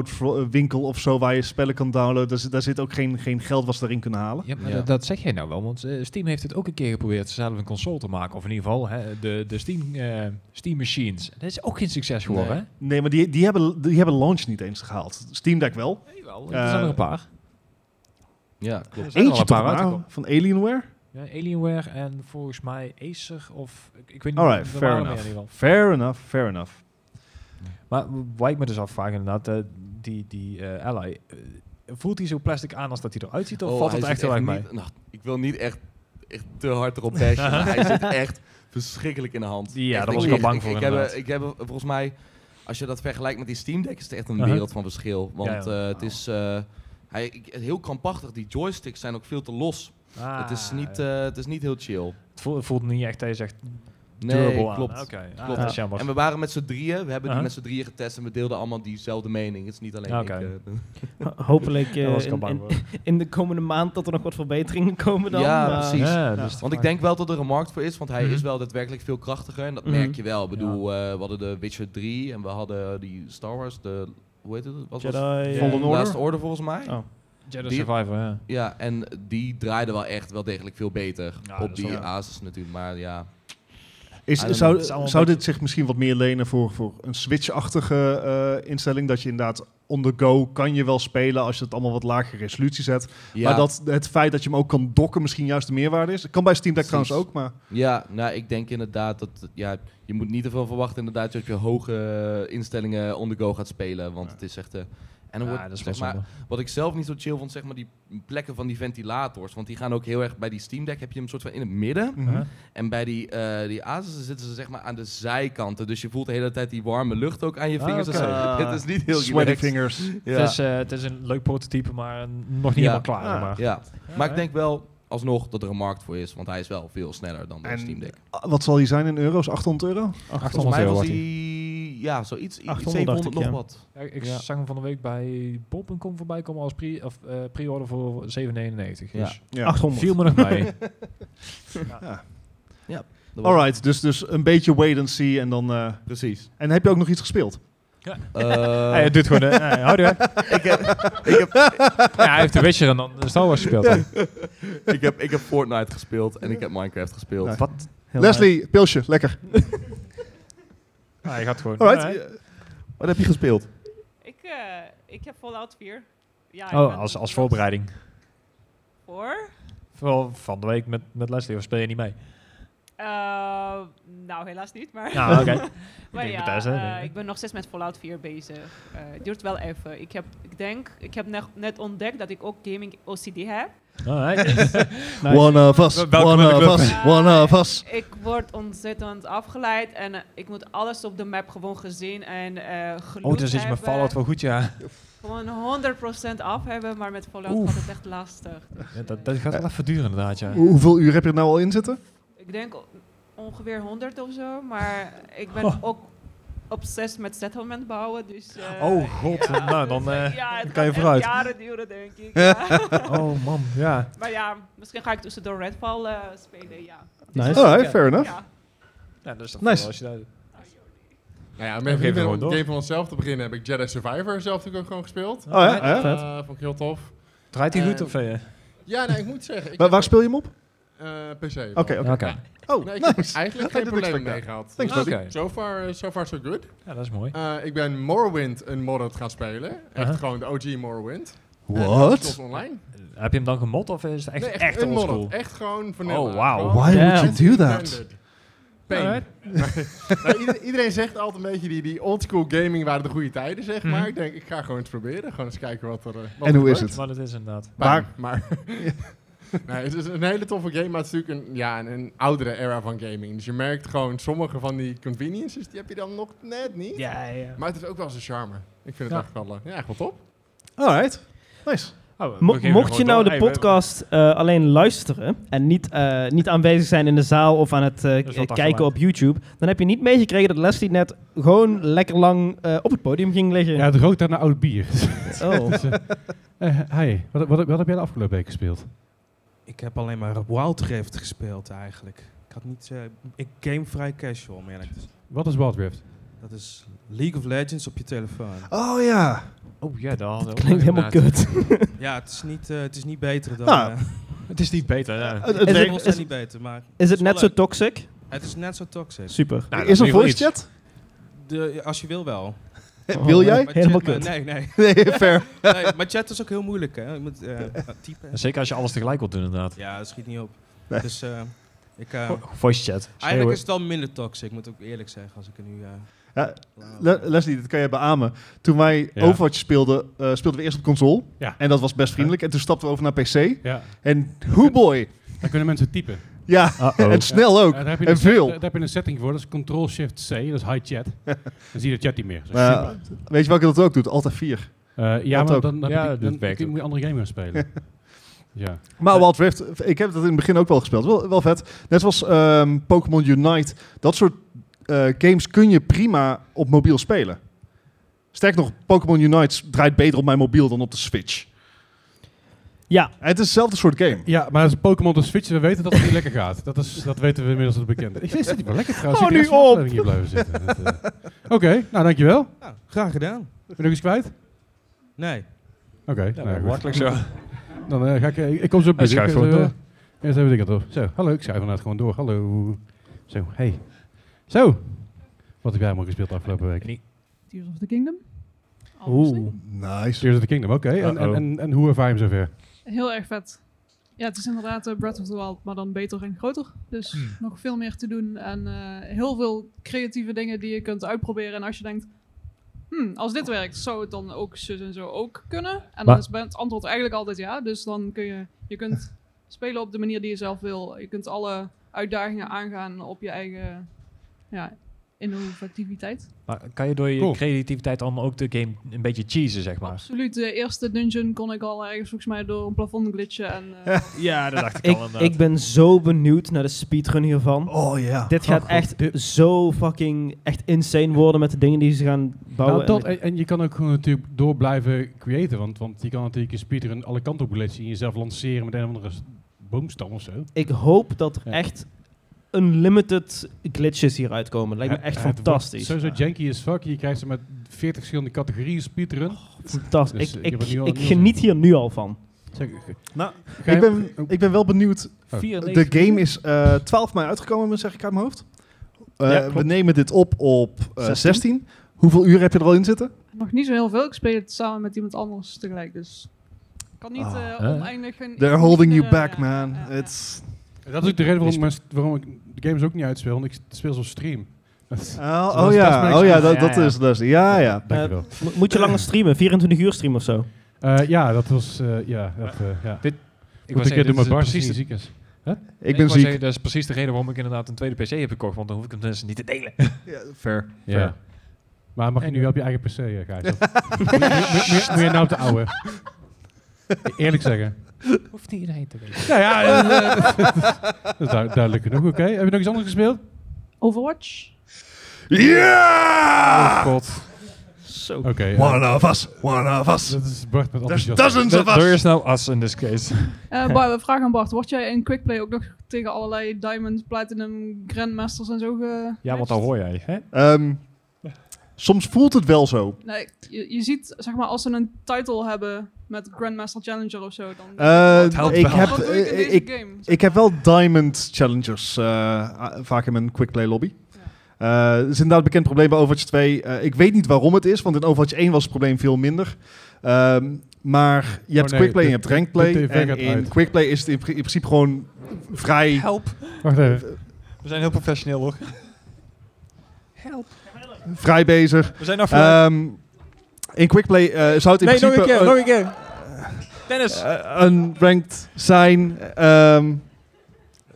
Speaker 2: downloadwinkel of zo waar je spellen kan downloaden. Daar, zit- daar zit ook geen, geen geld wat ze daarin kunnen halen.
Speaker 5: Ja, maar
Speaker 8: Ja.
Speaker 5: Dat, dat zeg jij nou wel, want eh, Steam heeft het ook een keer geprobeerd zelf een console te maken. Of in ieder geval hè, de, de Steam, eh, Steam Machines. Dat is ook geen succes geworden,
Speaker 8: Nee.
Speaker 5: hè?
Speaker 2: Nee, maar die, die, hebben, die hebben launch niet eens gehaald. Steam Deck wel.
Speaker 5: Jawel,
Speaker 2: Eh,
Speaker 5: er zijn er een paar.
Speaker 8: Ja, klopt.
Speaker 5: Er zijn er
Speaker 2: Eentje
Speaker 5: al een
Speaker 2: toch
Speaker 5: paar
Speaker 2: maar,
Speaker 5: uitgekomen.
Speaker 2: van Alienware.
Speaker 5: Ja, Alienware en volgens mij Acer of... Ik, ik weet niet,
Speaker 2: Alright,
Speaker 5: er
Speaker 2: fair
Speaker 5: waren er
Speaker 2: enough.
Speaker 5: meer in ieder geval.
Speaker 2: Fair enough, fair enough.
Speaker 5: Maar waar ik me dus afvraag inderdaad, eh, die, die eh, Ally... eh, voelt hij zo plastic aan als dat hij eruit ziet? Of
Speaker 8: Oh,
Speaker 5: valt
Speaker 8: hij
Speaker 5: het
Speaker 8: zit
Speaker 5: echt heel erg mee?
Speaker 8: niet- nou, ik wil niet echt, echt te hard erop
Speaker 5: <laughs>
Speaker 8: bashen, maar hij zit echt verschrikkelijk in de hand.
Speaker 5: Ja,
Speaker 8: Echt,
Speaker 5: daar was ik al bang
Speaker 8: ik-
Speaker 5: voor,
Speaker 8: Ik heb,
Speaker 5: inderdaad.
Speaker 8: ik heb volgens mij, als je dat vergelijkt met die Steam Deck, is het echt een
Speaker 5: Uh-huh.
Speaker 8: wereld van verschil. Want
Speaker 5: Ja, ja.
Speaker 8: eh, het is eh, hij, ik- heel krampachtig. Die joysticks zijn ook veel te los.
Speaker 5: Ah,
Speaker 8: het, is niet,
Speaker 5: ja.
Speaker 8: eh, het is niet heel chill.
Speaker 5: het voelt, het voelt niet echt dat je zegt
Speaker 8: Nee,
Speaker 5: durable aan.
Speaker 8: klopt.
Speaker 5: Oké, ah,
Speaker 8: Klopt.
Speaker 5: dat is jammer.
Speaker 8: En we waren met z'n drieën, we hebben die
Speaker 5: Uh-huh.
Speaker 8: met z'n drieën getest en we deelden allemaal diezelfde mening. Het is niet alleen
Speaker 5: Oké.
Speaker 8: ik. eh,
Speaker 4: Ho- <laughs> Hopelijk eh,
Speaker 5: Daar was ik al
Speaker 4: in,
Speaker 5: bang
Speaker 4: in,
Speaker 5: voor.
Speaker 4: in de komende maand dat er nog wat verbeteringen komen dan.
Speaker 8: Ja,
Speaker 4: maar-
Speaker 8: precies.
Speaker 5: Ja,
Speaker 2: Ja.
Speaker 5: dus
Speaker 8: Want ik denk wel dat er een markt voor is, want hij
Speaker 5: Mhm.
Speaker 8: is wel daadwerkelijk veel krachtiger. En dat
Speaker 4: Mhm.
Speaker 8: merk je wel. Ik bedoel, eh, we hadden de Witcher 3 en we hadden die Star Wars, de... Hoe heet het? Wat was
Speaker 4: Jedi,
Speaker 8: het?
Speaker 4: eh,
Speaker 2: Fallen Order?
Speaker 8: Laatste Order volgens mij.
Speaker 4: Oh.
Speaker 5: Jedi
Speaker 8: die-
Speaker 5: Survivor, ja.
Speaker 8: Ja, en die draaide wel echt wel degelijk veel beter.
Speaker 5: Ja, dat
Speaker 8: op
Speaker 5: is
Speaker 8: die
Speaker 5: wel-
Speaker 8: Asus natuurlijk, maar ja.
Speaker 2: Is,
Speaker 8: I don't know.
Speaker 2: zou
Speaker 5: Het is allemaal
Speaker 2: zou
Speaker 5: een
Speaker 2: dit zich misschien wat meer lenen voor, voor een Switch-achtige eh, instelling? Dat je inderdaad on the go kan je wel spelen als je het allemaal wat lagere resolutie zet.
Speaker 8: ja.
Speaker 2: Maar dat het feit dat je hem ook kan dokken misschien juist de meerwaarde is. Dat kan bij Steam Deck
Speaker 8: Precies.
Speaker 2: trouwens ook, maar
Speaker 8: Ja, nou, ik denk inderdaad dat... Ja, je moet niet te veel verwachten inderdaad dat je hoge eh, instellingen on the go gaat spelen. Want het is echt... eh, en dan
Speaker 5: Ja,
Speaker 8: wordt,
Speaker 5: dat is wel
Speaker 8: zeg maar,
Speaker 5: zonde.
Speaker 8: Wat ik zelf niet zo chill vond, zeg maar die plekken van die ventilators. Want die gaan ook heel erg bij die Steam Deck. Heb je hem soort van in het midden.
Speaker 2: Mhm.
Speaker 8: En bij die, eh die Asus zitten ze zeg maar aan de zijkanten. Dus je voelt de hele tijd die warme lucht ook aan je
Speaker 5: Ah,
Speaker 8: vingers. en
Speaker 5: oké.
Speaker 8: zo. <laughs>
Speaker 5: <laughs>
Speaker 2: Ah,
Speaker 8: het is niet heel
Speaker 2: sweaty
Speaker 8: relaxed.
Speaker 2: fingers.
Speaker 8: Ja.
Speaker 5: Het, is, eh, het is een leuk prototype, maar nog niet helemaal klaar.
Speaker 2: Ah.
Speaker 5: maar.
Speaker 8: ja. Maar ik denk wel alsnog dat er een markt voor is. Want hij is wel veel sneller dan de
Speaker 2: En-
Speaker 8: Steam Deck.
Speaker 2: Ah, Wat zal die zijn in euro's? 800 euro?
Speaker 8: Volgens mij was hij... Ja, zoiets. iets
Speaker 4: 800 dacht
Speaker 8: 700 nog
Speaker 4: ik, ja.
Speaker 8: wat.
Speaker 5: Ja, ik
Speaker 8: Ja.
Speaker 5: zag hem van de week bij bol.com voorbij komen als pre- of, eh, pre-order voor 7,99.
Speaker 8: Ja.
Speaker 5: Dus
Speaker 2: Ja.
Speaker 4: 800.
Speaker 5: viel me nog
Speaker 8: <laughs>
Speaker 5: mee. <laughs>
Speaker 8: Dat was-
Speaker 2: Alright, dus, dus een beetje wait and see. En, dan, eh,
Speaker 8: Precies.
Speaker 2: en heb je ook nog iets gespeeld?
Speaker 8: Eh,
Speaker 5: hij doet
Speaker 2: <laughs>
Speaker 5: gewoon... eh, eh, houdoe, hè.
Speaker 8: <laughs> ik, heb, ik, heb,
Speaker 5: <laughs> ja, hij heeft de Witcher en dan Star Wars gespeeld. hè.
Speaker 8: <laughs> ik, heb, ik heb Fortnite gespeeld. En ik heb Minecraft gespeeld.
Speaker 2: Nou,
Speaker 5: Wat?
Speaker 2: Leslie, pilsje, lekker.
Speaker 5: Ah, hij gaat gewoon...
Speaker 2: Alright.
Speaker 5: <laughs> ja, hè.
Speaker 8: Wat heb je gespeeld?
Speaker 6: Ik, eh, ik heb Fallout 4. Ja, ik
Speaker 5: oh,
Speaker 6: ben
Speaker 5: als, als
Speaker 6: enthousiast
Speaker 5: voorbereiding.
Speaker 6: Voor?
Speaker 5: Vooral van de week met, met Leslie, of speel je niet mee?
Speaker 6: Eh, nou, helaas niet, maar...
Speaker 5: Nou,
Speaker 6: <laughs>
Speaker 5: oké.
Speaker 6: Maar
Speaker 5: denk
Speaker 6: ja,
Speaker 5: Bethesda,
Speaker 6: eh,
Speaker 5: denk ik.
Speaker 6: ik ben nog steeds met Fallout 4 bezig. Eh, Het duurt wel even. Ik, heb, ik denk, ik heb ne- net ontdekt dat ik ook gaming OCD
Speaker 5: <laughs>
Speaker 6: heb.
Speaker 5: Alright.
Speaker 2: One of us,
Speaker 5: Welkom in
Speaker 2: one
Speaker 5: de
Speaker 2: of
Speaker 5: club.
Speaker 2: us, one of us.
Speaker 6: Eh, Ik word ontzettend afgeleid en eh, ik moet alles op de map gewoon gezien en eh geloot
Speaker 5: Oh, dus is mijn
Speaker 6: hebben.
Speaker 5: Fallout wel goed, ja.
Speaker 6: Gewoon 100% af hebben, maar met Fallout
Speaker 5: Oef.
Speaker 6: gaat het echt lastig. Dus,
Speaker 5: Ja,
Speaker 6: eh,
Speaker 5: Dat, dat gaat wel even duren, inderdaad, ja.
Speaker 2: Hoe- Hoeveel uur heb je er nou al in zitten?
Speaker 6: Ik denk o- ongeveer 100 of zo,
Speaker 1: <laughs>
Speaker 6: maar ik ben
Speaker 1: Oh.
Speaker 6: ook obsessief met settlement bouwen, dus... eh,
Speaker 5: Oh, god, nou, dan,
Speaker 6: eh,
Speaker 5: eh,
Speaker 6: ja, het
Speaker 5: kan je
Speaker 6: gaat echt
Speaker 5: vooruit.
Speaker 6: jaren duren, denk
Speaker 9: <laughs>
Speaker 6: ik. ja.
Speaker 5: Oh, man, ja.
Speaker 6: maar ja, misschien ga ik tussendoor Redfall eh, spelen, ja.
Speaker 4: Nice.
Speaker 9: Oh,
Speaker 2: Alright, fair enough.
Speaker 6: ja.
Speaker 5: Ja, dat is toch
Speaker 2: Nice.
Speaker 5: wel als je daar-
Speaker 10: Nou ja, om even
Speaker 5: Geef
Speaker 10: weer
Speaker 5: gewoon
Speaker 10: om
Speaker 5: door.
Speaker 10: een game van onszelf te beginnen, heb ik Jedi Survivor zelf natuurlijk ook gewoon gespeeld.
Speaker 2: Oh ja, ja.
Speaker 4: Vet.
Speaker 10: Eh, vond ik heel tof.
Speaker 5: Draait hij goed
Speaker 10: Eh,
Speaker 6: Ehm,
Speaker 5: of... eh,
Speaker 10: Ja, nee, ik moet zeggen. Ik
Speaker 2: Waar, waar
Speaker 10: heb,
Speaker 2: speel je hem op?
Speaker 10: eh, PC. wel.
Speaker 2: Oké, oké.
Speaker 5: Oké,
Speaker 2: Oh,
Speaker 10: Nee, ik heb
Speaker 2: nice.
Speaker 10: eigenlijk
Speaker 2: Had ik
Speaker 10: geen problemen
Speaker 2: niet expected.
Speaker 10: mee gehad.
Speaker 2: Thanks,
Speaker 10: Dus
Speaker 5: buddy.
Speaker 10: ik- So far, so far so good.
Speaker 5: ja, dat is mooi.
Speaker 10: Eh, ik ben Morrowind een modded gaan spelen. Echt
Speaker 5: Uh-huh.
Speaker 10: gewoon de OG Morrowind. Eh, Tot
Speaker 2: What?
Speaker 10: online.
Speaker 5: eh, Heb je hem dan gemot of is het echt,
Speaker 10: Nee,
Speaker 5: echt,
Speaker 10: een
Speaker 5: oldschool?
Speaker 10: modded. Echt gewoon vanilla.
Speaker 5: Oh, wauw.
Speaker 10: Gewoon
Speaker 2: Why would
Speaker 7: Damn.
Speaker 2: you do that?
Speaker 10: standard. Pain. <laughs> Nou, ieder- iedereen zegt altijd een beetje die, die oldschool gaming waren de goede tijden, zeg maar.
Speaker 5: Mhm.
Speaker 10: Ik denk, ik ga gewoon eens proberen. Gewoon eens kijken wat er eh, wat
Speaker 2: En
Speaker 10: er
Speaker 2: hoe is
Speaker 10: gebeurt.
Speaker 2: het?
Speaker 5: Maar dat is inderdaad.
Speaker 10: Pijn, maar <laughs> Nee, het is een hele toffe game, maar het is natuurlijk een, ja, een, een oudere era van gaming. Dus je merkt gewoon, sommige van die conveniences, die heb je dan nog net niet.
Speaker 4: Ja, ja.
Speaker 10: Maar het is ook wel zijn charme. Ik vind het
Speaker 5: Ja.
Speaker 10: echt wel leuk. Ja, echt wel top.
Speaker 2: Alright. Nice.
Speaker 5: Oh, we
Speaker 4: Mo-
Speaker 5: beginnen
Speaker 4: mocht je
Speaker 5: gewoon
Speaker 4: nou
Speaker 5: door.
Speaker 4: de
Speaker 5: Hey, we-
Speaker 4: podcast eh, alleen luisteren en niet, eh, niet aanwezig zijn in de zaal of aan het eh,
Speaker 5: is
Speaker 4: eh,
Speaker 5: wat
Speaker 4: kijken
Speaker 5: achterwaarts.
Speaker 4: op YouTube, dan heb je niet meegekregen dat Leslie net gewoon lekker lang eh, op het podium ging liggen.
Speaker 1: Ja, het rookt daarna oud bier.
Speaker 4: <laughs>
Speaker 1: <laughs>
Speaker 4: Oh.
Speaker 1: Dus, eh, eh, hi, wat, wat, wat heb jij de afgelopen week gespeeld?
Speaker 9: Ik heb alleen maar Wildrift gespeeld eigenlijk. Ik had niet... eh, ik game vrij casual, merk ik.
Speaker 1: Wat is Wild Rift?
Speaker 9: Dat is League of Legends op je telefoon.
Speaker 2: Oh ja.
Speaker 5: Oh ja, daar hadden we ook
Speaker 4: Klinkt helemaal
Speaker 5: inderdaad.
Speaker 4: kut.
Speaker 9: <laughs> Ja, het is niet, eh, het is niet beter dan...
Speaker 2: Nou,
Speaker 9: eh,
Speaker 5: <laughs> Het is niet beter.
Speaker 2: Het,
Speaker 5: ja.
Speaker 4: Is
Speaker 2: het
Speaker 9: het
Speaker 2: werkt-
Speaker 9: was
Speaker 4: is-
Speaker 9: niet beter, maar...
Speaker 4: Is het
Speaker 9: wel
Speaker 4: net zo
Speaker 9: leuk.
Speaker 4: toxic?
Speaker 9: Het is net zo toxisch.
Speaker 4: Super.
Speaker 5: Nou,
Speaker 2: is
Speaker 5: dat
Speaker 2: er
Speaker 5: wil
Speaker 2: voice
Speaker 5: iets.
Speaker 2: chat?
Speaker 9: De, als je wil wel.
Speaker 2: <laughs>
Speaker 9: Oh,
Speaker 2: Wil jij?
Speaker 9: Maar
Speaker 4: Helemaal
Speaker 9: chat- maar
Speaker 4: kut.
Speaker 9: Nee, nee,
Speaker 2: <laughs> Nee, fair.
Speaker 9: <laughs> nee. Maar chat is ook heel moeilijk, hè. Je moet eh, typen.
Speaker 5: Zeker als je alles tegelijk wilt doen, inderdaad.
Speaker 9: Ja, dat schiet niet op.
Speaker 2: Nee.
Speaker 9: Dus eh, ik... eh,
Speaker 5: Vo- Voice chat.
Speaker 9: Eigenlijk is het al minder toxic, moet ik ook eerlijk zeggen, als ik er nu... eh,
Speaker 2: Ja, Le- Leslie, dat kan jij beamen. Toen wij
Speaker 1: Ja.
Speaker 2: Overwatch speelden, eh, speelden we eerst op console.
Speaker 1: Ja.
Speaker 2: En dat was best vriendelijk. En toen stapten we over naar PC.
Speaker 1: Ja,
Speaker 2: En hoe boy.
Speaker 1: daar kunnen mensen typen.
Speaker 2: Ja,
Speaker 5: Uh-oh.
Speaker 2: <laughs> en snel ook.
Speaker 1: Ja, daar heb je
Speaker 2: En
Speaker 1: een set-
Speaker 2: veel.
Speaker 1: Daar, daar heb je een setting voor, dat is Ctrl-Shift-C, dat is high
Speaker 2: <laughs>
Speaker 1: chat. dan zie je de chat niet meer. Zo.
Speaker 2: Maar ja, weet je welke dat ook doet? Altijd 4.
Speaker 1: Eh, ja,
Speaker 2: dat
Speaker 1: maar
Speaker 2: ook.
Speaker 1: dan, dan,
Speaker 5: Ja,
Speaker 1: heb je-
Speaker 5: dat
Speaker 1: dan
Speaker 5: werkt
Speaker 1: moet je
Speaker 5: ook.
Speaker 1: een andere game gaan
Speaker 2: <laughs>
Speaker 1: spelen. ja.
Speaker 2: Maar Wild Rift, ik heb dat in het begin ook wel gespeeld. Wel, wel vet. Net zoals ehm, Pokémon Unite. Dat soort eh, games kun je prima op mobiel spelen. Sterk nog, Pokémon Unite draait beter op mijn mobiel dan op de Switch.
Speaker 4: Ja,
Speaker 2: En het is hetzelfde soort game.
Speaker 1: ja, maar als Pokémon de Switch, we weten dat het niet lekker gaat. Dat, is, dat weten we inmiddels dat het bekend is. Ik vind het wel lekker trouwens.
Speaker 4: Oh,
Speaker 1: Ik kan
Speaker 4: nu
Speaker 1: de rest van de
Speaker 4: op.
Speaker 1: aflevering Hier blijven zitten. Dat, eh. <laughs> Oké, nou dankjewel.
Speaker 9: nou, graag gedaan.
Speaker 1: Ben je nog iets kwijt?
Speaker 9: Nee.
Speaker 1: Oké, nou ja, goed.
Speaker 5: Makkelijk zo.
Speaker 1: Dan eh, ga ik, eh, ik kom zo bij.
Speaker 5: Hij schuift gewoon door.
Speaker 1: Eerst even dingen door. Zo, hallo, ik schuif vanuit gewoon door. Hallo. Zo, hey. Zo. Wat heb jij allemaal gespeeld de afgelopen week?
Speaker 6: Tears of the Kingdom.
Speaker 2: Nice.
Speaker 1: Tears of the Kingdom, oké. En, en,
Speaker 5: Uh-oh.
Speaker 1: en, en hoe ervaar je hem zover?
Speaker 6: Heel erg vet. Ja, het is inderdaad eh, Breath of the Wild, maar dan beter en groter. Dus nog veel meer te doen en eh, heel veel creatieve dingen die je kunt uitproberen. En als je denkt, hmm, als dit werkt, zou het dan ook zus en zo ook kunnen? En
Speaker 5: Maar-
Speaker 6: dan is het antwoord eigenlijk altijd ja. Dus dan kun je, je kunt spelen op de manier die je zelf wil. Je kunt alle uitdagingen aangaan op je eigen ja, innovativiteit.
Speaker 5: Maar kan je door je
Speaker 1: Cool.
Speaker 5: creativiteit dan ook de game een beetje cheesen, zeg maar?
Speaker 6: Absoluut, de eerste dungeon kon ik al ergens volgens mij door een plafond glitchen. En,
Speaker 2: <laughs>
Speaker 6: eh,
Speaker 5: Ja, dat dacht
Speaker 4: ik, ik ben zo benieuwd naar de speedrun hiervan.
Speaker 2: Oh ja.
Speaker 4: Dit gaat echt zo fucking echt insane worden met de dingen die ze gaan bouwen.
Speaker 1: Nou, dat,
Speaker 4: En ik-
Speaker 1: en, en je kan ook gewoon natuurlijk door blijven creëren. Want, want je kan natuurlijk je speedrun alle kanten op glitchen en jezelf lanceren met een of andere s- boomstam of zo.
Speaker 4: ik hoop dat er
Speaker 1: Ja.
Speaker 4: echt unlimited glitches hieruit komen. Lijkt me
Speaker 1: Ja,
Speaker 4: echt
Speaker 1: het wordt
Speaker 4: fantastisch.
Speaker 1: Sowieso janky as fuck. Je krijgt ze met 40 verschillende categorieën speedrun.
Speaker 4: Oh,
Speaker 1: Dus,
Speaker 4: Fantastisch.
Speaker 1: eh,
Speaker 4: ik
Speaker 1: je
Speaker 4: ik,
Speaker 1: wordt nu al-
Speaker 4: ik
Speaker 1: nu al-
Speaker 4: geniet hier nu al van.
Speaker 1: Zeg, ge-
Speaker 2: Nou,
Speaker 1: ga je-
Speaker 2: Ik ben, ik ben wel benieuwd.
Speaker 1: Oh.
Speaker 2: De game is eh 12 mei uitgekomen, zeg ik uit mijn hoofd. Eh,
Speaker 4: Ja, klopt.
Speaker 2: we nemen dit op op eh,
Speaker 5: 16.
Speaker 2: 16. Hoeveel uur heb je er al in zitten?
Speaker 6: Nog niet zo heel veel. Ik speel het samen met iemand anders tegelijk, dus ik kan niet
Speaker 2: Ah,
Speaker 6: eh,
Speaker 5: hè?
Speaker 6: oneindig. en-
Speaker 2: They're holding you
Speaker 6: eh,
Speaker 2: back,
Speaker 6: ja,
Speaker 2: man.
Speaker 6: ja, ja.
Speaker 2: It's...
Speaker 1: Dat is ook de reden waarom, ik mijn- waarom ik de games ook niet uitspeel. Want ik speel zo'n stream. <laughs> Dat- dat
Speaker 2: Oh,
Speaker 1: is-
Speaker 2: oh
Speaker 1: dat is
Speaker 2: ja,
Speaker 1: mijn
Speaker 2: oh ja,
Speaker 5: excuus.
Speaker 2: dat, dat
Speaker 5: Ja, ja.
Speaker 2: is Leslie. Ja, ja.
Speaker 1: Dankjewel.
Speaker 4: Eh, Mo- moet je langer streamen? 24 uur streamen of zo?
Speaker 1: Eh ja, dat was... eh, ja, dat, eh, ja.
Speaker 5: Dit-
Speaker 1: Ik moet een keer door mijn bar
Speaker 5: precies
Speaker 1: zien
Speaker 5: de,
Speaker 1: ziek is.
Speaker 2: Ik ben ziek.
Speaker 5: dat is precies de reden waarom ik inderdaad een tweede PC heb gekocht, want dan hoef ik hem dus niet te delen.
Speaker 2: Ja, fair.
Speaker 1: Ja. Maar mag je
Speaker 5: En-
Speaker 1: nu wel op je eigen PC, eh, <laughs> Gijs? of- Moet je- moet je- moet je- Moet je nou op de oude? Eerlijk zeggen.
Speaker 5: <laughs> Hoeft niet iedereen te weten.
Speaker 1: Nou ja, <laughs> eh, eh, dat is duid- duidelijk genoeg, oké. Heb je nog iets anders gespeeld?
Speaker 6: Overwatch.
Speaker 1: Oh,
Speaker 2: Yeah!
Speaker 5: God.
Speaker 4: Zo.
Speaker 1: Oké. eh,
Speaker 2: One of us, one of us.
Speaker 1: dat is Bart met
Speaker 2: There's
Speaker 1: enthousiasme.
Speaker 2: dozens of
Speaker 5: Er is
Speaker 2: us.
Speaker 5: nou as in this
Speaker 6: <laughs>
Speaker 5: case.
Speaker 6: Eh, Bar- vraag aan Bart. Word jij in Quickplay ook nog tegen allerlei Diamond, Platinum, Grandmasters en zo ge...
Speaker 5: Ja, want dan hoor jij, hè?
Speaker 2: Ehm, soms voelt het wel zo.
Speaker 6: Nee, je, je ziet, zeg maar, als ze een title hebben met Grandmaster Challenger of zo, dan...
Speaker 2: Eh,
Speaker 5: helpt
Speaker 2: ik,
Speaker 5: wel.
Speaker 2: heb,
Speaker 6: Wat doe ik in
Speaker 2: eh,
Speaker 6: deze
Speaker 2: ik,
Speaker 6: game?
Speaker 2: ik heb wel Diamond Challengers eh, a- vaak in mijn quickplay lobby. Eh, Het is inderdaad een bekend probleem bij Overwatch 2. Eh, ik weet niet waarom het is, want in Overwatch 1 was het probleem veel minder. Ehm, maar je hebt
Speaker 1: Oh, nee,
Speaker 2: quickplay en je
Speaker 1: de-
Speaker 2: hebt rankplay.
Speaker 1: de TV
Speaker 2: En
Speaker 1: gaat
Speaker 2: in
Speaker 1: uit.
Speaker 2: quickplay is het in, pri- in principe gewoon vrij...
Speaker 5: Help.
Speaker 1: Wacht even.
Speaker 5: We zijn heel professioneel, hoor.
Speaker 2: vrij bezig.
Speaker 5: We zijn nou af.
Speaker 2: Ehm, in Quickplay eh zou het in
Speaker 9: Nee, nog
Speaker 2: principe...
Speaker 9: een keer,
Speaker 2: eh,
Speaker 9: nog een keer.
Speaker 5: Dennis.
Speaker 2: eh, unranked zijn. ehm,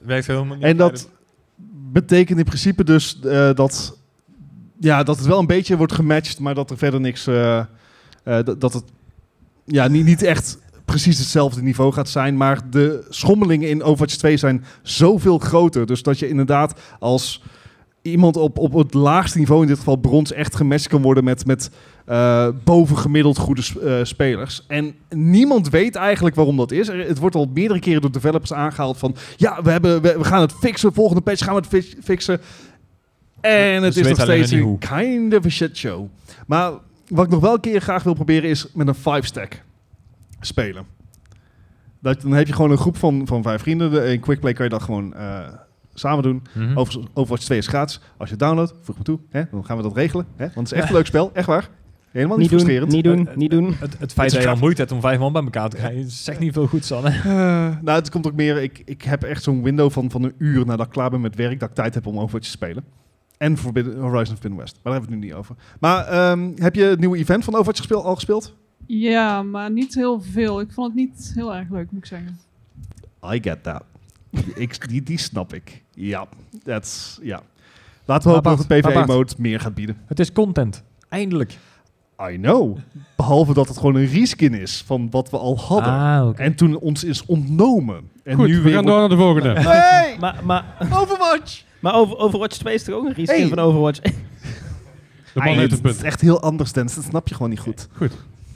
Speaker 5: Werkt helemaal niet.
Speaker 2: en dat betekent in principe dus eh, dat, ja, dat het wel een beetje wordt gematcht, maar dat er verder niks. eh, eh, dat- dat het ja, niet, niet echt precies hetzelfde niveau gaat zijn. Maar de schommelingen in Overwatch 2 zijn zoveel groter. Dus dat je inderdaad als iemand op, op het laagste niveau, in dit geval brons, echt gematcht kan worden met, met eh, bovengemiddeld goede s- eh, spelers. En niemand weet eigenlijk waarom dat is. Er- het wordt al meerdere keren door developers aangehaald van... ja, we, hebben, we, we gaan het fixen, volgende patch gaan we het fi- fixen. En het
Speaker 5: Ze
Speaker 2: is nog
Speaker 5: weten alleen
Speaker 2: steeds
Speaker 5: nog
Speaker 2: een
Speaker 5: niet
Speaker 2: kind of a shit show. Maar wat ik nog wel een keer graag wil proberen is met een five stack spelen. Dat, dan heb je gewoon een groep van, van vijf vrienden. De- In Quickplay kan je dat gewoon eh, samen doen.
Speaker 5: Mhm.
Speaker 2: Over, Overwatch 2 is gratis. Als je het downloadt, voeg me toe. Hè? Dan gaan we dat regelen. Hè? Want het is echt een leuk spel. Echt waar. Helemaal niet,
Speaker 4: Niet doen,
Speaker 2: frustrerend.
Speaker 4: niet doen,
Speaker 5: Eh,
Speaker 4: niet doen.
Speaker 5: Het, het
Speaker 2: Het
Speaker 5: feit
Speaker 2: is
Speaker 5: dat je al
Speaker 2: gratis.
Speaker 5: moeite hebt om vijf man bij elkaar te krijgen, zegt niet veel goeds aan. hè?
Speaker 2: Eh, nou, het komt ook meer... Ik, ik heb echt zo'n window van, van een uur nadat ik klaar ben met werk... dat ik tijd heb om Overwatch te spelen. En Forbidden, Horizon Forbidden West. Maar daar hebben we het nu niet over. Maar ehm, heb je het nieuwe event van Overwatch gespeeld, al gespeeld?
Speaker 6: Ja, maar niet heel veel. Ik vond het niet heel erg leuk, moet ik zeggen.
Speaker 2: I get that. ik, die, die snap ik. Ja, that's, ja. Laten we hopen dat
Speaker 5: Bart,
Speaker 2: de
Speaker 5: maar Bart.
Speaker 2: PvE-mode E meer gaat bieden.
Speaker 5: Het is content. Eindelijk.
Speaker 2: I know. Behalve dat het gewoon een reskin is van wat we al hadden.
Speaker 5: Ah, oké.
Speaker 2: En toen ons is ontnomen. En
Speaker 1: Goed,
Speaker 2: nu
Speaker 1: we
Speaker 2: weer...
Speaker 1: gaan door
Speaker 2: wordt-
Speaker 1: naar de volgende.
Speaker 2: Nee!
Speaker 4: Maar, maar,
Speaker 2: Overwatch!
Speaker 4: maar over, Overwatch 2 is toch ook een reskin
Speaker 2: Hey.
Speaker 4: van Overwatch
Speaker 1: De man
Speaker 2: Eind.
Speaker 1: heeft een
Speaker 2: Het
Speaker 1: punt.
Speaker 2: is echt heel anders, Dennis. Dat snap je gewoon niet goed.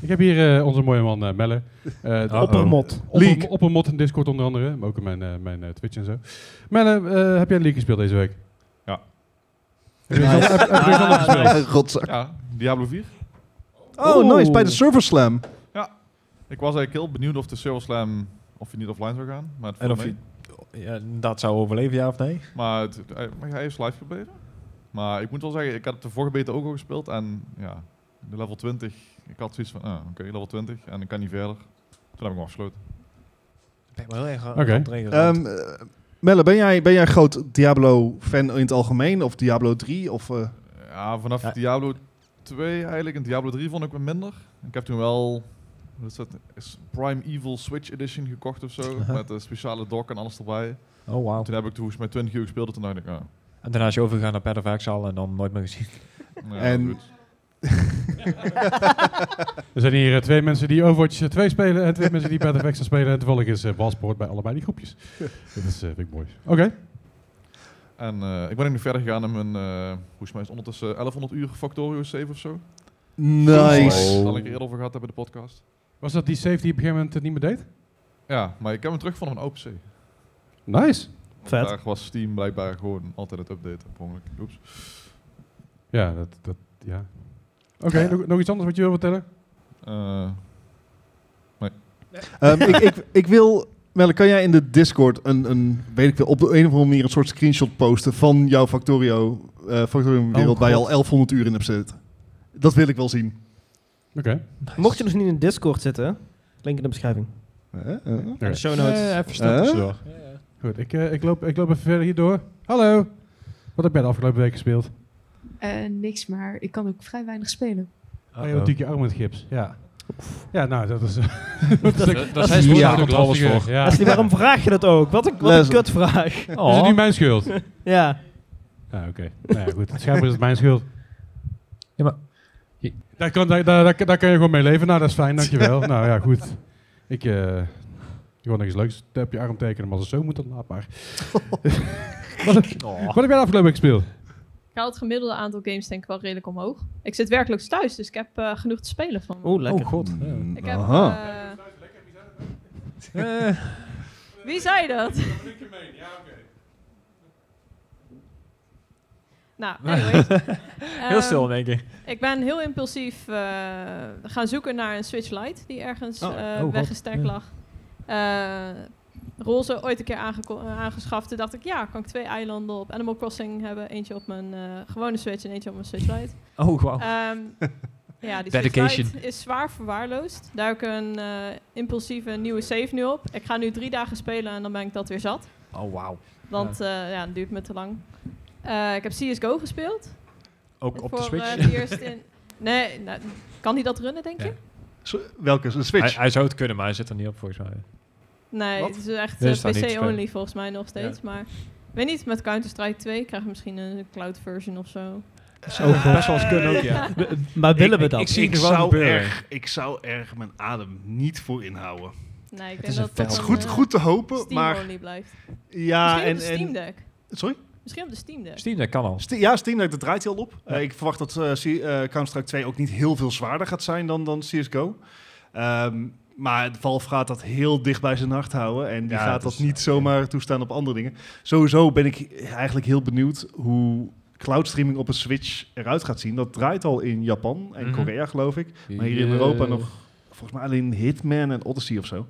Speaker 1: Ik heb hier eh, onze mooie man eh, Melle. Eh, de
Speaker 5: Uh-oh.
Speaker 4: Oppermot.
Speaker 1: Opper,
Speaker 2: Leak.
Speaker 1: oppermot in Discord onder andere, maar ook in mijn, eh, mijn eh, Twitch en zo. Melle, eh, heb jij League gespeeld deze week?
Speaker 9: Ja. Ah,
Speaker 1: Heb je niks anders- heb- heb je niks anders gespeeld?
Speaker 2: <laughs> Rotzak.
Speaker 9: Ja, Diablo 4.
Speaker 2: Oh, nice. Bij de Server Slam.
Speaker 9: Ik was eigenlijk heel benieuwd of de Server Slam of je niet offline zou gaan. Maar het
Speaker 5: En
Speaker 9: viel
Speaker 5: of
Speaker 9: mee.
Speaker 5: je ja, dat zou overleven, ja of nee?
Speaker 9: Maar, het, hij, maar hij is live gebleven. Maar ik moet wel zeggen, ik had de vorige beta ook al gespeeld. En ja, de level 20. Ik had zoiets van, ah, oké, level 20. En ik kan niet verder. Toen heb ik hem afgesloten.
Speaker 5: Ik ben wel heel erg aan
Speaker 1: Oké.
Speaker 5: het regen.
Speaker 2: Ehm, eh, Melle, ben jij, ben jij groot Diablo-fan in het algemeen? Of Diablo 3? Of, eh,
Speaker 9: Ja, vanaf
Speaker 5: Ja.
Speaker 9: Diablo 2 eigenlijk. En Diablo 3 vond ik wat minder. Ik heb toen wel wat is dat, is Prime Evil Switch Edition gekocht of
Speaker 5: <laughs>
Speaker 9: zo.
Speaker 5: Aha.
Speaker 9: Met een speciale dock en alles erbij.
Speaker 5: Oh, wauw.
Speaker 9: Toen heb ik toen volgens mij 20 uur gespeeld. En toen dacht ik, ah,
Speaker 5: En daarna is je overgegaan naar Path of Exile en dan nooit meer gezien.
Speaker 9: nou ja,
Speaker 2: En-
Speaker 9: goed.
Speaker 2: <laughs>
Speaker 9: ah.
Speaker 1: Er zijn hier eh, twee mensen die Overwatch eh, 2 spelen en twee mensen die Battle Extra spelen. En toevallig is eh Baspoort bij allebei die groepjes. Dat is, eh, vind ik mooi. Oké.
Speaker 9: En eh, ik ben ook nog verder gegaan in mijn, eh, volgens mij is het ondertussen 1100 uur Factorio save of zo.
Speaker 2: nice.
Speaker 9: Daar had ik er eerder over gehad hebben in de podcast.
Speaker 1: Was dat die save die je op een gegeven moment eh, niet meer deed?
Speaker 9: Ja, maar ik heb hem teruggevonden van OpenC.
Speaker 1: Nice.
Speaker 9: Want
Speaker 4: Vet.
Speaker 9: Daar was Steam blijkbaar gewoon altijd het updaten. per ongeluk. Oeps.
Speaker 1: Ja, dat, dat ja. Oké, nog, nog iets anders wat je wil vertellen?
Speaker 9: Eh,
Speaker 2: Ehm, ik, ik, ik wil, Melle, kan jij in de Discord een, een, weet ik wel, op de een of andere manier een soort screenshot posten van jouw Factorio, eh
Speaker 4: Oh,
Speaker 2: Factorium wereld waar je al 1100 uur in hebt zitten? Dat wil ik wel zien.
Speaker 1: Oké.
Speaker 4: Mocht je nog niet in Discord zitten, link in de beschrijving.
Speaker 2: Eh, eh.
Speaker 1: Oké.
Speaker 4: En de show notes.
Speaker 5: Eh, even snel tussendoor.
Speaker 1: Goed, ik, eh, ik, loop, ik loop even verder hierdoor. Hallo. Wat heb jij de afgelopen week gespeeld?
Speaker 11: Eh, niks, maar ik kan ook vrij weinig spelen.
Speaker 1: Oh, je natuurlijk je arm met gips. Ja. Ja, nou, dat is... <laughs>
Speaker 5: Daar zijn
Speaker 1: is
Speaker 5: ze
Speaker 1: ja,
Speaker 5: ja, controles voor.
Speaker 1: Ja.
Speaker 4: Leslie, Dus waarom vraag je dat ook? Wat een, wat een
Speaker 2: Les-
Speaker 4: kutvraag.
Speaker 1: <laughs> Is het
Speaker 5: Oh,
Speaker 1: nu mijn schuld?
Speaker 4: <laughs> Ja.
Speaker 1: Ah, oké. Nou ja, goed. Schijnbaar is het mijn schuld.
Speaker 5: Ja, maar-
Speaker 1: Je- Daar kan, daar, daar, daar, daar kan je gewoon mee leven. Nou, dat is fijn,
Speaker 4: <laughs>
Speaker 1: dankjewel. nou ja, goed. Ik... eh gewoon nog iets leuks op je arm tekenen, maar als het zo moet, dan laat
Speaker 4: <laughs>
Speaker 1: maar. wat, heb-
Speaker 4: Oh.
Speaker 1: wat heb jij de afgelopen week gespeeld?
Speaker 11: Ik haal het gemiddelde aantal games denk ik wel redelijk omhoog. Ik zit werkelijk thuis, dus ik heb eh, genoeg te spelen van.
Speaker 4: Oeh, lekker.
Speaker 5: oh god.
Speaker 9: Hmm.
Speaker 5: Ja.
Speaker 11: ik heb,
Speaker 2: Aha.
Speaker 11: eh,
Speaker 6: Eh.
Speaker 1: Eh.
Speaker 11: Wie zei dat? Nou, anyways.
Speaker 5: <laughs> Heel stil
Speaker 11: Ehm,
Speaker 5: in één keer.
Speaker 11: Ik ben heel impulsief eh, gaan zoeken naar een Switch Lite die ergens
Speaker 5: Oh,
Speaker 11: eh,
Speaker 5: oh god,
Speaker 11: weggesterkt
Speaker 5: ja.
Speaker 11: lag. Eh, roze ooit een keer aangeko- eh, aangeschaft. Toen dacht ik, ja, kan ik twee eilanden op Animal Crossing hebben. Eentje op mijn eh, gewone Switch en eentje op mijn Switch Lite.
Speaker 5: Oh, wauw. <laughs>
Speaker 11: Ehm, ja, die
Speaker 5: Dedication.
Speaker 11: Dedication. is zwaar verwaarloosd. Daar heb ik een eh, impulsieve nieuwe save nu op. Ik ga nu drie dagen spelen en dan ben ik dat weer zat.
Speaker 5: Oh, wauw.
Speaker 11: Want ja, ja dat duurt me te lang. Eh, ik heb CSGO gespeeld.
Speaker 5: Ook op
Speaker 11: voor,
Speaker 5: de Switch? <laughs>
Speaker 11: eh, die eerst in... Nee, nou, kan die dat runnen, denk
Speaker 5: Ja.
Speaker 11: je?
Speaker 2: Zo- welke? Een Switch?
Speaker 5: Hij, hij zou het kunnen, maar hij zit er niet op volgens mij.
Speaker 11: Nee, het is echt eh,
Speaker 5: Nee, staat niet te spelen.
Speaker 11: PC-only volgens mij nog steeds. Maar ik weet niet, met Counter-Strike 2 krijg je misschien een cloud version of zo.
Speaker 4: Zo, best wel eens kunnen ook, ja. Maar willen <laughs> we dat?
Speaker 2: Ik,
Speaker 4: Ik
Speaker 2: zou
Speaker 4: zou
Speaker 2: erg, ik zou erg mijn adem niet voor inhouden.
Speaker 11: Nee, ik
Speaker 2: Het
Speaker 11: denk
Speaker 2: is
Speaker 11: dat
Speaker 2: een veld.
Speaker 11: dan,
Speaker 2: Het is goed-
Speaker 11: eh,
Speaker 2: goed te hopen,
Speaker 11: Steam-only blijft.
Speaker 2: Ja,
Speaker 11: misschien
Speaker 2: en-
Speaker 11: op de
Speaker 2: en-
Speaker 11: Steam Deck.
Speaker 2: Sorry?
Speaker 11: Misschien op de Steam Deck.
Speaker 5: Steam Deck kan al.
Speaker 2: Ste- ja, Steam Deck, dat draait hij al op. Eh, ik verwacht dat eh C- eh, Counter-Strike 2 ook niet heel veel zwaarder gaat zijn dan, dan CSGO. Ehm, maar Valve gaat dat heel dicht bij zijn hart houden. En die
Speaker 5: Ja,
Speaker 2: gaat
Speaker 5: het
Speaker 2: dat
Speaker 5: is-
Speaker 2: niet zomaar toestaan op andere dingen. Sowieso ben ik eigenlijk heel benieuwd hoe cloud streaming op een Switch eruit gaat zien. Dat draait al in Japan en
Speaker 5: Mhm.
Speaker 2: Korea, geloof ik. Maar hier in Europa nog volgens mij alleen Hitman en Odyssey of zo.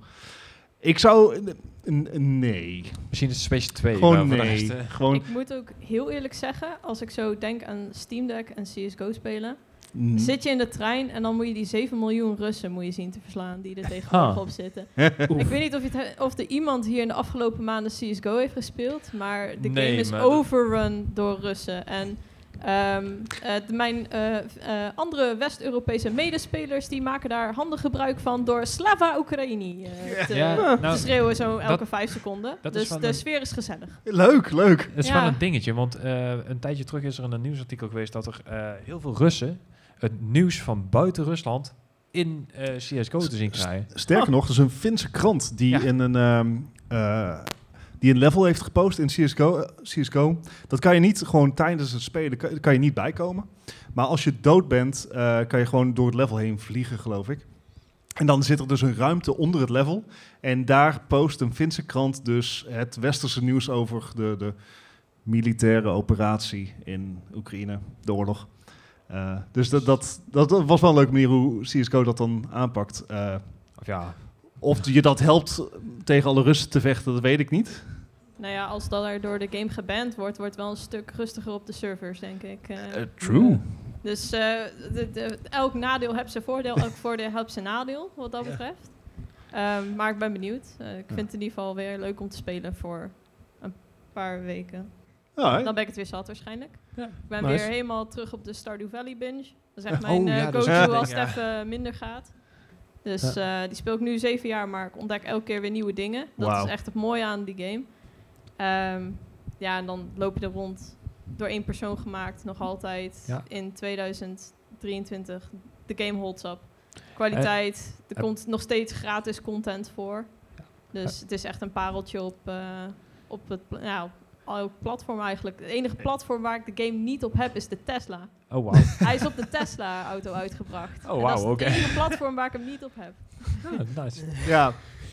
Speaker 2: Ik zou... n- n- Nee.
Speaker 5: Misschien is Switch 2. maar
Speaker 2: Gewoon
Speaker 5: voor de
Speaker 2: nee.
Speaker 5: rest, eh,
Speaker 2: Gewoon
Speaker 11: Ik moet ook heel eerlijk zeggen, als ik zo denk aan Steam Deck en CSGO spelen,
Speaker 5: Mhm.
Speaker 2: Mm.
Speaker 11: zit je in de trein en dan moet je die 7 miljoen Russen moet je zien te verslaan
Speaker 5: <laughs>
Speaker 11: die er
Speaker 5: Ah.
Speaker 11: tegenwoordig op zitten.
Speaker 2: Oef.
Speaker 11: ik weet niet of, je het he- of er iemand hier in de afgelopen maanden CSGO heeft gespeeld, maar de
Speaker 5: Nee,
Speaker 11: game is
Speaker 5: maar dat-
Speaker 11: overrun door Russen. En ehm, het- mijn eh, v- eh, andere West-Europese medespelers die maken daar handig gebruik van door Slava Oekraïni eh, te,
Speaker 5: Ja,
Speaker 11: te
Speaker 5: nou,
Speaker 11: schreeuwen zo elke
Speaker 5: dat-
Speaker 11: vijf seconden.
Speaker 5: dat is
Speaker 11: Dus
Speaker 5: wel
Speaker 11: de
Speaker 5: een-
Speaker 11: sfeer is gezellig.
Speaker 2: Leuk, leuk.
Speaker 5: Het is
Speaker 11: Ja.
Speaker 5: wel een dingetje, want eh, een tijdje terug is er een nieuwsartikel geweest dat er eh, heel veel Russen het nieuws van buiten Rusland in eh, CSGO te zien krijgen.
Speaker 2: Sterker nog, er is een Finse krant die in een... ehm, eh, die een level heeft gepost in CSGO, eh, CSGO. Dat kan je niet gewoon tijdens het spelen, kan, kan je niet bijkomen. Maar als je dood bent, eh, kan je gewoon door het level heen vliegen, geloof ik. En dan zit er dus een ruimte onder het level. En daar post een Finse krant dus het westerse nieuws over de, de militaire operatie in Oekraïne, de oorlog. Eh, dus dat, dat, dat was wel een leuke manier hoe CSGO dat dan aanpakt. Eh,
Speaker 5: Of ja.
Speaker 2: Of je dat helpt tegen alle Russen te vechten, dat weet ik niet.
Speaker 11: Nou ja, als dat er door de game geband wordt, wordt het wel een stuk rustiger op de servers, denk ik. Eh,
Speaker 2: true.
Speaker 11: Dus eh, de- de- elk nadeel heeft zijn voordeel,
Speaker 2: <laughs>
Speaker 11: elk voordeel heeft zijn nadeel, wat dat betreft. Ehm, maar ik ben benieuwd. Eh, ik vind het in ieder geval weer leuk om te spelen voor een paar weken.
Speaker 2: Ja, hè?
Speaker 11: Dan ben ik het weer zat waarschijnlijk. Ik ben
Speaker 2: Nice.
Speaker 11: weer helemaal terug op de Stardew Valley binge. Dat is echt
Speaker 2: Oh,
Speaker 11: mijn eh,
Speaker 2: ja, dat is echt
Speaker 11: go-to
Speaker 2: een
Speaker 11: als
Speaker 2: ding,
Speaker 11: het even minder gaat. Dus eh, die speel ik nu zeven jaar, maar ik ontdek elke keer weer nieuwe dingen. Dat
Speaker 2: Wauw.
Speaker 11: is echt het mooie aan die game. Ehm, ja, en dan loop je er rond door één persoon gemaakt, nog altijd
Speaker 5: Ja.
Speaker 11: in 2023. De game holds up. Kwaliteit, er
Speaker 5: eh.
Speaker 11: komt nog steeds gratis content voor. Dus het is echt een pareltje op, eh, op het pla- nou, elk platform eigenlijk. Het enige platform waar ik de game niet op heb is de
Speaker 5: <laughs>
Speaker 11: Tesla.
Speaker 2: <laughs>
Speaker 5: Oh, wauw.
Speaker 11: Hij is op de Tesla-auto uitgebracht.
Speaker 5: Oh,
Speaker 11: En
Speaker 5: wauw,
Speaker 11: Dat is
Speaker 5: oké. Ah.
Speaker 11: het enige platform waar ik hem niet op
Speaker 5: <laughs>
Speaker 11: heb.
Speaker 5: Ja, nice.
Speaker 2: Ja,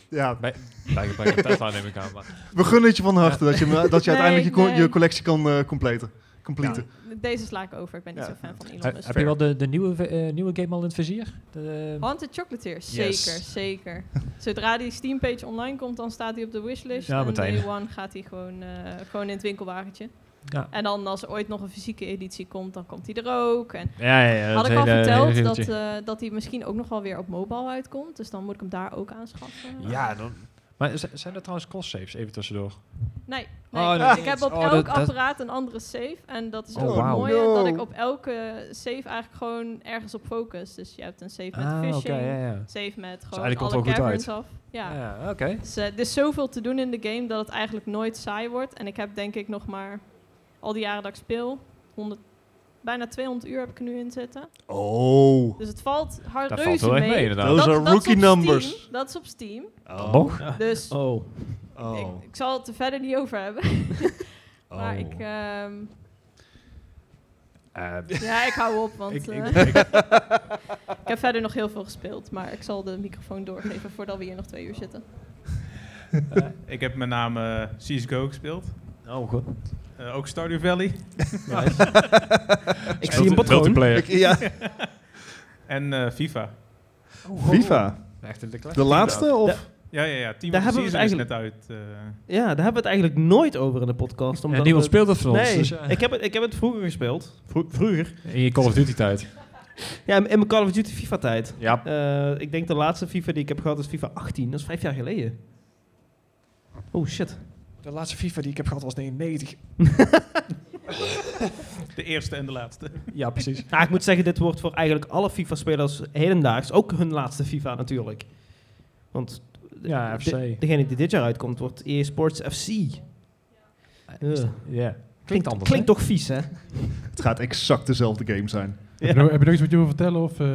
Speaker 2: ja.
Speaker 5: Bij, bij, bij de Tesla neem ik aan, maar...
Speaker 2: We gunnen het je van harte dat je, dat je
Speaker 11: Nee,
Speaker 2: uiteindelijk je, co-
Speaker 11: nee.
Speaker 2: je collectie kan eh completen. completen.
Speaker 11: Deze sla ik over. Ik ben niet
Speaker 2: Ja.
Speaker 11: zo fan van Elon
Speaker 5: Heb-
Speaker 11: Musk.
Speaker 5: heb je wel de, de nieuwe, ve- eh, nieuwe game al in het vizier? De,
Speaker 11: Haunted Chocolatier, zeker,
Speaker 5: Ehm, Yes. <laughs>
Speaker 11: zeker. Zodra die Steam-page online komt, dan staat hij op de wishlist.
Speaker 5: Ja,
Speaker 11: en
Speaker 5: meteen.
Speaker 11: day one gaat hij gewoon, eh, gewoon in het winkelwagentje.
Speaker 5: Ja.
Speaker 11: En dan als er ooit nog een fysieke editie komt, dan komt hij er ook. En
Speaker 5: Ja, ja, ja,
Speaker 11: had
Speaker 5: dat
Speaker 11: ik al
Speaker 5: hele-
Speaker 11: verteld
Speaker 5: hele
Speaker 11: dat, eh
Speaker 5: regeltje.
Speaker 11: dat hij misschien ook nog wel weer op mobile uitkomt. Dus dan moet ik hem daar ook aanschaffen.
Speaker 5: ja, dan... Maar z- zijn er trouwens cross-saves even tussendoor?
Speaker 11: Nee, nee.
Speaker 5: Oh, dat-
Speaker 11: ik heb op
Speaker 5: oh,
Speaker 11: elk
Speaker 5: dat- dat-
Speaker 11: apparaat een andere save. En dat is
Speaker 5: Oh,
Speaker 11: ook het
Speaker 5: wauw.
Speaker 11: mooie,
Speaker 5: No.
Speaker 11: dat ik op elke save eigenlijk gewoon ergens op focus. Dus je hebt een save met
Speaker 5: Ah, oké,
Speaker 11: fishing,
Speaker 5: ja, ja.
Speaker 11: save met
Speaker 5: Dus
Speaker 11: gewoon
Speaker 5: eigenlijk komt
Speaker 11: alle
Speaker 5: het wel goed
Speaker 11: caverns
Speaker 5: uit.
Speaker 11: af. Ja,
Speaker 5: Ja, oké.
Speaker 11: Dus, eh, er is zoveel te doen in de game dat het eigenlijk nooit saai wordt. En ik heb denk ik nog maar, al die jaren dat ik speel, 100, bijna 200 uur heb ik er nu in zitten.
Speaker 2: Oh.
Speaker 11: Dus het valt hard
Speaker 5: Dat
Speaker 11: reuze
Speaker 5: valt wel echt
Speaker 11: mee.
Speaker 5: mee, inderdaad.
Speaker 2: Those
Speaker 11: Dat-
Speaker 2: are
Speaker 11: dat is op
Speaker 2: rookie numbers.
Speaker 11: Steam, dat is op Steam.
Speaker 2: Oh.
Speaker 5: Nog?
Speaker 11: Dus
Speaker 4: Oh.
Speaker 2: Oh.
Speaker 11: ik zal het er verder niet over hebben.
Speaker 5: <laughs>
Speaker 11: maar
Speaker 5: Oh.
Speaker 11: ik...
Speaker 5: <laughs>
Speaker 11: ehm,
Speaker 5: Eh,
Speaker 11: Ja, ik hou op, want
Speaker 5: Ik-
Speaker 11: eh,
Speaker 5: ik-
Speaker 11: ik, <laughs>
Speaker 5: ik-
Speaker 11: heb verder nog heel veel gespeeld. Maar ik zal de microfoon doorgeven voordat we hier nog twee uur zitten.
Speaker 12: Eh, ik heb met name CSGO gespeeld. Eh,
Speaker 5: Oh, goed.
Speaker 12: ook Stardew Valley. <laughs>
Speaker 4: Ik zie een patroon. Multiplayer. Ik- ja.
Speaker 12: en eh, FIFA.
Speaker 4: Oh,
Speaker 2: FIFA?
Speaker 5: Echt een
Speaker 2: De laatste? Of?
Speaker 12: Ja, ja, ja. Team
Speaker 4: Daar
Speaker 12: of the
Speaker 4: hebben we dus
Speaker 12: Season
Speaker 4: het
Speaker 12: is net uit. eh.
Speaker 4: Ja, daar hebben we het eigenlijk nooit over in de podcast. <laughs> Omdat
Speaker 5: niemand
Speaker 4: we-
Speaker 5: speelt het voor ons,
Speaker 4: Nee,
Speaker 5: dus ja.
Speaker 4: ik, heb het, ik heb het vroeger gespeeld. Vro- vroeger.
Speaker 5: In je Call of Duty tijd.
Speaker 4: Ja, in mijn Call of Duty FIFA tijd. Eh,
Speaker 5: Ja.
Speaker 4: ik denk de laatste FIFA die ik heb gehad is FIFA 18. Dat is vijf jaar geleden. Oh shit.
Speaker 5: <laughs> De laatste FIFA die ik heb gehad was 99.
Speaker 12: De eerste en de laatste.
Speaker 4: Ja, precies. Nou, ik moet zeggen, dit wordt voor eigenlijk alle FIFA-spelers hedendaags ook hun laatste FIFA natuurlijk. Want de-
Speaker 5: Ja,
Speaker 4: de-
Speaker 5: FC.
Speaker 4: degene die dit jaar uitkomt, wordt EA Sports FC. Ugh.
Speaker 5: Ja.
Speaker 4: Eh. Klinkt,
Speaker 5: anders,
Speaker 4: klinkt
Speaker 5: hè?
Speaker 4: toch vies, hè?
Speaker 2: Het gaat exact dezelfde game zijn.
Speaker 1: Heb, je nog, heb je nog iets wat je wil vertellen? Of, eh,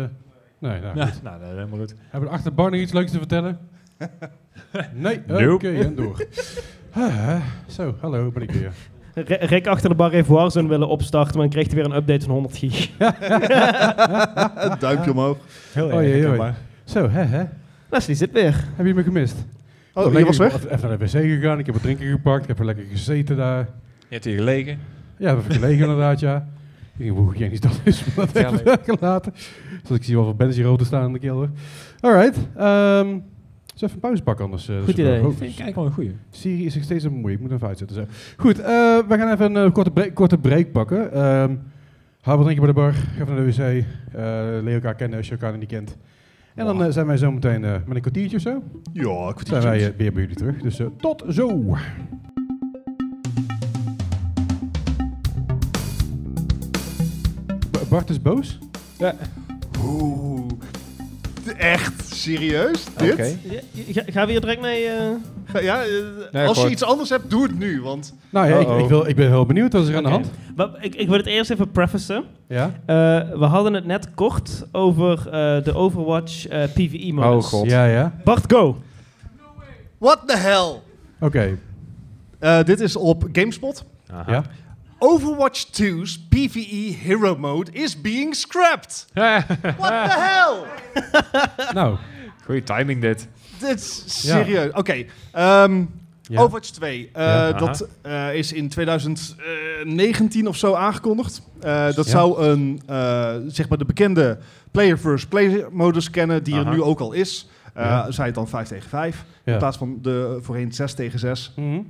Speaker 1: nee, nou,
Speaker 5: Ja,
Speaker 1: goed.
Speaker 5: nou, dat is helemaal goed.
Speaker 1: Hebben we achter Barney iets leuks te
Speaker 5: <laughs>
Speaker 1: vertellen? nee? Oké,
Speaker 5: Nope.
Speaker 1: en
Speaker 5: <laughs>
Speaker 1: door. Ah, Zo, hallo, ben ik weer.
Speaker 4: Re- Rick achter de bar heeft Warzone willen opstarten, maar dan kreeg hij weer een update van 100
Speaker 2: <laughs>
Speaker 4: gig.
Speaker 2: Duimpje omhoog.
Speaker 5: Heel
Speaker 1: Oh, jee, jee.
Speaker 5: maar.
Speaker 1: Zo, hè, hè.
Speaker 4: Leslie zit weer.
Speaker 1: Heb je me gemist?
Speaker 2: Oh,
Speaker 1: Toen
Speaker 2: je
Speaker 1: lekker-
Speaker 2: was weg?
Speaker 1: Even even naar de wc gegaan, ik heb wat drinken gepakt, ik heb er lekker gezeten daar.
Speaker 5: Je hebt hier gelegen.
Speaker 1: Ja, dat heb ik gelegen inderdaad, ja. Ik denk, hoe hygiënisch dat is, maar dat heb ik
Speaker 5: Vertel
Speaker 1: gelaten. Dus ik zie wel wat Benzie rood te staan in de keel hoor. Alright, ehm eens even een pauze pakken anders. eh,
Speaker 4: Goed
Speaker 1: dat is
Speaker 4: idee.
Speaker 1: wel
Speaker 5: Ik vind
Speaker 1: goed.
Speaker 5: het eigenlijk wel een goeie.
Speaker 1: Siri is zich steeds aan het moeien. Ik moet hem even uitzetten. Zo. Goed, eh, we gaan even een eh, korte, break, korte break pakken. Ehm hou wat drinkje bij de bar. Ga even naar de wc. eh leer elkaar kennen als je elkaar nog niet kent. En dan eh, zijn wij zo meteen eh, met een kwartiertje of zo.
Speaker 2: Ja, kwartiertje.
Speaker 1: Zijn wij eh, weer bij jullie terug. Dus eh, tot zo. B- Bart is boos.
Speaker 5: Ja.
Speaker 2: Oeh. Echt? Serieus? Dit?
Speaker 5: Oké.
Speaker 4: Ga, gaan we hier direct mee? eh?
Speaker 2: Ga- Ja, eh,
Speaker 5: Nee,
Speaker 2: als je
Speaker 5: gewoon-
Speaker 2: iets anders hebt, doe het nu. Want
Speaker 1: Nou ja, ik,
Speaker 5: Uh-oh.
Speaker 1: ik, wil, ik ben heel benieuwd wat is er aan de hand.
Speaker 4: Wa- Ik, ik wil het eerst even prefacen.
Speaker 1: Ja?
Speaker 4: Eh, we hadden het net kort over eh, de Overwatch eh, PvE modus.
Speaker 5: Oh, god.
Speaker 1: Ja, ja.
Speaker 4: Bart, go!
Speaker 2: what the hell?
Speaker 1: Oké.
Speaker 2: Eh, dit is op GameSpot.
Speaker 1: Ja?
Speaker 2: Overwatch 2's PvE E Hero Mode is being scrapped. What the
Speaker 1: <laughs>
Speaker 2: hell?
Speaker 4: Oh.
Speaker 5: <laughs>
Speaker 1: Nou,
Speaker 5: Goeie timing dit.
Speaker 2: Dit is
Speaker 1: Ja.
Speaker 2: serieus. Oké. ehm,
Speaker 1: Ja.
Speaker 2: Overwatch 2. eh,
Speaker 5: Ja.
Speaker 2: Dat eh, is in 2019 of zo aangekondigd. Eh, dat
Speaker 5: Ja.
Speaker 2: zou een, eh, zeg maar de bekende player-versus-player modus kennen, die
Speaker 5: Aha.
Speaker 2: er nu ook al is. Eh,
Speaker 1: Ja.
Speaker 2: Zij het dan 5 tegen 5,
Speaker 1: Ja.
Speaker 2: in plaats van de voorheen 6 tegen 6.
Speaker 1: Mhm.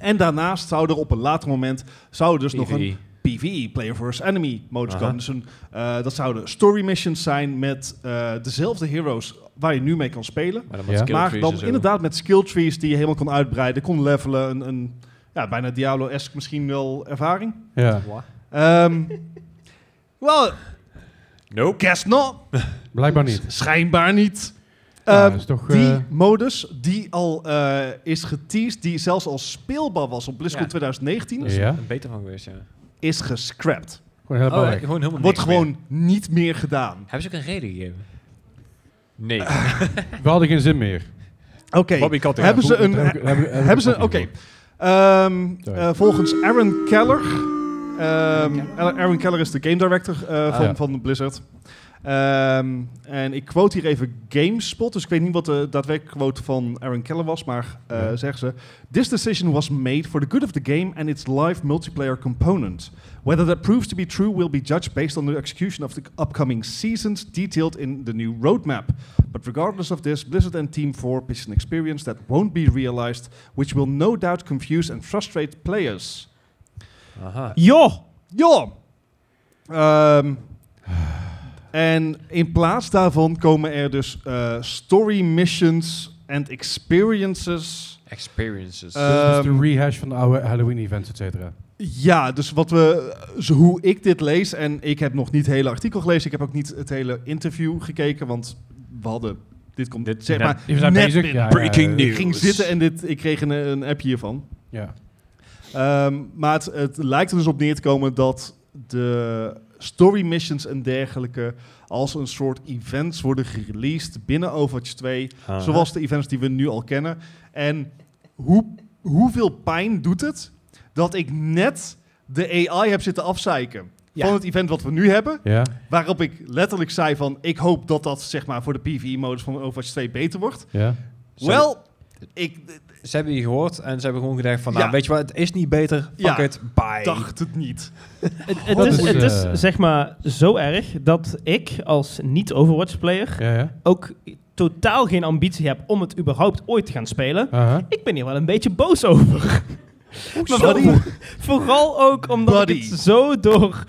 Speaker 2: En daarnaast zou er op een later moment zou dus nog een
Speaker 5: PvE.
Speaker 1: E.
Speaker 2: PvE, Player vs. Enemy modus
Speaker 5: Aha.
Speaker 2: komen. Dus een, eh, dat zouden story missions zijn met eh, dezelfde heroes waar je nu mee kan spelen.
Speaker 5: Maar dan
Speaker 1: Ja.
Speaker 5: met
Speaker 2: Maar dan
Speaker 5: zo.
Speaker 2: inderdaad met skill trees die je helemaal kon uitbreiden, kon levelen. Een, een ja, bijna Diablo-esque misschien wel ervaring.
Speaker 1: Ja.
Speaker 5: Wa-
Speaker 2: Ehm well,
Speaker 5: Nope.
Speaker 2: guess not.
Speaker 1: Blijkbaar niet.
Speaker 2: Schijnbaar niet.
Speaker 1: Ja,
Speaker 2: Ehm,
Speaker 1: dat is toch,
Speaker 2: die
Speaker 1: eh,
Speaker 2: modus die al eh, is geteased, die zelfs al speelbaar was op BlizzCon
Speaker 5: Ja.
Speaker 2: 2019,
Speaker 5: Dat is
Speaker 1: Ja.
Speaker 5: er beter van geweest, ja.
Speaker 2: is gescrapt.
Speaker 1: Gewoon helemaal
Speaker 5: Oh,
Speaker 1: weg.
Speaker 5: gewoon helemaal
Speaker 2: Wordt
Speaker 5: niks meer.
Speaker 2: gewoon niet meer gedaan.
Speaker 5: Hebben ze ook een reden gegeven? Nee.
Speaker 1: <laughs> We hadden geen zin meer.
Speaker 2: Oké,
Speaker 5: Bobby Kotick.
Speaker 2: hebben ze een...
Speaker 1: Daar heb ik- daar heb ik- daar heb ik
Speaker 2: Hebben ze...
Speaker 1: ook
Speaker 2: Oké.
Speaker 1: niet gehoord.
Speaker 2: Ehm,
Speaker 1: Sorry.
Speaker 2: eh, volgens Aaron Keller. ehm, Aaron Keller is de game director eh,
Speaker 1: Ah,
Speaker 2: van,
Speaker 1: ja.
Speaker 2: van Blizzard. Ehm, en ik quote hier even GameSpot, dus ik weet niet wat de daadwerkelijke quote van Aaron Keller was, maar eh
Speaker 1: Ja.
Speaker 2: zeggen ze: This decision was made for the good of the game and its live multiplayer component. Whether that proves to be true will be judged based on the execution of the upcoming seasons detailed in the new roadmap. But regardless of this, Blizzard and Team 4 pitch an experience that won't be realized, which will no doubt confuse and frustrate players.
Speaker 5: Aha.
Speaker 2: Ja! Ja! Ehm, en in plaats daarvan komen er dus eh, story missions and experiences.
Speaker 5: Experiences.
Speaker 2: Eh,
Speaker 1: dus
Speaker 2: Ehm,
Speaker 1: de rehash van de oude Halloween-events, et cetera.
Speaker 2: Ja, dus wat we, zo hoe ik dit lees, en ik heb nog niet het hele artikel gelezen, ik heb ook niet het hele interview gekeken, want we hadden, dit komt,
Speaker 5: Dit-
Speaker 2: zeg
Speaker 5: net-
Speaker 2: maar,
Speaker 1: We zijn
Speaker 2: net
Speaker 1: bezig.
Speaker 2: binnen.
Speaker 1: Ja, ja,
Speaker 5: Breaking
Speaker 1: ja.
Speaker 5: news.
Speaker 2: ik ging zitten en dit, ik kreeg een, een appje hiervan.
Speaker 1: Ja.
Speaker 2: Ehm, maar het, het lijkt er dus op neer te komen dat de story missions en dergelijke als een soort events worden gereleased binnen Overwatch 2,
Speaker 5: Aha.
Speaker 2: zoals de events die we nu al kennen. En hoe, hoeveel pijn doet het dat ik net de AI heb zitten afzeiken
Speaker 5: Ja.
Speaker 2: van het event wat we nu hebben,
Speaker 1: Ja.
Speaker 2: waarop ik letterlijk zei van ik hoop dat dat zeg maar voor de PvE-modus van Overwatch 2 beter wordt.
Speaker 1: Ja.
Speaker 5: Ze-
Speaker 2: Wel, ik
Speaker 5: Ze hebben je gehoord en ze hebben gewoon gedacht van,
Speaker 2: Ja.
Speaker 5: nou, weet je wat, het is niet beter, fuck
Speaker 2: Ja.
Speaker 5: it, bye.
Speaker 2: dacht het
Speaker 5: <laughs>
Speaker 2: niet.
Speaker 4: Het, het
Speaker 1: Dat
Speaker 4: is,
Speaker 1: is,
Speaker 4: het is
Speaker 1: eh,
Speaker 4: zeg maar zo erg dat ik als niet-Overwatch-player
Speaker 1: Ja, ja.
Speaker 4: ook totaal geen ambitie heb om het überhaupt ooit te gaan spelen.
Speaker 1: Aha.
Speaker 4: Ik ben hier wel een beetje boos over. Maar
Speaker 2: sorry.
Speaker 4: vooral- Vooral ook omdat ik
Speaker 2: Buddy.
Speaker 4: het zo door,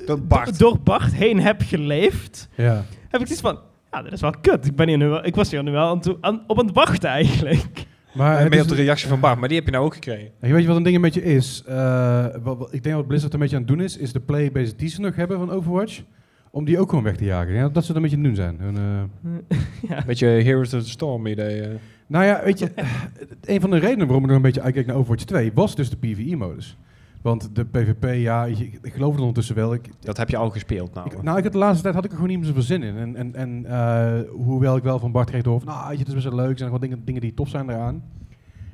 Speaker 4: eh,
Speaker 5: Dat Bart.
Speaker 4: door Bart heen heb geleefd.
Speaker 1: Ja.
Speaker 4: Heb ik zoiets van, ja, dat is wel kut. Ik, ben hier nu wel, ik was hier nu wel aan toe- aan- op aan het wachten eigenlijk.
Speaker 1: Maar het is
Speaker 5: Mee
Speaker 1: dus-
Speaker 5: op de
Speaker 1: een-
Speaker 5: reactie van Bart, maar die heb je nou ook gekregen.
Speaker 1: En je weet wat een ding een beetje is. Eh, wat, wat- ik denk wat Blizzard een beetje aan het doen is, is de playbase die ze nog hebben van Overwatch, om die ook gewoon weg te jagen. Ja, dat ze dat een beetje aan het doen zijn. Hun, eh,
Speaker 5: Beetje Heroes of the Storm idee. eh.
Speaker 1: Nou ja, weet je, een van de redenen waarom ik nog een beetje uitkeek naar Overwatch 2 was dus de PvE-modus. Want de PvP, ja, ik, ik geloof het ondertussen wel. Ik,
Speaker 5: Dat heb je al gespeeld nou.
Speaker 1: ik- nou, ik had de laatste tijd had ik er gewoon niet meer zoveel zin in. En, en, en eh, hoewel ik wel van Bart kreeg door van, nou, weet je, het is best wel leuk, er zijn wel dingen, dingen die tof zijn eraan.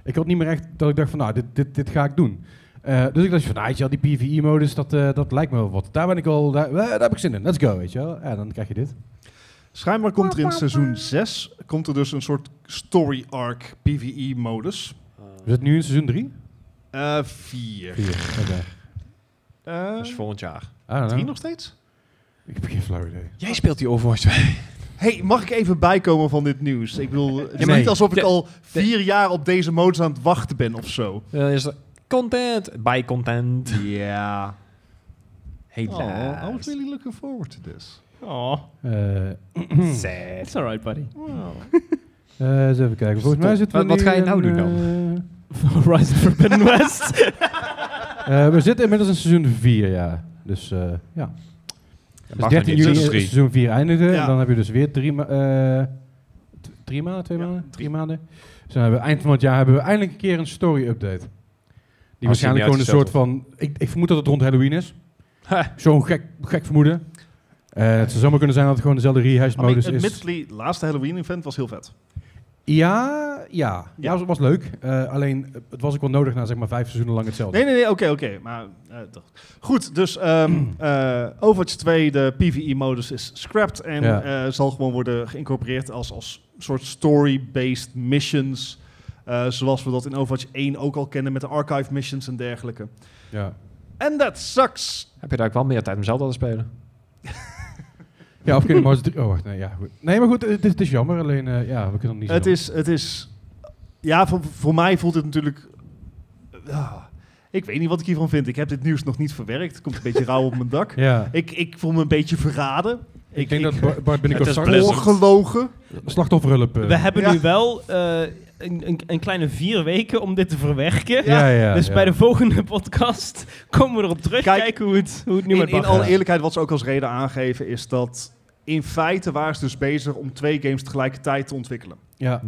Speaker 1: Ik had niet meer echt dat ik dacht van, nou, dit, dit, dit ga ik doen. Eh, dus ik dacht van, nou, weet je wel, die PvE-modus, dat, eh, dat lijkt me wel wat. Daar ben ik al, daar, eh, daar heb ik zin in. Let's go, weet je wel. En dan krijg je dit.
Speaker 2: Schijnbaar komt er in seizoen 6 komt er dus een soort story arc PvE modus. Eh,
Speaker 1: Is het nu in seizoen 3?
Speaker 2: 4.
Speaker 1: Vier, oké.
Speaker 4: Eh?
Speaker 5: dus volgend jaar.
Speaker 1: I don't
Speaker 2: Drie
Speaker 1: know.
Speaker 2: nog steeds?
Speaker 1: Ik heb geen flauw idee.
Speaker 5: Jij speelt die Overwatch 2.
Speaker 2: Hey, mag ik even bijkomen van dit nieuws? Ik bedoel, het is
Speaker 5: Nee.
Speaker 2: niet alsof ik
Speaker 5: De-
Speaker 2: al vier jaar op deze modus aan het wachten ben of zo.
Speaker 5: Dan
Speaker 1: Eh,
Speaker 5: is er content. Bij content.
Speaker 2: Ja.
Speaker 5: Helaas.
Speaker 2: Oh, I was really looking forward to this.
Speaker 3: Oh,
Speaker 4: Mm-hmm.
Speaker 1: Eh,
Speaker 3: it's alright, buddy.
Speaker 5: Oh.
Speaker 1: Eh, eens even kijken. Volgens mij
Speaker 5: Stop.
Speaker 1: zitten we
Speaker 5: Wat- wat
Speaker 1: nu
Speaker 5: ga je nou
Speaker 1: in,
Speaker 5: doen
Speaker 4: <laughs>
Speaker 5: dan?
Speaker 1: eh,
Speaker 3: Horizon
Speaker 5: <laughs>
Speaker 3: Forbidden
Speaker 2: <laughs>
Speaker 3: West.
Speaker 1: Eh, we zitten inmiddels in seizoen 4, ja. Dus eh, ja. Dus
Speaker 5: nog
Speaker 1: 13
Speaker 5: niet,
Speaker 1: juli
Speaker 5: dus
Speaker 1: is
Speaker 5: drie.
Speaker 1: seizoen 4 eindigen.
Speaker 2: Ja.
Speaker 1: En dan heb je dus weer drie, ma- eh, t- drie maanden, twee maanden, drie maanden. Dus dan hebben we eind van het jaar hebben we eindelijk een keer een story update. Die
Speaker 5: Als die niet
Speaker 1: waarschijnlijk gewoon een
Speaker 5: uitgesteld
Speaker 1: soort van... Ik, ik vermoed dat het rond Halloween is. Zo'n gek, gek vermoeden. Eh, het zou zomaar kunnen zijn dat het gewoon dezelfde rehash
Speaker 2: I mean,
Speaker 1: modus dus is.
Speaker 2: admittedly, laatste Halloween event was heel vet.
Speaker 1: Ja, ja. Ja, het was leuk. Eh, alleen, eh, het was ook wel nodig na zeg maar vijf seizoenen lang hetzelfde.
Speaker 2: Nee, nee, nee, oké, oké. Maar eh, toch. goed,
Speaker 1: <clears throat>
Speaker 2: dus ehm eh, Overwatch 2, de PvE-modus is scrapped en
Speaker 1: Ja.
Speaker 2: eh, zal gewoon worden geïncorporeerd als, als soort story-based missions. eh, zoals we dat in Overwatch 1 ook al kennen met de archive missions en dergelijke.
Speaker 1: Ja.
Speaker 2: En dat sucks!
Speaker 5: Heb je daar ook wel meer tijd om zelf te spelen?
Speaker 1: <laughs> Ja, of Kingdom Hearts 3. Oh, wacht, nee, ja, goed. Nee, maar goed, het is, het is jammer. Alleen, eh, ja, we kunnen het niet zo
Speaker 2: Het
Speaker 1: doen.
Speaker 2: is, het is... Ja, voor, voor mij voelt het natuurlijk... ah, ik weet niet wat ik hiervan vind. Ik heb dit nieuws nog niet verwerkt. Het komt een beetje rauw op mijn <laughs> dak.
Speaker 1: Ja.
Speaker 2: Ik, ik voel me een beetje verraden.
Speaker 1: Ik, denk dat
Speaker 2: <laughs>
Speaker 1: Bar- Bart
Speaker 3: Het
Speaker 1: binnenkort
Speaker 3: is
Speaker 1: straks-
Speaker 3: Blizzard.
Speaker 2: Ongelogen.
Speaker 1: slachtofferhulp... eh,
Speaker 4: We hebben
Speaker 2: Ja.
Speaker 4: nu wel eh, een, een, een kleine vier weken om dit te verwerken.
Speaker 1: Ja, ja,
Speaker 4: dus
Speaker 1: ja.
Speaker 4: bij de volgende podcast <laughs> komen we erop terug.
Speaker 2: Kijk,
Speaker 4: kijken hoe het, hoe het nu
Speaker 2: In,
Speaker 4: met
Speaker 2: in
Speaker 4: Bart
Speaker 2: alle
Speaker 4: gaat.
Speaker 2: eerlijkheid, wat ze ook als reden aangeven, is dat in feite waren ze dus bezig om twee games tegelijkertijd te ontwikkelen.
Speaker 1: Ja.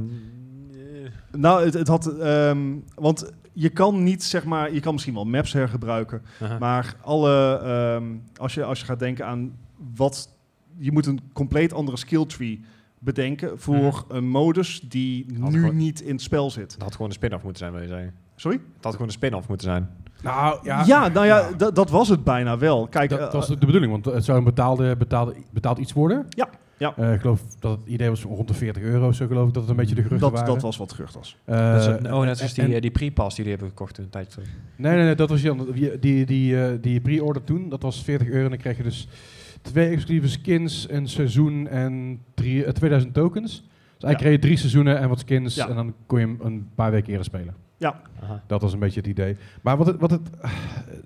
Speaker 2: Nou, het, het had. ehm, want je kan niet, zeg maar, je kan misschien wel maps hergebruiken. Maar alle, ehm, als, je, als je gaat denken aan wat. Je moet een compleet andere skill tree bedenken voor een modus die
Speaker 5: Mhm. Had
Speaker 2: nu
Speaker 5: gewoon-
Speaker 2: niet in het spel zit.
Speaker 5: Het had gewoon een spin-off <laughs> moeten zijn, wil je zeggen.
Speaker 2: Sorry? Dus
Speaker 5: Het had gewoon een spin-off moeten zijn.
Speaker 1: Nou, ja.
Speaker 2: Ja, nou ja, da- dat was het bijna wel. Kijk,
Speaker 1: Dat
Speaker 2: eh,
Speaker 1: was de bedoeling, want het zou een betaalde, betaalde, betaald iets worden.
Speaker 2: Ja, ja.
Speaker 1: Eh, ik geloof dat het idee was rond de 40 euro, zo geloof ik dat het een beetje de geruchten
Speaker 2: dat,
Speaker 1: waren.
Speaker 2: dat was wat gerucht was.
Speaker 1: Eh,
Speaker 5: Dat is het- oh, net zoals die,
Speaker 1: en-
Speaker 5: eh, die pre-pass die jullie hebben gekocht een tijdje terug.
Speaker 1: Nee, nee, nee, dat was die andere- die, die, die, eh, die pre-order toen. Dat was 40 euro en dan kreeg je dus twee exclusieve skins, een seizoen en drie, eh, 2000 tokens. Dus
Speaker 2: Ja.
Speaker 1: hij kreeg je drie seizoenen en wat skins
Speaker 2: Ja.
Speaker 1: en dan kon je hem een paar weken eerder spelen.
Speaker 2: Ja.
Speaker 5: Aha.
Speaker 1: Dat was een beetje het idee. Maar wat het, wat het,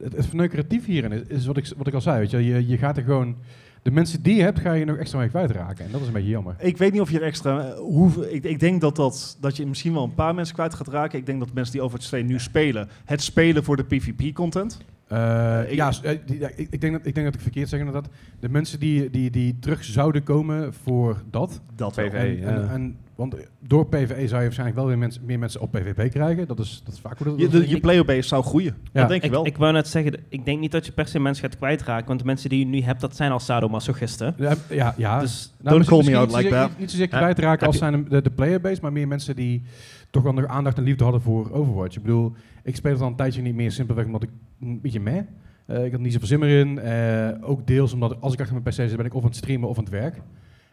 Speaker 1: het, het verneukeratief hierin is, is wat ik, wat ik al zei. Weet je, wel. je, je gaat er gewoon... De mensen die je hebt, ga je nog extra mee kwijtraken. En dat is een beetje jammer.
Speaker 2: Ik weet niet of je er extra... eh, Hoeveel, ik, ik denk dat, dat, dat je misschien wel een paar mensen kwijt gaat raken. Ik denk dat mensen die Overwatch 2 nu spelen... het spelen voor de PvP-content.
Speaker 1: Eh,
Speaker 2: Ik-
Speaker 1: ja, s- eh, die- ja, ik, ik, denk dat, ik denk dat ik verkeerd zeg inderdaad. De mensen die, die, die terug zouden komen voor dat.
Speaker 2: Dat wel.
Speaker 5: PvE.
Speaker 1: en,
Speaker 5: ja.
Speaker 1: en, en- want door PvE zou je waarschijnlijk wel weer mensen, meer mensen op PvP krijgen. Dat is, dat is vaak hoe dat
Speaker 2: Je,
Speaker 1: dat is.
Speaker 2: de, je player base zou groeien.
Speaker 1: Ja.
Speaker 2: Dat denk ik
Speaker 4: Ik,
Speaker 2: wel.
Speaker 4: ik wou net zeggen, ik denk niet dat je per se mensen gaat kwijtraken. Want de mensen die je nu hebt, dat zijn al sadomasochisten.
Speaker 1: Ja, ja, ja. Nou,
Speaker 4: Dus
Speaker 2: Don't call me
Speaker 1: misschien
Speaker 2: out
Speaker 1: niet
Speaker 2: like
Speaker 1: zozeer-
Speaker 2: that.
Speaker 1: Niet, niet zozeer
Speaker 5: Ja.
Speaker 1: kwijtraken
Speaker 5: Heb
Speaker 1: als
Speaker 5: je-
Speaker 1: zijn de, de playerbase, maar meer mensen die toch wel nog aandacht en liefde hadden voor Overwatch. Ik bedoel, ik speel het al een tijdje niet meer simpelweg omdat ik een beetje meh. Eh, ik had niet zoveel zin meer in. Eh, ook deels omdat als ik achter mijn PC zit, ben ik of aan het streamen of aan het werk.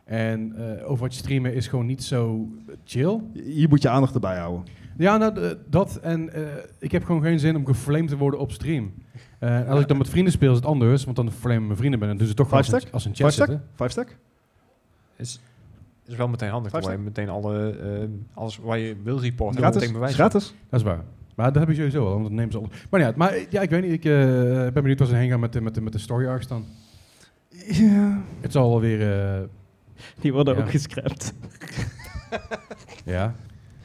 Speaker 1: En eh Overwatch streamen is gewoon niet zo chill.
Speaker 2: Hier moet je aandacht erbij houden.
Speaker 1: Ja, nou, d- dat en eh, ik heb gewoon geen zin om geflamed te worden op stream. Eh, als ik dan met vrienden speel is het anders, want dan flamen mijn vrienden ben en doen ze toch wel als
Speaker 2: Five
Speaker 1: een, als een
Speaker 2: Five
Speaker 1: chat
Speaker 2: stack?
Speaker 1: zitten.
Speaker 2: Five stack?
Speaker 5: Is, is wel meteen handig,
Speaker 2: Five
Speaker 5: waar je meteen alle, eh, alles waar je wil reporten
Speaker 2: Gratis?
Speaker 5: meteen bewijzen.
Speaker 2: Gratis?
Speaker 1: Dat is waar. Maar dat heb ik sowieso al, want dat nemen ze al. Maar ja, maar eh, ja, ik weet niet, ik eh, ben benieuwd waar ze heen gaan met, de- met, de- met de story arcs dan.
Speaker 2: Ja.
Speaker 1: Het zal alweer, eh
Speaker 4: die worden
Speaker 1: Ja.
Speaker 4: ook gescrapt.
Speaker 1: <laughs> ja.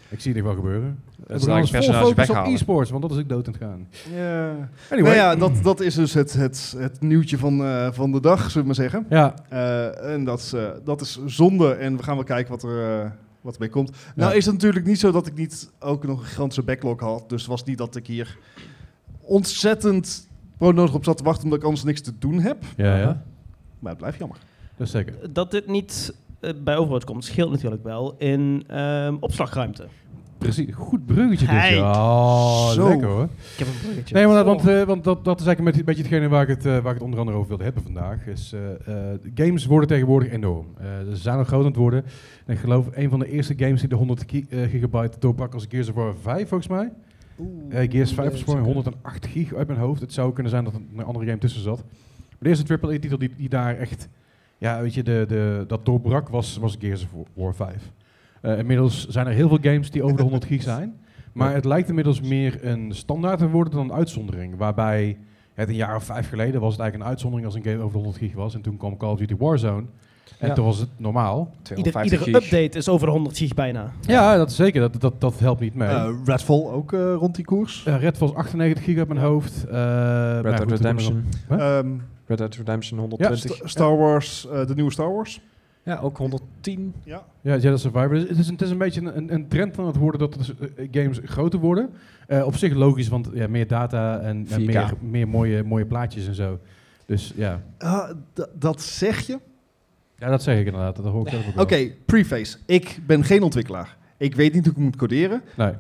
Speaker 1: Ik zie dit wel gebeuren.
Speaker 5: is
Speaker 1: we gaan
Speaker 5: eigenlijk
Speaker 1: ons vol
Speaker 5: personage
Speaker 1: focus op
Speaker 5: weghalen.
Speaker 1: e-sports, want dat is ik dood aan het gaan.
Speaker 2: Ja.
Speaker 1: Anyway.
Speaker 2: Nou ja, dat, dat is dus het, het, het nieuwtje van, eh, van de dag, zullen we maar zeggen.
Speaker 1: Ja.
Speaker 2: Eh, en dat is, eh, dat is zonde. En we gaan wel kijken wat er eh wat erbij komt. Nou is het natuurlijk niet zo dat ik niet ook nog een gigantische backlog had. Dus het was niet dat ik hier ontzettend nodig op zat te wachten, omdat ik anders niks te doen heb.
Speaker 1: Ja, ja.
Speaker 2: Maar het blijft jammer.
Speaker 1: Dat is zeker.
Speaker 4: Dat dit niet eh, bij Overwatch komt, scheelt natuurlijk wel in ehm, opslagruimte.
Speaker 1: Precies, goed bruggetje dit.
Speaker 4: Hey.
Speaker 1: Ja, Oh,
Speaker 4: Zo.
Speaker 1: lekker hoor.
Speaker 4: Ik heb een bruggetje.
Speaker 1: Nee, want, want, eh, want dat, dat is eigenlijk een beetje hetgene waar ik het, eh, waar ik het onder andere over wilde hebben vandaag. Is, eh, eh, de games worden tegenwoordig enorm. Eh, ze zijn nog groot aan het worden. En ik geloof een van de eerste games die de 100 ki- eh, gigabyte doorbrak als Gears of War 5 volgens mij. Eh, Gears 5 is gewoon 108 gig uit mijn hoofd. Het zou kunnen zijn dat er een andere game tussen zat. Maar de eerste AAA-titel die, die daar echt... Ja, weet je, de, de, dat doorbrak was, was Gears of War 5. Eh, inmiddels zijn er heel veel games die over
Speaker 2: <laughs>
Speaker 1: de 100 gig zijn. Maar het lijkt inmiddels meer een standaard te worden dan een uitzondering. Waarbij het een jaar of vijf geleden was het eigenlijk een uitzondering als een game over de 100 gig was. En toen kwam Call of Duty Warzone. En
Speaker 4: Ja.
Speaker 1: toen was het normaal.
Speaker 4: Ieder, iedere update is over de 100 gig bijna.
Speaker 1: Ja, dat is zeker. Dat, dat, dat helpt niet mee.
Speaker 2: Eh, Redfall ook eh, rond die koers.
Speaker 1: Eh, Redfall is 98 gig uit mijn hoofd. Eh, maar
Speaker 5: Dead
Speaker 1: goed, dat
Speaker 5: Redemption.
Speaker 1: is nog- Huh?
Speaker 2: Ehm,
Speaker 5: Red Dead Redemption
Speaker 1: Ja,
Speaker 5: 120.
Speaker 2: Sta- Star Wars, eh, de nieuwe Star Wars.
Speaker 5: Ja, ook 110.
Speaker 2: Ja.
Speaker 1: Ja, Jedi Survivor. Het is, het is een beetje een- een, een trend aan het worden dat dus, eh, games groter worden. Eh, op zich logisch, want ja, meer data en, en
Speaker 5: 4K.
Speaker 1: meer, meer mooie, mooie plaatjes en zo. Dus ja.
Speaker 2: Ah, d- dat zeg je.
Speaker 1: ja, dat zeg ik inderdaad. Dat hoor ik zelf ook
Speaker 2: Oké,
Speaker 1: wel.
Speaker 2: preface. Ik ben geen ontwikkelaar. Ik weet niet hoe ik moet coderen.
Speaker 1: Nee.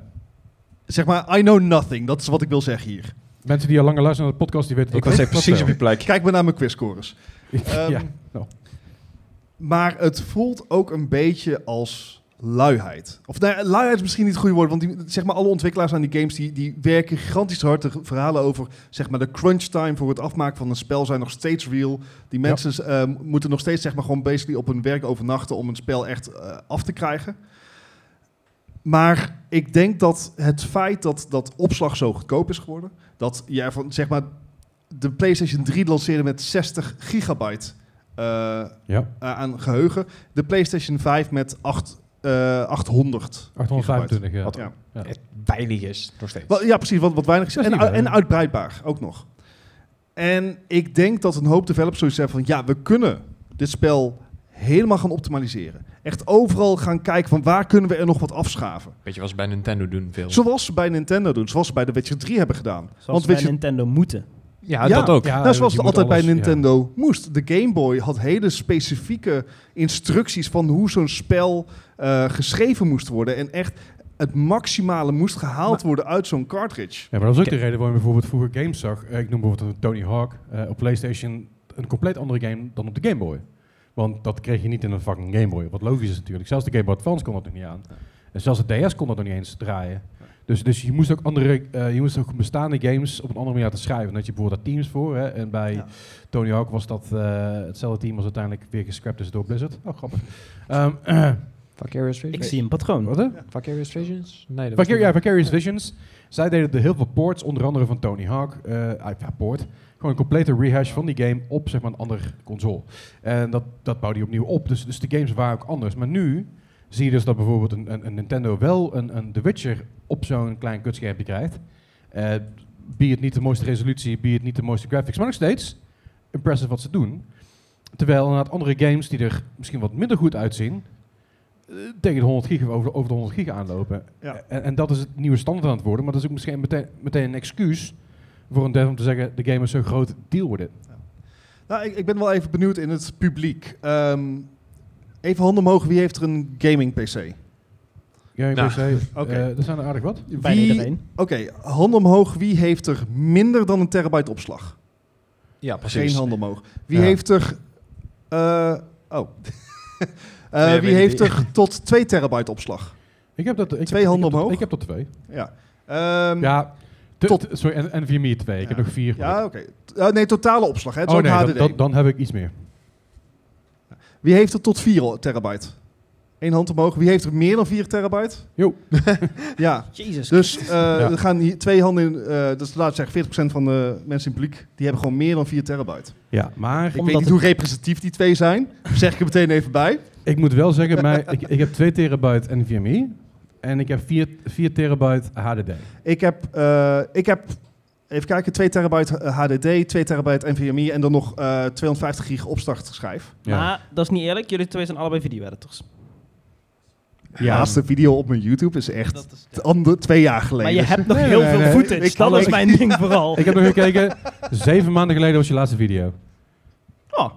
Speaker 2: Zeg maar, I know nothing. Dat is wat ik wil zeggen hier.
Speaker 1: Mensen die al langer luisteren naar de podcast, die weten dat
Speaker 5: Ik was
Speaker 1: ook.
Speaker 5: even precies op je plek.
Speaker 2: Kijk maar naar mijn quizscores. Ehm,
Speaker 1: <laughs> ja, nou.
Speaker 2: Maar het voelt ook een beetje als luiheid. Of nou, ja, luiheid is misschien niet het goede woord. Want die, zeg maar, alle ontwikkelaars aan die games die, die werken gigantisch hard. De verhalen over zeg maar, de crunch time voor het afmaken van een spel zijn nog steeds real. Die mensen eh, moeten nog steeds zeg maar, gewoon basically op hun werk overnachten om een spel echt eh, af te krijgen. Maar ik denk dat het feit dat dat opslag zo goedkoop is geworden, dat je ervan, zeg maar, de PlayStation 3 lanceerde met 60 gigabyte eh,
Speaker 1: Ja.
Speaker 2: a- aan geheugen, de PlayStation 5 met 8, eh 800.
Speaker 1: 825, ja.
Speaker 2: gigabyte.
Speaker 1: Wat-
Speaker 2: ja.
Speaker 1: Ja.
Speaker 5: Het bijlig is, nog steeds.
Speaker 2: Wel, ja, precies, wat, wat weinig is.
Speaker 1: Ja,
Speaker 2: En,
Speaker 1: prima,
Speaker 2: u- en
Speaker 1: ja.
Speaker 2: uitbreidbaar ook nog. En ik denk dat een hoop developers zoiets hebben van... ja, we kunnen dit spel helemaal gaan optimaliseren. Echt overal gaan kijken van waar kunnen we er nog wat afschaven.
Speaker 5: Weet je wat ze bij Nintendo doen veel?
Speaker 2: Zoals ze bij Nintendo doen. Zoals ze bij de Witcher 3 hebben gedaan.
Speaker 4: Zoals
Speaker 2: Witcher
Speaker 4: bij Nintendo moeten.
Speaker 5: ja, dat ook.
Speaker 1: Ja,
Speaker 2: nou, zoals
Speaker 1: je
Speaker 2: het
Speaker 1: moet
Speaker 2: altijd bij
Speaker 1: alles-
Speaker 2: Nintendo moest. De Game Boy had hele specifieke instructies van hoe zo'n spel eh, geschreven moest worden. En echt het maximale moest gehaald worden uit zo'n cartridge.
Speaker 1: Ja, maar dat is ook
Speaker 5: Oké.
Speaker 1: de reden waarom je bijvoorbeeld vroeger games zag. Eh, ik noem bijvoorbeeld een Tony Hawk eh, op PlayStation een compleet andere game dan op de Game Boy. Want dat kreeg je niet in een fucking Game Boy. Wat logisch is natuurlijk. Zelfs de Game Boy Advance kon dat nog niet aan. En zelfs de DS kon dat nog niet eens draaien. Dus, dus je moest ook andere, eh, je moest ook bestaande games op een andere manier laten schrijven. En dat je bijvoorbeeld daar teams voor. Hè, en bij
Speaker 2: Ja.
Speaker 1: Tony Hawk was dat eh, hetzelfde team was uiteindelijk weer gescrapt is door Blizzard. Oh,
Speaker 4: <laughs>
Speaker 1: grappig. Ehm <clears throat>
Speaker 5: Vicarious Visions?
Speaker 4: Ik zie een patroon.
Speaker 1: wat hè?
Speaker 5: Vicarious Visions? Nee, dat was
Speaker 1: Vicar-
Speaker 5: niet-
Speaker 1: ja, Vicarious Visions. Zij deden de heel veel ports, onder andere van Tony Hawk. eh, ah, ja, port. Gewoon een complete rehash van die game op zeg maar, een andere console. En dat, dat bouwde die opnieuw op. Dus, dus de games waren ook anders. Maar nu zie je dus dat bijvoorbeeld een, een, een Nintendo wel een, een The Witcher op zo'n klein kutschermpje krijgt. Eh be het niet de mooiste resolutie, be het niet de mooiste graphics. Maar nog steeds impressive wat ze doen. Terwijl inderdaad andere games die er misschien wat minder goed uitzien, eh, tegen de 100 gig of over, over de 100 gig aanlopen.
Speaker 2: Ja.
Speaker 1: En, en dat is het nieuwe standaard aan het worden. Maar dat is ook misschien meteen, meteen een excuus voor een dev om te zeggen, de game is zo'n groot deal worden.
Speaker 2: Nou, ik, ik ben wel even benieuwd in het publiek. Ehm, even handen omhoog, wie heeft er een gaming PC?
Speaker 1: Ja, ik
Speaker 5: Nou,
Speaker 1: wil zeggen, <laughs>
Speaker 2: <laughs> oké.
Speaker 1: eh, er zijn er aardig wat.
Speaker 4: Bijna
Speaker 2: Wie-
Speaker 4: iedereen.
Speaker 2: Oké, handen omhoog, wie heeft er minder dan een terabyte opslag?
Speaker 5: Ja, precies.
Speaker 2: Geen handen omhoog. Wie
Speaker 1: Ja.
Speaker 2: heeft er... eh, oh. <laughs> Eh,
Speaker 5: Nee,
Speaker 2: wie
Speaker 5: weet
Speaker 2: heeft
Speaker 5: niet.
Speaker 2: er tot 2 terabyte opslag?
Speaker 1: Ik heb dat, ik
Speaker 2: Twee
Speaker 1: heb-
Speaker 2: handen
Speaker 1: ik heb dat-
Speaker 2: omhoog.
Speaker 1: Ik heb tot twee.
Speaker 2: Ja. Ehm,
Speaker 1: Ja, te-
Speaker 2: Tot-
Speaker 1: te- sorry, en, en via meer twee. Ik
Speaker 2: Ja.
Speaker 1: heb nog vier.
Speaker 2: Ja, oké. T- eh, nee, totale opslag. Hè? Het is
Speaker 1: oh
Speaker 2: ook
Speaker 1: nee, dan,
Speaker 2: HDD.
Speaker 1: dan, dan heb ik iets meer.
Speaker 2: Wie heeft er tot 4 terabyte? Eén hand omhoog. Wie heeft er meer dan 4 terabyte?
Speaker 1: Jo.
Speaker 2: <laughs> ja.
Speaker 4: Jezus.
Speaker 2: Dus eh,
Speaker 1: Ja.
Speaker 2: er gaan hier twee handen in. eh dus laten we zeggen, 40% van de mensen in het publiek. die hebben gewoon meer dan 4 terabyte.
Speaker 1: Ja, maar...
Speaker 2: Ik weet niet hoe representatief die twee zijn. Zeg ik er meteen even bij.
Speaker 1: Ik moet wel zeggen, mij, ik, ik heb 2 terabyte NVMe. En ik heb 4, 4 terabyte HDD.
Speaker 2: Ik heb, eh, ik heb, even kijken, 2 terabyte eh, HDD, 2 terabyte NVMe en dan nog eh 250 gig opstartschijf.
Speaker 4: Maar dat is niet eerlijk. Jullie twee zijn allebei video-editors.
Speaker 2: Ja, laatste video op mijn YouTube is echt t- ander- twee jaar geleden.
Speaker 4: Maar je hebt nog heel veel footage.
Speaker 2: Ik-
Speaker 4: dat is
Speaker 2: ik-
Speaker 4: mijn ding vooral.
Speaker 1: Ik heb nog
Speaker 4: <laughs>
Speaker 1: gekeken. Zeven maanden geleden was je laatste video.
Speaker 2: Oh.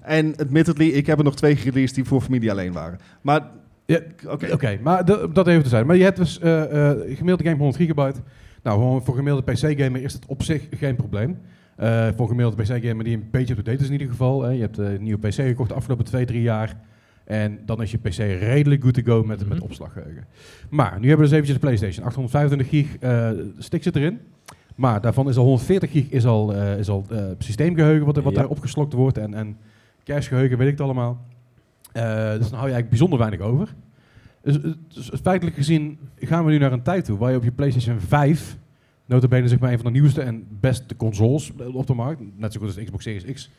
Speaker 2: En admittedly, ik heb er nog twee gereleased die voor familie alleen waren. Maar,
Speaker 1: Ja,
Speaker 2: oké.
Speaker 1: Oké, maar dat- dat even te zijn. Maar je hebt dus eh, eh, gemiddelde game 100 gigabyte. Nou, gewoon voor gemiddelde PC-gamer is dat op zich geen probleem. Eh, voor gemiddelde PC-gamer die een beetje up-to-date is in ieder geval. Hè. Je hebt eh, een nieuwe PC gekocht de afgelopen 2, 3 jaar. En dan is je PC redelijk good to go met, met opslaggeheugen. Maar nu hebben we dus eventjes de PlayStation. 825 gig eh stick zit erin. Maar daarvan is al 140 gig is al, eh, is al eh, systeemgeheugen wat, er- wat
Speaker 5: Ja.
Speaker 1: daar opgeslokt wordt. En, en cachegeheugen, weet ik het allemaal. Eh, dus dan hou je eigenlijk bijzonder weinig over. Dus, eh, dus feitelijk gezien gaan we nu naar een tijd toe waar je op je PlayStation 5, notabene zeg maar een van de nieuwste en beste consoles eh, op de markt, net zo goed als de Xbox Series X,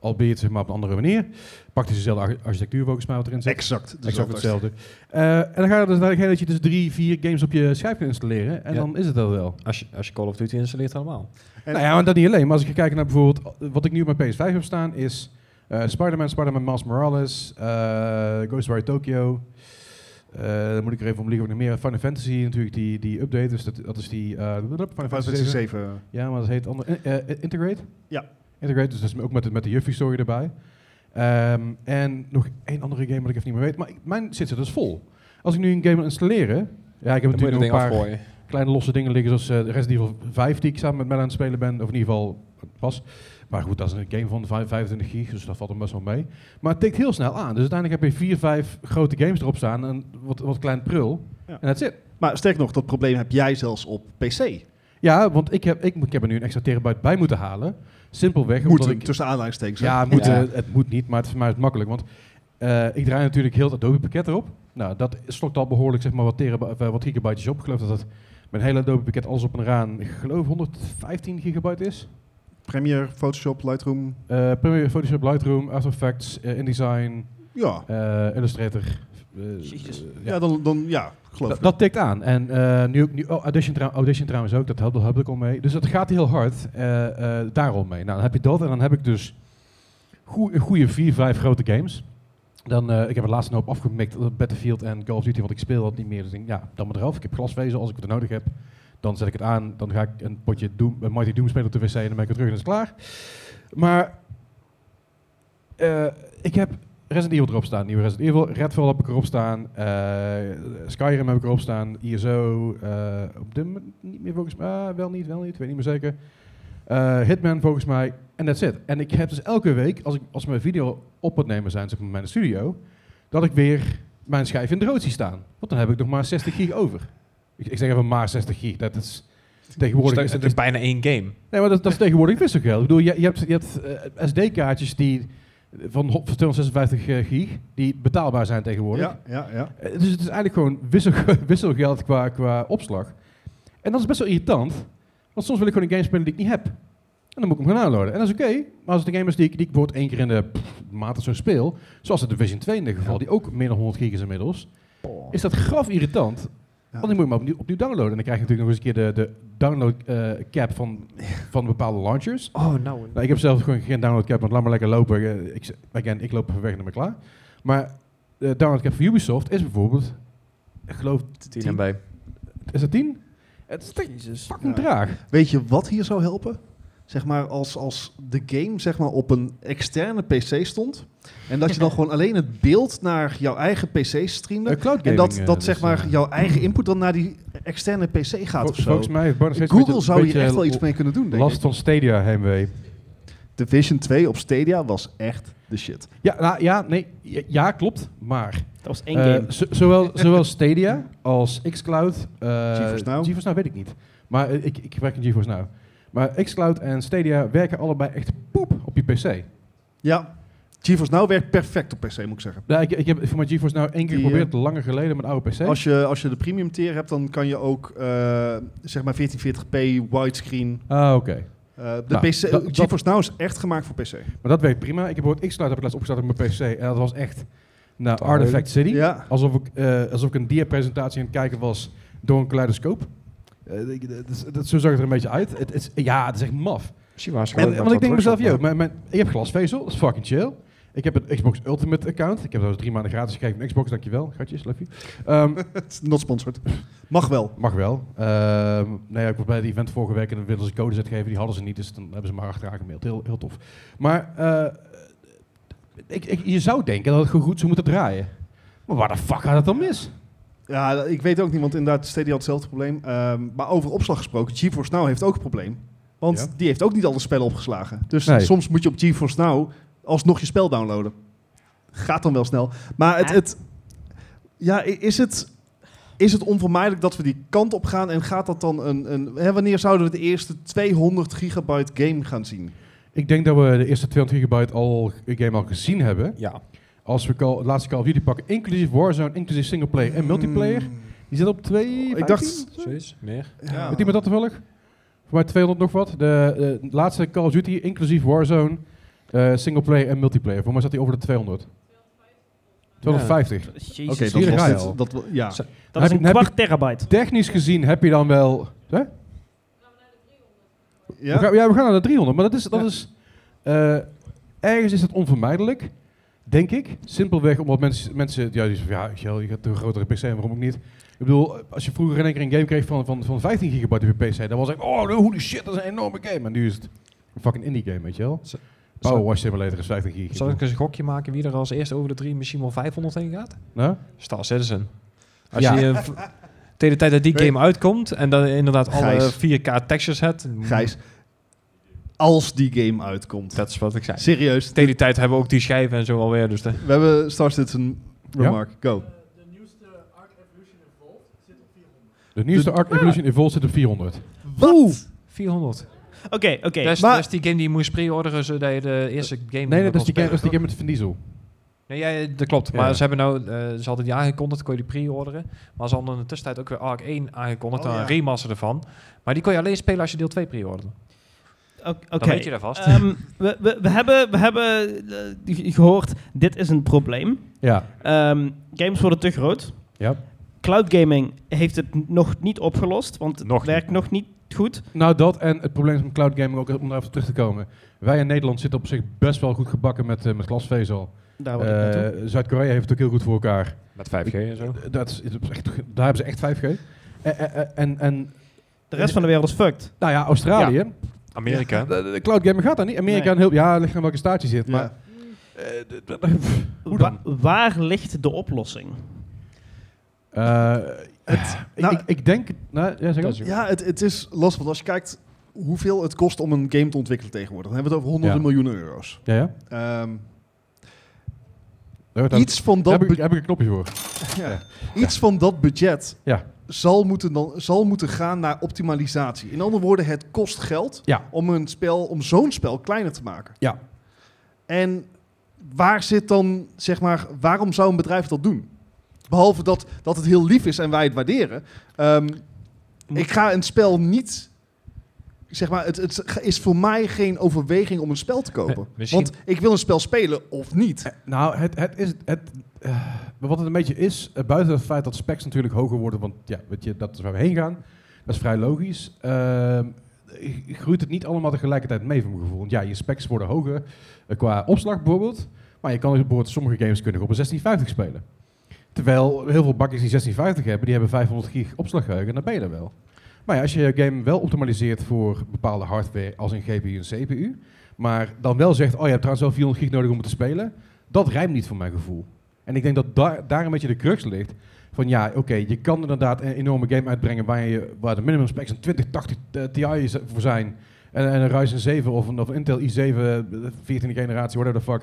Speaker 1: albeit zeg maar op een andere manier, praktisch dezelfde arch- architectuur volgens mij wat erin zit.
Speaker 2: Exact, dezelfde
Speaker 1: exact hetzelfde. Eh, en dan ga je dus naar degene dat je dus drie, vier games op je schijf kunt installeren en
Speaker 5: Ja.
Speaker 1: dan is het dat wel.
Speaker 5: Als je, als je Call of Duty installeert, allemaal.
Speaker 1: nou ja, maar dat niet alleen. Maar als ik kijk naar bijvoorbeeld eh, wat ik nu op mijn PS5 heb staan, is eh, Spider-Man, Spider-Man Miles Morales, eh Ghostwire Tokyo. Eh, dan moet ik er even om liggen of nog meer. Final Fantasy natuurlijk, die, die update. Dus dat, dat is die... eh Final
Speaker 2: Fantasy 7.
Speaker 1: Ja, maar dat heet ander, eh, eh, Integrate?
Speaker 2: Ja.
Speaker 1: Integrate, dus dat is ook met, de- met de Juffy story erbij. Ehm, en nog één andere game wat ik even niet meer weet. Maar ik- mijn zit er dus vol. Als ik nu een game wil installeren... Ja, ik heb
Speaker 5: Dan moet je
Speaker 1: natuurlijk nog een
Speaker 5: dat
Speaker 1: paar
Speaker 5: ding afgooien.
Speaker 1: kleine losse dingen liggen, zoals eh, Resident Evil 5 die ik samen met Mel aan het spelen ben, of in ieder geval pas. Maar goed, dat is een game van vijf- 25 gig, dus dat valt hem best wel mee. Maar het tikt heel snel aan. Dus uiteindelijk heb je vier, vijf grote games erop staan en wat, wat klein prul. En dat zit.
Speaker 2: Maar sterk nog, dat probleem heb jij zelfs op PC.
Speaker 1: Ja, want ik heb, ik, moet- ik heb er nu een extra terabyte bij moeten halen. Simpelweg omdat
Speaker 2: Moeten,
Speaker 1: ik...
Speaker 2: tussen aanhalingstekens, hè?
Speaker 1: Ja, moeten,
Speaker 2: Ja.
Speaker 1: het moet niet, maar het is voor mij het makkelijk. Want eh, ik draai natuurlijk heel het Adobe pakket erop. Nou, dat slokt al behoorlijk zeg maar, wat, terabyte, of, eh, wat gigabytes op. Ik geloof dat het, mijn hele Adobe pakket alles op een raan, ik geloof 115 gigabyte is.
Speaker 2: Premiere, Photoshop, Lightroom.
Speaker 1: Eh, Premiere, Photoshop, Lightroom, After Effects, eh, InDesign,
Speaker 2: Ja.
Speaker 1: eh, Illustrator. eh, eh,
Speaker 2: Ja, dan, dan ja, geloof
Speaker 1: dat,
Speaker 2: ik.
Speaker 1: dat tikt aan. En eh, nu, ook- nu oh, audition, trou- audition trouwens ook, dat helpt daar heb ik al mee. Dus dat gaat heel hard eh, eh, daarom mee. Nou, dan heb je dat en dan heb ik dus goe- een goede vier, vijf grote games. Dan, eh, ik heb het laatste hoop afgemikt, eh, Battlefield en Call of Duty, want ik speel dat niet meer. Dus ik denk, ja, dan maar eraf. Ik heb glasvezel, als ik het er nodig heb, dan zet ik het aan. Dan ga ik een potje Doom, een Mighty Doom spelen op de wc en dan ben ik weer terug en dan is het klaar. Maar eh, ik heb Resident Evil erop staan, nieuwe Resident Evil. Redfall heb ik erop staan. eh, Skyrim heb ik erop staan. ISO. eh, op dit moment niet meer volgens mij. Ah, wel niet, wel niet. Ik weet niet meer zeker. Eh, Hitman volgens mij. En that's it. En ik heb dus elke week, als, ik, als mijn video op het nemen zijn, zeg maar in mijn studio, dat ik weer mijn schijf in de rood zie staan. Want dan heb ik nog maar 60 gig over. Ik, ik zeg even maar 60 gig. Dat is tegenwoordig...
Speaker 5: Stel-
Speaker 1: is
Speaker 5: het is bijna één game.
Speaker 1: Nee, maar dat, dat is tegenwoordig best ook geld. Ik bedoel, je, je hebt, je hebt eh, SD-kaartjes die eh, van ho- van 256 eh, gig, die betaalbaar zijn tegenwoordig.
Speaker 2: Ja, ja, ja.
Speaker 1: Eh, Dus het is eigenlijk gewoon wissel, <laughs> wisselgeld qua, qua opslag. En dat is best wel irritant, want soms wil ik gewoon een game spelen die ik niet heb. En dan moet ik hem gaan downloaden. En dat is oké, maar als het een game is die ik, die ik bijvoorbeeld één keer in de pff, maand of zo speel, zoals de Division 2 in dit geval, die ook meer dan 100 gig is inmiddels,
Speaker 5: Oh.
Speaker 1: is dat graf irritant. Want die moet je maar opnieuw, opnieuw downloaden. En dan krijg je natuurlijk nog eens een keer de, de download eh, cap van, van bepaalde launchers.
Speaker 5: Oh, nou.
Speaker 1: Nou, ik heb zelf gewoon geen download cap, want laat maar lekker lopen. Eh, Ik, z- again, ik loop weg en dan ben ik klaar. Maar de download cap van Ubisoft is bijvoorbeeld, ik geloof... 10
Speaker 5: MB.
Speaker 1: Is dat 10? Het is te- fucking
Speaker 2: Ja.
Speaker 1: traag.
Speaker 2: Weet je wat hier zou helpen? Zeg maar als, als de game zeg maar, op een externe PC stond. En dat
Speaker 1: <laughs>
Speaker 2: je dan gewoon alleen het beeld naar jouw eigen PC streamde.
Speaker 1: Eh, cloud
Speaker 2: en dat,
Speaker 1: gaming, eh,
Speaker 2: dat
Speaker 1: dus,
Speaker 2: zeg maar
Speaker 1: eh.
Speaker 2: jouw
Speaker 1: <clears throat>
Speaker 2: eigen input dan naar die externe PC gaat.
Speaker 1: Vol-
Speaker 2: of zo.
Speaker 1: volgens mij heeft Barnes steeds een
Speaker 2: Google
Speaker 1: beetje-
Speaker 2: zou
Speaker 1: beetje
Speaker 2: hier echt wel iets
Speaker 1: l-
Speaker 2: mee kunnen doen. Denk
Speaker 1: last
Speaker 2: ik.
Speaker 1: van Stadia heimwee.
Speaker 2: Division 2 op Stadia was echt de shit.
Speaker 1: Ja, nou, ja, nee, ja, ja, klopt, maar... Dat
Speaker 4: was één game.
Speaker 1: zowel, <laughs> zowel Stadia als Xcloud... eh
Speaker 2: GeForce Now?
Speaker 1: GeForce Now weet ik niet. Maar eh, ik, ik werk in GeForce Now. Maar Xcloud en Stadia werken allebei echt poep op je PC.
Speaker 2: Ja, GeForce Now werkt nou perfect op PC, moet ik zeggen.
Speaker 1: Ja, ik, ik heb voor mijn GeForce Now één keer
Speaker 2: Die, eh,
Speaker 1: geprobeerd, langer geleden, met een oude PC.
Speaker 2: Als je, als je de premium tier hebt, dan kan je ook eh, zeg maar 1440p widescreen.
Speaker 1: Ah, oké.
Speaker 2: Eh, de
Speaker 1: Nou,
Speaker 2: PC,
Speaker 1: dat-
Speaker 2: GeForce Now is echt gemaakt voor PC.
Speaker 1: Maar dat werkt prima. Ik heb ooit Xcloud heb ik laatst opgestart op mijn PC. En dat was echt... naar
Speaker 2: Te
Speaker 1: Artifact
Speaker 2: huilen.
Speaker 1: City.
Speaker 2: Ja.
Speaker 1: Alsof, ik, eh, alsof ik een dia-presentatie aan het kijken was door een kaleidoscoop. Eh, ik- dat, is- dat, zo zag het er een beetje uit. Het, is, ja, het is echt maf.
Speaker 5: Misschien waren ze
Speaker 1: En,
Speaker 5: gewoon
Speaker 1: want ik
Speaker 5: met
Speaker 1: denk
Speaker 5: wat
Speaker 1: mezelf,
Speaker 5: drugs
Speaker 1: joh,
Speaker 5: op,
Speaker 1: mijn, mijn, ik heb glasvezel, dat is fucking chill. Ik heb een Xbox Ultimate account. Ik heb dat drie maanden gratis gekregen van Xbox, dankjewel. Gatjes, love you. Ehm,
Speaker 2: <laughs> Not sponsored. Mag wel.
Speaker 1: Mag wel. Ehm nee, ik was bij het event vorige week en dan wilden ze codes uitgeven. Die hadden ze niet, dus dan hebben ze maar achteraan gemaild. Heel, heel tof. Maar eh, ik, ik, je zou denken dat het gewoon goed zou moeten draaien. Maar waar de fuck gaat het dan mis?
Speaker 2: Ja, ik weet ook niet, want inderdaad, Stadia had hetzelfde probleem. Ehm, maar over opslag gesproken, GeForce Now heeft ook een probleem. Want
Speaker 1: Ja.
Speaker 2: die heeft ook niet alle spellen opgeslagen. Dus
Speaker 1: Nee.
Speaker 2: soms moet je op GeForce Now alsnog je spel downloaden. Gaat dan wel snel. Maar het, het, ja, i- is, het, is het onvermijdelijk dat we die kant op gaan? En gaat dat dan een... een hè, wanneer zouden we de eerste 200 gigabyte game gaan zien?
Speaker 1: Ik denk dat we de eerste 200 gigabyte al game al gezien hebben.
Speaker 5: Ja.
Speaker 1: Als we call, het laatste Call of Duty pakken, inclusief Warzone, inclusief singleplayer en multiplayer. Die zit op 2...
Speaker 2: Ik dacht...
Speaker 5: Oh, Zoiets, meer.
Speaker 1: Weet iemand dat toevallig? Voor mij 200 nog wat. De, eh, laatste Call of Duty, inclusief Warzone, eh singleplayer en multiplayer. Voor mij zat hij over de 200. 250.
Speaker 4: Ja.
Speaker 1: Oké, dat
Speaker 4: Jezus, dat
Speaker 1: is
Speaker 4: was
Speaker 1: raar.
Speaker 4: het. Dat wa-
Speaker 2: ja.
Speaker 4: Dat is
Speaker 1: Dan heb
Speaker 4: een
Speaker 1: je- dan heb
Speaker 4: kwart
Speaker 1: je-
Speaker 4: terabyte.
Speaker 1: Technisch gezien heb je dan wel... Hè?
Speaker 2: Ja?
Speaker 1: We gaan, ja, we gaan naar de 300. Maar dat is... Dat is eh, ergens is dat onvermijdelijk. Denk ik. Simpelweg omdat mensen... mensen ja, die zeggen, ja, weet je wel, je gaat een grotere PC, waarom ook niet? Ik bedoel, als je vroeger in één keer een game kreeg van, van, van 15 gigabyte op je PC, dan was ik, oh, holy shit, dat is een enorme game. En nu is het een fucking indie game, weet je wel? Power Wash Simulator is 15 gigabyte.
Speaker 5: Zal ik eens een gokje maken wie er als eerste over de drie misschien wel 500 heen gaat?
Speaker 1: Nou?
Speaker 5: Star Citizen. Als
Speaker 1: Ja.
Speaker 5: je eh, v- tegen de tijd dat die
Speaker 2: Weet-
Speaker 5: game uitkomt en dan inderdaad alle
Speaker 2: Gijs.
Speaker 5: 4K textures hebt.
Speaker 2: Gijs, als die game uitkomt.
Speaker 5: Dat is wat ik zei.
Speaker 2: Serieus.
Speaker 5: Tegen die tijd hebben we ook die schijven en zo alweer. Dus de,
Speaker 2: We hebben Star Citizen
Speaker 5: Ja?
Speaker 2: remark. Go.
Speaker 1: De nieuwste Arc Evolution Evolved zit op 400.
Speaker 2: Wat?
Speaker 5: 400.
Speaker 4: Oké, oké.
Speaker 5: Dat, is,
Speaker 4: Maar-
Speaker 5: dat is Dus- die game die je moest pre-orderen zodat je de eerste game...
Speaker 1: Nee, nee,
Speaker 5: kon
Speaker 1: dat is die game,
Speaker 5: spelen.
Speaker 1: dat is die game met Vin Diesel.
Speaker 5: Nee, ja, ja, dat klopt.
Speaker 1: Ja.
Speaker 5: Maar ze hebben nou, eh, ze hadden die aangekondigd, kon je die pre-orderen. Maar ze hadden in de tussentijd ook weer Arc 1 aangekondigd,
Speaker 4: Oh,
Speaker 5: een
Speaker 4: ja.
Speaker 5: remaster ervan. Maar die kon je alleen spelen als je deel 2 pre-orderde.
Speaker 4: Oké.
Speaker 5: Dan weet je dat vast.
Speaker 4: Ehm, we, we, we hebben, we hebben eh, ge- gehoord, dit is een probleem.
Speaker 1: Ja.
Speaker 4: Ehm, games worden te groot.
Speaker 1: Ja.
Speaker 4: Cloud gaming heeft het n- nog niet opgelost, want het werkt nog niet goed.
Speaker 1: Nou, dat en het probleem is met cloud gaming ook, om daar even terug te komen. Wij in Nederland zitten op zich best wel goed gebakken met, eh met glasvezel.
Speaker 4: Daar word ik
Speaker 1: Eh,
Speaker 4: naartoe.
Speaker 1: Zuid-Korea heeft het ook heel goed voor elkaar.
Speaker 5: Met 5G en zo.
Speaker 1: Dat is, dat is echt, daar hebben ze echt 5G. Eh, eh, eh, en, en,
Speaker 4: De rest van de wereld is fucked.
Speaker 1: Nou ja, Australië.
Speaker 4: Ja.
Speaker 5: Amerika.
Speaker 1: Ja, de, de cloud gaming gaat daar niet. Amerika
Speaker 4: Nee.
Speaker 1: en heel... Ja, ligt aan welke staat je zit. Maar Eh,
Speaker 4: Wa- waar ligt de oplossing?
Speaker 1: eh, ik,
Speaker 2: nou-
Speaker 1: ik, ik denk... Nou, ja, zeg maar.
Speaker 2: Ja, het, het is lastig. Want als je kijkt hoeveel het kost om een game te ontwikkelen tegenwoordig, dan hebben we het over honderden
Speaker 1: Ja.
Speaker 2: miljoenen euro's.
Speaker 1: Ja, ja.
Speaker 2: Ehm,
Speaker 1: Daar- daar-
Speaker 2: iets van dat
Speaker 1: daar heb, ik,
Speaker 2: bu-
Speaker 1: daar heb ik een knopje voor.
Speaker 2: ja. Iets van dat budget
Speaker 1: Ja.
Speaker 2: zal, moeten dan, zal moeten gaan naar optimalisatie. In andere woorden, het kost geld
Speaker 1: Ja.
Speaker 2: om, een spel, om zo'n spel kleiner te maken.
Speaker 1: Ja.
Speaker 2: En waar zit dan, zeg maar, waarom zou een bedrijf dat doen? Behalve dat, dat het heel lief is en wij het waarderen. Ehm, ik ga een spel niet. Zeg maar, het, het is voor mij geen overweging om een spel te <laughs> kopen.
Speaker 1: Eh, misschien-
Speaker 2: Want ik wil een spel spelen of niet.
Speaker 1: Nou, het, het is... Het, eh, maar wat het een beetje is, eh, buiten het feit dat specs natuurlijk hoger worden, want ja, weet je, dat is waar we heen gaan. Dat is vrij logisch. Ehm, g- groeit het niet allemaal tegelijkertijd mee, van mijn gevoel. Want ja, je specs worden hoger eh, qua opslag bijvoorbeeld. Maar je kan dus bijvoorbeeld sommige games kunnen op een 1650 spelen. Terwijl heel veel bakjes die 1650 hebben, die hebben 500 gig opslaggeheugen en dan ben je er wel. Maar ja, als je je game wel optimaliseert voor bepaalde hardware als een GPU en CPU, maar dan wel zegt, oh je hebt trouwens wel 400 gig nodig om het te spelen, dat rijmt niet voor mijn gevoel. En ik denk dat daar, daar een beetje de crux ligt. Van ja, oké, je kan inderdaad een enorme game uitbrengen waar, je, waar de minimum specs een 2080 Ti is- voor zijn. En, en een Ryzen 7 of een, of een Intel i7, eh, 14e generatie, whatever the fuck.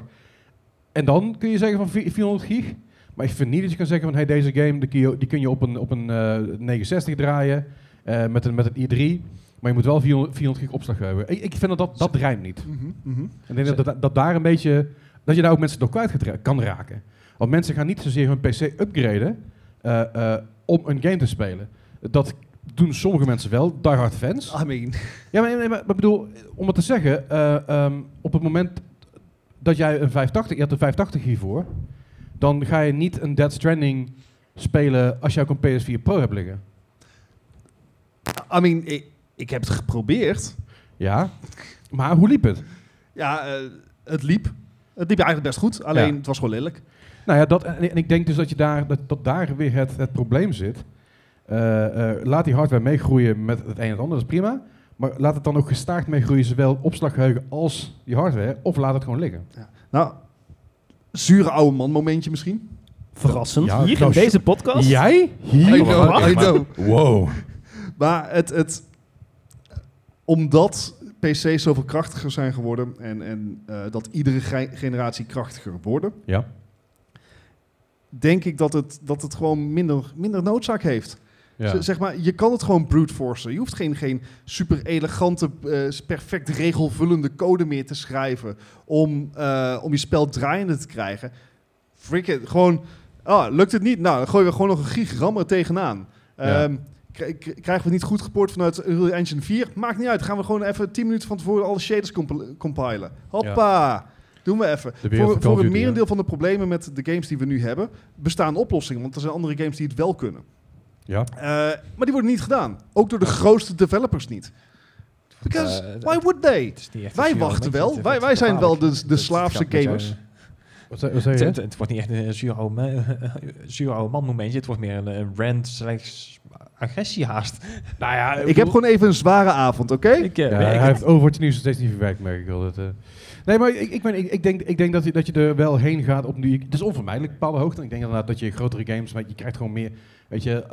Speaker 1: En dan kun je zeggen van vi- 400 gig. Maar ik vind niet dat je kan zeggen van hey, deze game die kun je, die kun je op een, op een eh, 69 draaien eh, met, een, met een i3. Maar je moet wel 400, 400 gig opslag hebben. Ik, ik vind dat dat, dat rijmt niet.
Speaker 2: Mhm, mhm.
Speaker 1: Ik denk dat, dat, dat daar een beetje, dat je daar ook mensen door kwijt gaat ra- kan raken. Want mensen gaan niet zozeer hun PC upgraden eh, eh, om een game te spelen. Dat doen sommige mensen wel, diehard fans.
Speaker 2: I mean.
Speaker 1: Ja, maar, maar, maar ik bedoel, om het te zeggen, eh, ehm, op het moment dat jij een 580, je had een 580 hiervoor, dan ga je niet een Dead Stranding spelen als je ook een PS4 Pro hebt liggen.
Speaker 2: I mean, Eh, ik, ik heb het geprobeerd.
Speaker 1: Ja, maar hoe liep het?
Speaker 2: Ja, eh, het liep. Het liep eigenlijk best goed, alleen
Speaker 1: Ja.
Speaker 2: het was gewoon lelijk.
Speaker 1: Nou ja, dat, en en ik denk dus dat, je daar, dat, dat daar weer het, het probleem zit. Eh, eh, laat die hardware meegroeien met het een en het ander, dat is prima. Maar laat het dan ook gestaag meegroeien, zowel opslaggeheugen als die hardware. Of laat het gewoon liggen.
Speaker 2: Nou, zure oude man momentje misschien.
Speaker 4: Verrassend.
Speaker 1: Ja, Hier in nou, deze
Speaker 4: podcast?
Speaker 1: jij? Hier?
Speaker 2: I know, I
Speaker 1: Maar-
Speaker 2: know.
Speaker 1: Wow.
Speaker 2: <laughs> Maar het, het, omdat PC's zoveel krachtiger zijn geworden en, en eh, dat iedere ge- generatie krachtiger worden,
Speaker 1: Ja.
Speaker 2: denk ik dat het, dat het gewoon minder, minder noodzaak heeft.
Speaker 1: Ja.
Speaker 2: Z- Zeg maar, je kan het gewoon brute forcen. Je hoeft geen, geen super elegante, eh, perfect regelvullende code meer te schrijven om, eh, om je spel draaiende te krijgen. Frick it, gewoon, ah, lukt het niet? Nou, dan gooien we gewoon nog een gig RAM er tegenaan.
Speaker 1: Ja.
Speaker 2: Ehm, kri- kri- krijgen we het niet goed gepoord vanuit Unreal Engine 4? Maakt niet uit. Gaan we gewoon even 10 minuten van tevoren alle shaders comp- compilen. Hoppa! Doen we even.
Speaker 1: De wereld van
Speaker 2: Voor,
Speaker 1: Call of
Speaker 2: voor het
Speaker 1: Duty,
Speaker 2: merendeel van de problemen met de games die we nu hebben, bestaan oplossingen. Want er zijn andere games die het wel kunnen.
Speaker 1: Ja.
Speaker 2: Eh, maar die worden niet gedaan. Ook door de grootste developers niet. Because
Speaker 5: Eh,
Speaker 2: why would they?
Speaker 5: niet echt
Speaker 2: Wij
Speaker 5: een
Speaker 2: wachten
Speaker 5: zure
Speaker 2: wel.
Speaker 5: oude man.
Speaker 2: Wij,
Speaker 5: Het-
Speaker 2: wij
Speaker 5: het-
Speaker 2: zijn
Speaker 5: het-
Speaker 2: wel de,
Speaker 5: het-
Speaker 2: de
Speaker 5: het-
Speaker 2: slaafse
Speaker 5: het gaat met
Speaker 2: gamers.
Speaker 5: jou.
Speaker 1: Wat zei- wat zei je?
Speaker 5: Het, het- het wordt niet echt een zuur oude, man- een zuur oude man momentje. Het wordt meer een, een rant slechts agressie haast.
Speaker 1: Nou ja,
Speaker 2: Ik heb gewoon even een zware avond, oké?
Speaker 5: Ik, eh,
Speaker 1: Ja,
Speaker 5: weet ik
Speaker 1: hij
Speaker 5: het.
Speaker 1: heeft Overwatch nieuws nog steeds niet verwerkt, merk ik al. Dat, eh. Nee, maar ik, ik, ben, ik, ik denk, ik denk dat, je, dat je er wel heen gaat op nu. Het is onvermijdelijk, op bepaalde hoogte. Ik denk inderdaad dat je grotere games, maar je krijgt gewoon meer. Weet je,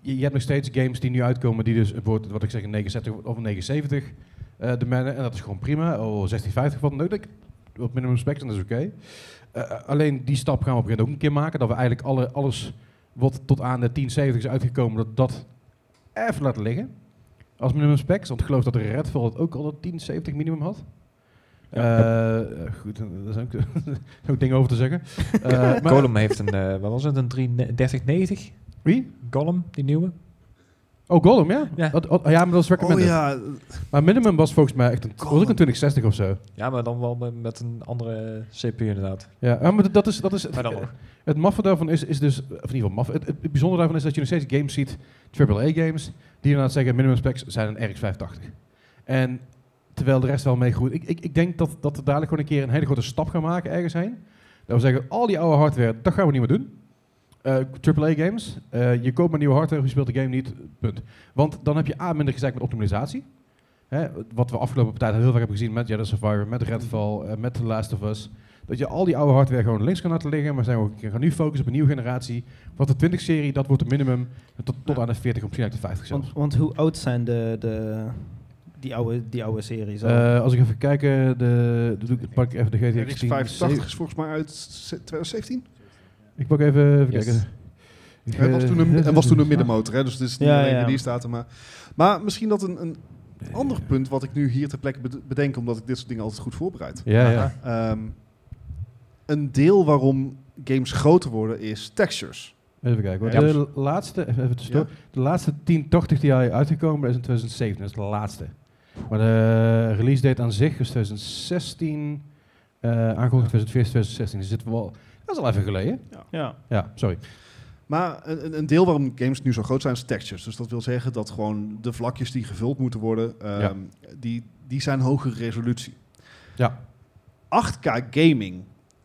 Speaker 1: je, je hebt nog steeds games die nu uitkomen, die dus bijvoorbeeld, wat ik zeg, een 69 of een 79 eh de mannen. En dat is gewoon prima. Oh, 1650 wat dan ook. Dat- Op minimum specs, en dat is oké. Eh, alleen die stap gaan we op een gegeven moment ook een keer maken. Dat we eigenlijk alle, alles wat tot aan de 1070 is uitgekomen, dat dat even laten liggen. Als minimum specs. Want ik geloof dat de Red Bull het ook al dat 1070 minimum had. Eh, eh, goed, eh, daar zijn ook, <laughs> ook dingen over te
Speaker 5: <laughs>
Speaker 1: zeggen. Eh, maar-
Speaker 5: Golem heeft een, eh, wat was het, een 3 3090?
Speaker 1: Wie?
Speaker 5: Golem, die nieuwe.
Speaker 1: Oh, Golem, ja?
Speaker 5: Ja.
Speaker 1: Dat- oh, ja, maar dat is recommended.
Speaker 2: Oh ja,
Speaker 1: Maar minimum was volgens mij echt een, was ook een 2060 of zo.
Speaker 5: Ja, maar dan wel met- met een andere eh, CPU inderdaad.
Speaker 1: Ja, eh, maar dat- dat is, dat is
Speaker 5: Maar dan
Speaker 1: het,
Speaker 5: nog.
Speaker 1: het maffe daarvan is, is dus, of in ieder geval maffe, het, het bijzondere daarvan is dat je nog steeds games ziet, AAA games, die inderdaad zeggen minimum specs zijn een RX 580. En terwijl de rest wel meegroeit. Ik, ik, ik denk dat, dat we dadelijk gewoon een keer een hele grote stap gaan maken ergens heen. Dat we zeggen, al die oude hardware, dat gaan we niet meer doen. Eh, AAA games, eh, je koopt maar nieuwe hardware, je speelt de game niet, punt. Want dan heb je A, minder gezeik met optimalisatie. Hè, wat we afgelopen tijd heel vaak hebben gezien met Jedi Survivor, met Redfall, eh, met The Last of Us. Dat je al die oude hardware gewoon links kan laten liggen. Maar zijn we ook, we gaan nu focussen op een nieuwe generatie. Want de 20-serie, dat wordt het minimum tot, tot aan de 40 of misschien uit de 50 zelfs.
Speaker 4: Want, want hoe oud zijn de, de, die, oude, die oude series? al?
Speaker 1: Eh, als ik even kijk, eh, de, dan doe ik, pak ik even de GTX
Speaker 2: RX 580
Speaker 1: 1070.
Speaker 2: is volgens mij uit z- 2017.
Speaker 1: Ik pak even, even
Speaker 5: Yes.
Speaker 1: kijken. Eh,
Speaker 2: En het was toen een, het was toen een middenmotor, hè? dus het is niet
Speaker 4: Ja,
Speaker 2: alleen
Speaker 4: ja.
Speaker 2: meer die staat er maar. Maar misschien dat een, een ander punt wat ik nu hier ter plekke bed- bedenk, omdat ik dit soort dingen altijd goed voorbereid.
Speaker 1: Ja, ja.
Speaker 2: Ehm, een deel waarom games groter worden is textures.
Speaker 1: Even kijken. hoor.
Speaker 2: Ja.
Speaker 1: De laatste, even tussendoor. De laatste 1080 die hij uitgekomen is in 2017. Dat is de laatste. Maar de release date aan zich is 2016. eh aangekondigd 2014, 2016. Dus zitten we wel... Dat is al even geleden.
Speaker 4: ja.
Speaker 1: Ja, sorry.
Speaker 2: Maar een, een- een deel waarom games nu zo groot zijn is textures. Dus dat wil zeggen dat gewoon de vlakjes die gevuld moeten worden, ehm,
Speaker 1: Ja.
Speaker 2: die, die zijn hogere resolutie.
Speaker 1: Ja.
Speaker 2: 8K gaming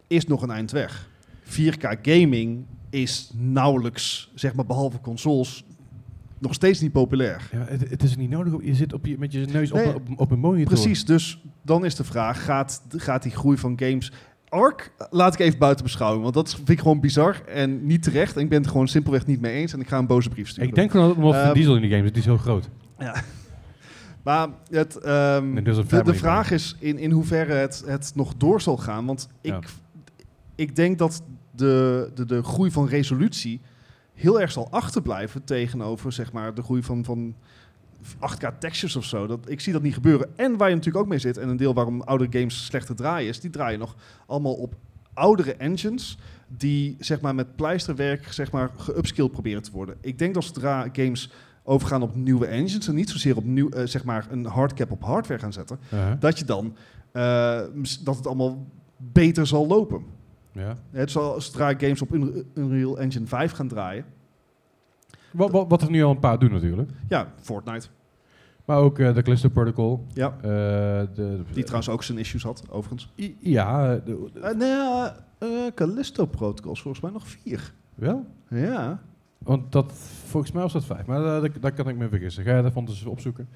Speaker 2: is nog een eind weg. 4K gaming is nauwelijks, zeg maar behalve consoles, nog steeds niet populair.
Speaker 1: Ja, maar het, het is niet nodig. om- Je zit op je, met je neus op,
Speaker 2: Nee,
Speaker 1: een- op, een- op een monitor.
Speaker 2: Precies, dus dan is de vraag, gaat, gaat die groei van games... Ark laat ik even buiten beschouwing, want dat is- vind ik gewoon bizar en niet terecht. En ik ben het gewoon simpelweg niet mee eens en ik ga een boze brief sturen.
Speaker 1: Ik denk gewoon dat het omdat Vin
Speaker 2: Ehm,
Speaker 1: Diesel in de game zit. Die is heel groot.
Speaker 2: <laughs> Ja. Maar het, ehm,
Speaker 1: Nee, dus een
Speaker 2: de, de
Speaker 1: family
Speaker 2: vraag is in, in hoeverre het, het nog door zal gaan. Want ik,
Speaker 1: Ja.
Speaker 2: ik denk dat de, de, de groei van resolutie heel erg zal achterblijven tegenover zeg maar, de groei van, van 8K textures of zo. Dat, ik zie dat niet gebeuren. En waar je natuurlijk ook mee zit, en een deel waarom oude games slecht te draaien is, die draaien nog allemaal op oudere engines die zeg maar, met pleisterwerk zeg maar, geupskilled proberen te worden. Ik denk dat zodra games overgaan op nieuwe engines en niet zozeer op nieuw, eh, zeg maar een hardcap op hardware gaan zetten,
Speaker 1: Uh-huh.
Speaker 2: dat je dan eh, mis- dat het allemaal beter zal lopen.
Speaker 1: Ja.
Speaker 2: Het zal zodra games op Unre- Unreal Engine 5 gaan draaien.
Speaker 1: Wat, wat, wat er nu al een paar doen natuurlijk.
Speaker 2: Ja, Fortnite.
Speaker 1: Maar ook eh, de Cluster Protocol.
Speaker 2: Ja.
Speaker 1: Eh, de,
Speaker 2: Die trouwens ook zijn issues had, overigens.
Speaker 1: I- ja, eh, de-
Speaker 2: Eh, nee, eh, eh, Callisto Protocols, volgens mij nog vier.
Speaker 1: wel?
Speaker 2: Ja.
Speaker 1: Want dat, volgens mij was dat vijf, maar eh, dat, daar kan ik me vergissen. Ga je daarvan dus opzoeken.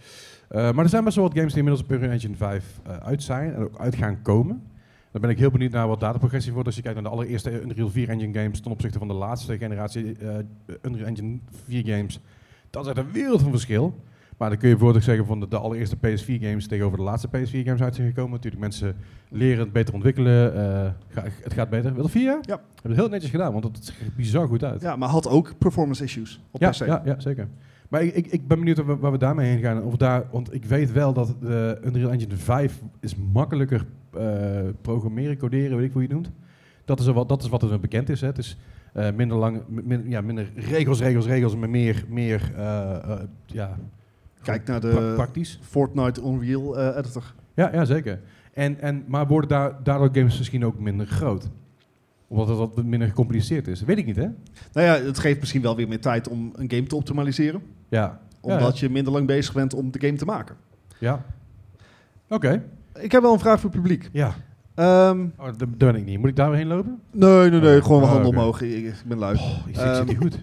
Speaker 1: Eh, maar er zijn best wel wat games die inmiddels op Unreal Engine 5 eh, uit zijn en ook uit gaan komen. Daar ben ik heel benieuwd naar wat dataprogressie wordt. Als je kijkt naar de allereerste Unreal 4 Engine games ten opzichte van de laatste generatie eh, Unreal Engine 4 games. Dat is echt een wereld van verschil. Maar dan kun je bijvoorbeeld ook zeggen van de, de allereerste PS4 games tegenover de laatste PS4 games uit zijn gekomen. Natuurlijk mensen leren het beter ontwikkelen. eh, ga- het gaat beter. Wel vier jaar?
Speaker 2: Ja.
Speaker 1: Hebben het heel netjes gedaan, want dat ziet er bizar goed uit
Speaker 2: Ja, maar had ook performance issues op
Speaker 1: ja,
Speaker 2: PC.
Speaker 1: Ja, ja, zeker. Maar ik, ik, ik ben benieuwd waar we, waar we daarmee heen gaan. Of daar, want ik weet wel dat de Unreal Engine 5 is makkelijker eh, programmeren, coderen, weet ik hoe je het noemt. Dat is, er wat, dat is wat er bekend is. Hè. Het is eh, minder, lang, min- ja, minder regels, regels, regels, maar meer, meer eh, eh, ja,
Speaker 2: Kijk naar
Speaker 1: pra-
Speaker 2: de
Speaker 1: praktisch.
Speaker 2: Fortnite Unreal eh, Editor.
Speaker 1: Ja, ja zeker. En, en, maar worden daar, daardoor games misschien ook minder groot? Omdat het wat minder gecompliceerd is. Weet ik niet, hè?
Speaker 2: Nou ja, het geeft misschien wel weer meer tijd om een game te optimaliseren.
Speaker 1: Ja.
Speaker 2: Omdat je minder lang bezig bent om de game te maken.
Speaker 1: Ja. Oké.
Speaker 2: Ik heb wel een vraag voor het publiek.
Speaker 1: Ja.
Speaker 2: Ehm,
Speaker 1: Oh, dat dat ben ik niet. Moet ik daar weer heen lopen?
Speaker 2: nee, nee, nee.
Speaker 1: Oh,
Speaker 2: Gewoon mijn
Speaker 1: oh,
Speaker 2: handen
Speaker 1: oké.
Speaker 2: omhoog. Ik, ik ben lui.
Speaker 1: Oh, ik zit,
Speaker 2: Ehm,
Speaker 1: zit niet goed.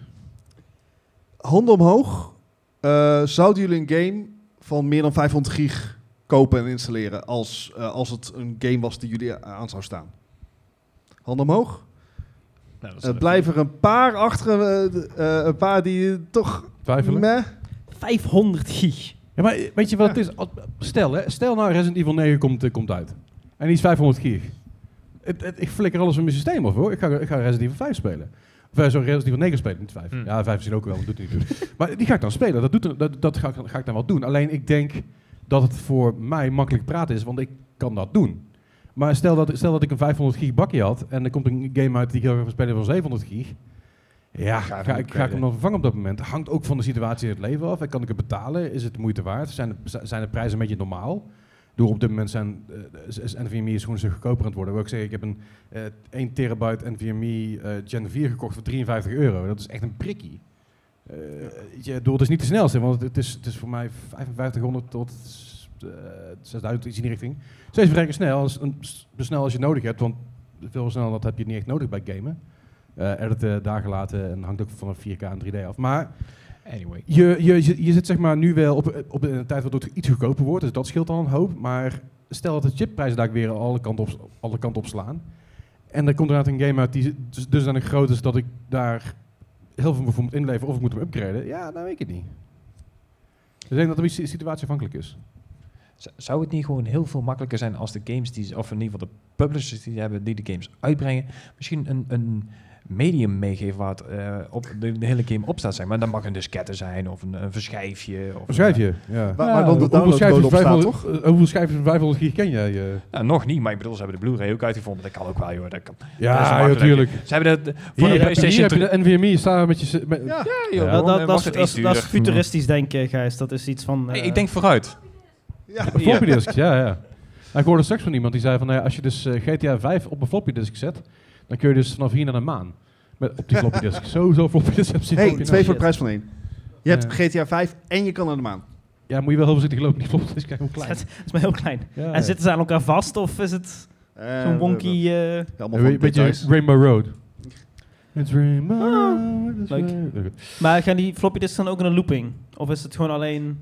Speaker 2: Handen omhoog. Eh, zouden jullie een game van meer dan 500 gig kopen en installeren als, eh, als het een game was die jullie aan zou staan? Handen omhoog.
Speaker 5: Nou, dat is
Speaker 2: Er blijven er een paar achter, eh, d- eh, een paar die eh, toch...
Speaker 1: Twijfelen?
Speaker 2: Meh.
Speaker 4: 500 gig.
Speaker 1: Ja, maar eh, weet je wat het is? Als- Stel, hè, stel nou Resident Evil 9 komt, eh, komt uit. En die is 500 gig. Het, het- ik flikker alles van mijn systeem af hoor. Ik ga, ik ga Resident Evil 5 spelen. Of eh, sorry, Resident Evil 9 spelen, niet 5.
Speaker 5: Hmm.
Speaker 1: Ja, 5 is ook wel, maar doet er niet toe. <laughs> maar die ga ik dan spelen. Dat, doet, er- dat, dat ga, ik, ga ik dan wel doen. Alleen ik denk dat het voor mij makkelijk praten is, want ik kan dat doen. Maar stel dat, stel dat ik een 500 gig bakje had en er komt een game uit die ik heel graag wil spelen van 700 gig. Ja,
Speaker 5: Ga
Speaker 1: ga,
Speaker 5: ik hem
Speaker 1: ik, ga ik hem
Speaker 5: kwijt.
Speaker 1: dan vervangen op dat moment? Hangt ook van de situatie in het leven af. En Kan ik het betalen? Is het de moeite waard? Zijn de, z- zijn de prijzen een beetje normaal? Door op dit moment zijn eh, is- is NVMe is gewoon zo goedkoper aan het worden. Wil ik zeggen, ik heb een eh 1 terabyte NVMe eh, Gen 4 gekocht voor 53 euro. Dat is echt een prikkie. Eh, weet je, ik bedoel, het is niet de snelste, want het is, het is voor mij 5500 tot eh, 6000, iets in die richting. Steeds verrekken snel, als, een, zo snel als je nodig hebt, want veel sneller dan dat heb je niet echt nodig bij gamen. Eh editen, dagen laten en hangt ook van 4K en 3D af. Maar
Speaker 5: Anyway.
Speaker 1: je, je, je, je zit zeg maar nu wel op, op een tijd waardoor het iets goedkoper wordt, dus dat scheelt al een hoop. Maar stel dat de chipprijzen daar weer alle kanten op, alle kanten op slaan. En er komt inderdaad een game uit die dus, dus dan groot is dat ik daar heel veel voor moet inleveren of ik moet hem upgraden. Ja, nou weet ik het niet. Dus ik denk dat het een beetje situatieafhankelijk is.
Speaker 5: Z- Zou het niet gewoon heel veel makkelijker zijn als de games die, ze- of in ieder geval de publishers die ze hebben, die de games uitbrengen, misschien een, een medium meegeven waar het, eh, op de, de hele game op staat zijn. Maar dan mag een diskette zijn of een, een verschijfje. Of
Speaker 1: Een schijfje,
Speaker 5: eh,
Speaker 1: ja.
Speaker 2: Waar- waar dan de
Speaker 1: Hoeveel
Speaker 2: downloadcode
Speaker 1: schijfjes
Speaker 2: op staat,
Speaker 1: 500 eh, hoeveel schijfjes van 500 gig ken jij? eh?
Speaker 5: nou, nog niet, maar ik bedoel, ze hebben de Blu-ray ook uitgevonden. Dat kan ook wel, joh. Dat kan.
Speaker 1: Ja,
Speaker 5: dat is
Speaker 1: joh,
Speaker 5: makkelijk.
Speaker 1: tuurlijk.
Speaker 5: Ze hebben dat eh, voor
Speaker 1: Hier,
Speaker 5: de
Speaker 1: heb je, hier
Speaker 5: PlayStation
Speaker 1: heb je de NVMe staan met je... s- Met,
Speaker 2: Ja.
Speaker 5: joh,
Speaker 4: dat,
Speaker 5: dan
Speaker 4: dat,
Speaker 5: was
Speaker 4: dat,
Speaker 5: het
Speaker 4: dat,
Speaker 5: iets
Speaker 4: is- dat is
Speaker 5: duurder.
Speaker 4: futuristisch denken, Gijs. Dat is iets van...
Speaker 5: Nee,
Speaker 4: eh,
Speaker 5: ik denk vooruit.
Speaker 2: Ja.
Speaker 1: Een floppy disks, ja, ja. Nou, ik hoorde straks van iemand die zei van, nou ja, als je dus eh, GTA 5 op een floppy disk zet, dan kun je dus vanaf hier naar de maan. Met, op die floppy
Speaker 4: <laughs>
Speaker 1: disk. Sowieso floppy disk. heb je
Speaker 2: Hey,
Speaker 1: ook in.
Speaker 2: twee voor de prijs van één. Je hebt
Speaker 1: Ja.
Speaker 2: GTA 5 en je kan naar de
Speaker 4: <laughs>
Speaker 2: maan.
Speaker 1: Ja, moet je wel heel voorzichtig lopen. Die floppy disk, kijk hoe klein.
Speaker 4: Het het is maar heel klein.
Speaker 1: Ja, ja.
Speaker 4: En zitten ze aan elkaar vast of is het
Speaker 2: Eh,
Speaker 4: zo'n wonky... eh,
Speaker 2: Allemaal van
Speaker 1: Een beetje
Speaker 2: details.
Speaker 1: Rainbow Road. It's Rainbow <laughs>
Speaker 5: <laughs>
Speaker 1: Road.
Speaker 4: Ah, leuk. Maar gaan die floppy disks dan ook in een looping? Of is het gewoon alleen...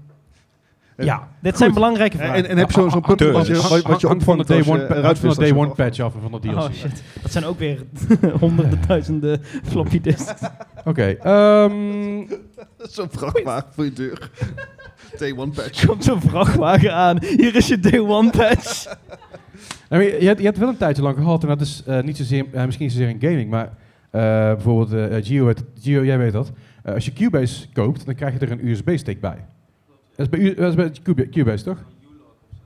Speaker 2: Eh,
Speaker 4: ja, dit
Speaker 2: goed.
Speaker 4: zijn belangrijke
Speaker 2: En,
Speaker 4: vragen.
Speaker 2: en, en heb je zo- zo'n punt wat je, wat, wat je
Speaker 1: Hangt van de
Speaker 2: opvangt
Speaker 1: day
Speaker 2: als je
Speaker 1: one, pa-
Speaker 2: eruit
Speaker 1: hangt van de
Speaker 2: wist als
Speaker 1: day
Speaker 2: je
Speaker 1: one
Speaker 2: af-
Speaker 1: patch af en van de DLC.
Speaker 4: Oh shit, dat zijn ook weer <laughs> honderden
Speaker 1: <laughs>
Speaker 4: duizenden floppy disks.
Speaker 1: Oké,
Speaker 2: <laughs>
Speaker 1: ehm,
Speaker 2: Zo'n vrachtwagen voor je
Speaker 1: <laughs>
Speaker 2: deur. Day one patch.
Speaker 4: Komt zo'n vrachtwagen aan. Hier is je day one patch.
Speaker 1: <laughs> Nou, maar je, je hebt, je hebt wel een tijdje lang gehad, en dat is eh, niet zozeer, eh, misschien niet zozeer in gaming, maar eh, bijvoorbeeld eh, eh, Gio, het- Gio, jij weet dat. Eh, als je Cubase koopt, dan krijg je er een USB-stick bij. Dat is bij, U- dat is bij Cubase, Cubase, toch?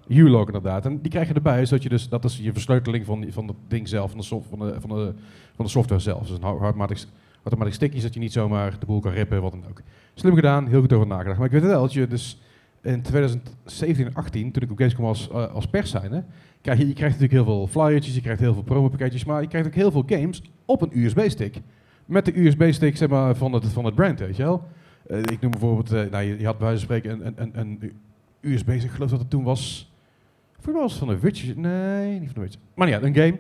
Speaker 1: U-log inderdaad. En die krijg je erbij, zodat je dus, dat is je versleuteling van, die- van het ding zelf, van de, soft, van, de, van, de, van de software zelf. Dus een hou- automatisch, automatisch stickje, zodat je niet zomaar de boel kan rippen, wat dan ook. Slim gedaan, heel goed over nagedacht. Maar ik weet wel dat je dus in 2017 en 18, toen ik op Gamescom was eh, als pers zijnde, krijg je, je krijgt natuurlijk heel veel flyertjes, je krijgt heel veel promopakketjes, maar je krijgt ook heel veel games op een USB-stick. Met de USB-stick zeg maar, van, het, van het brand, weet je wel. Eh, ik noem bijvoorbeeld, eh, nou, je, je had bij wijze van spreken een, een, een, een USB, dus ik geloof dat het toen was, voor was het van een Witcher, nee, niet van een Witcher. Maar ja, een game.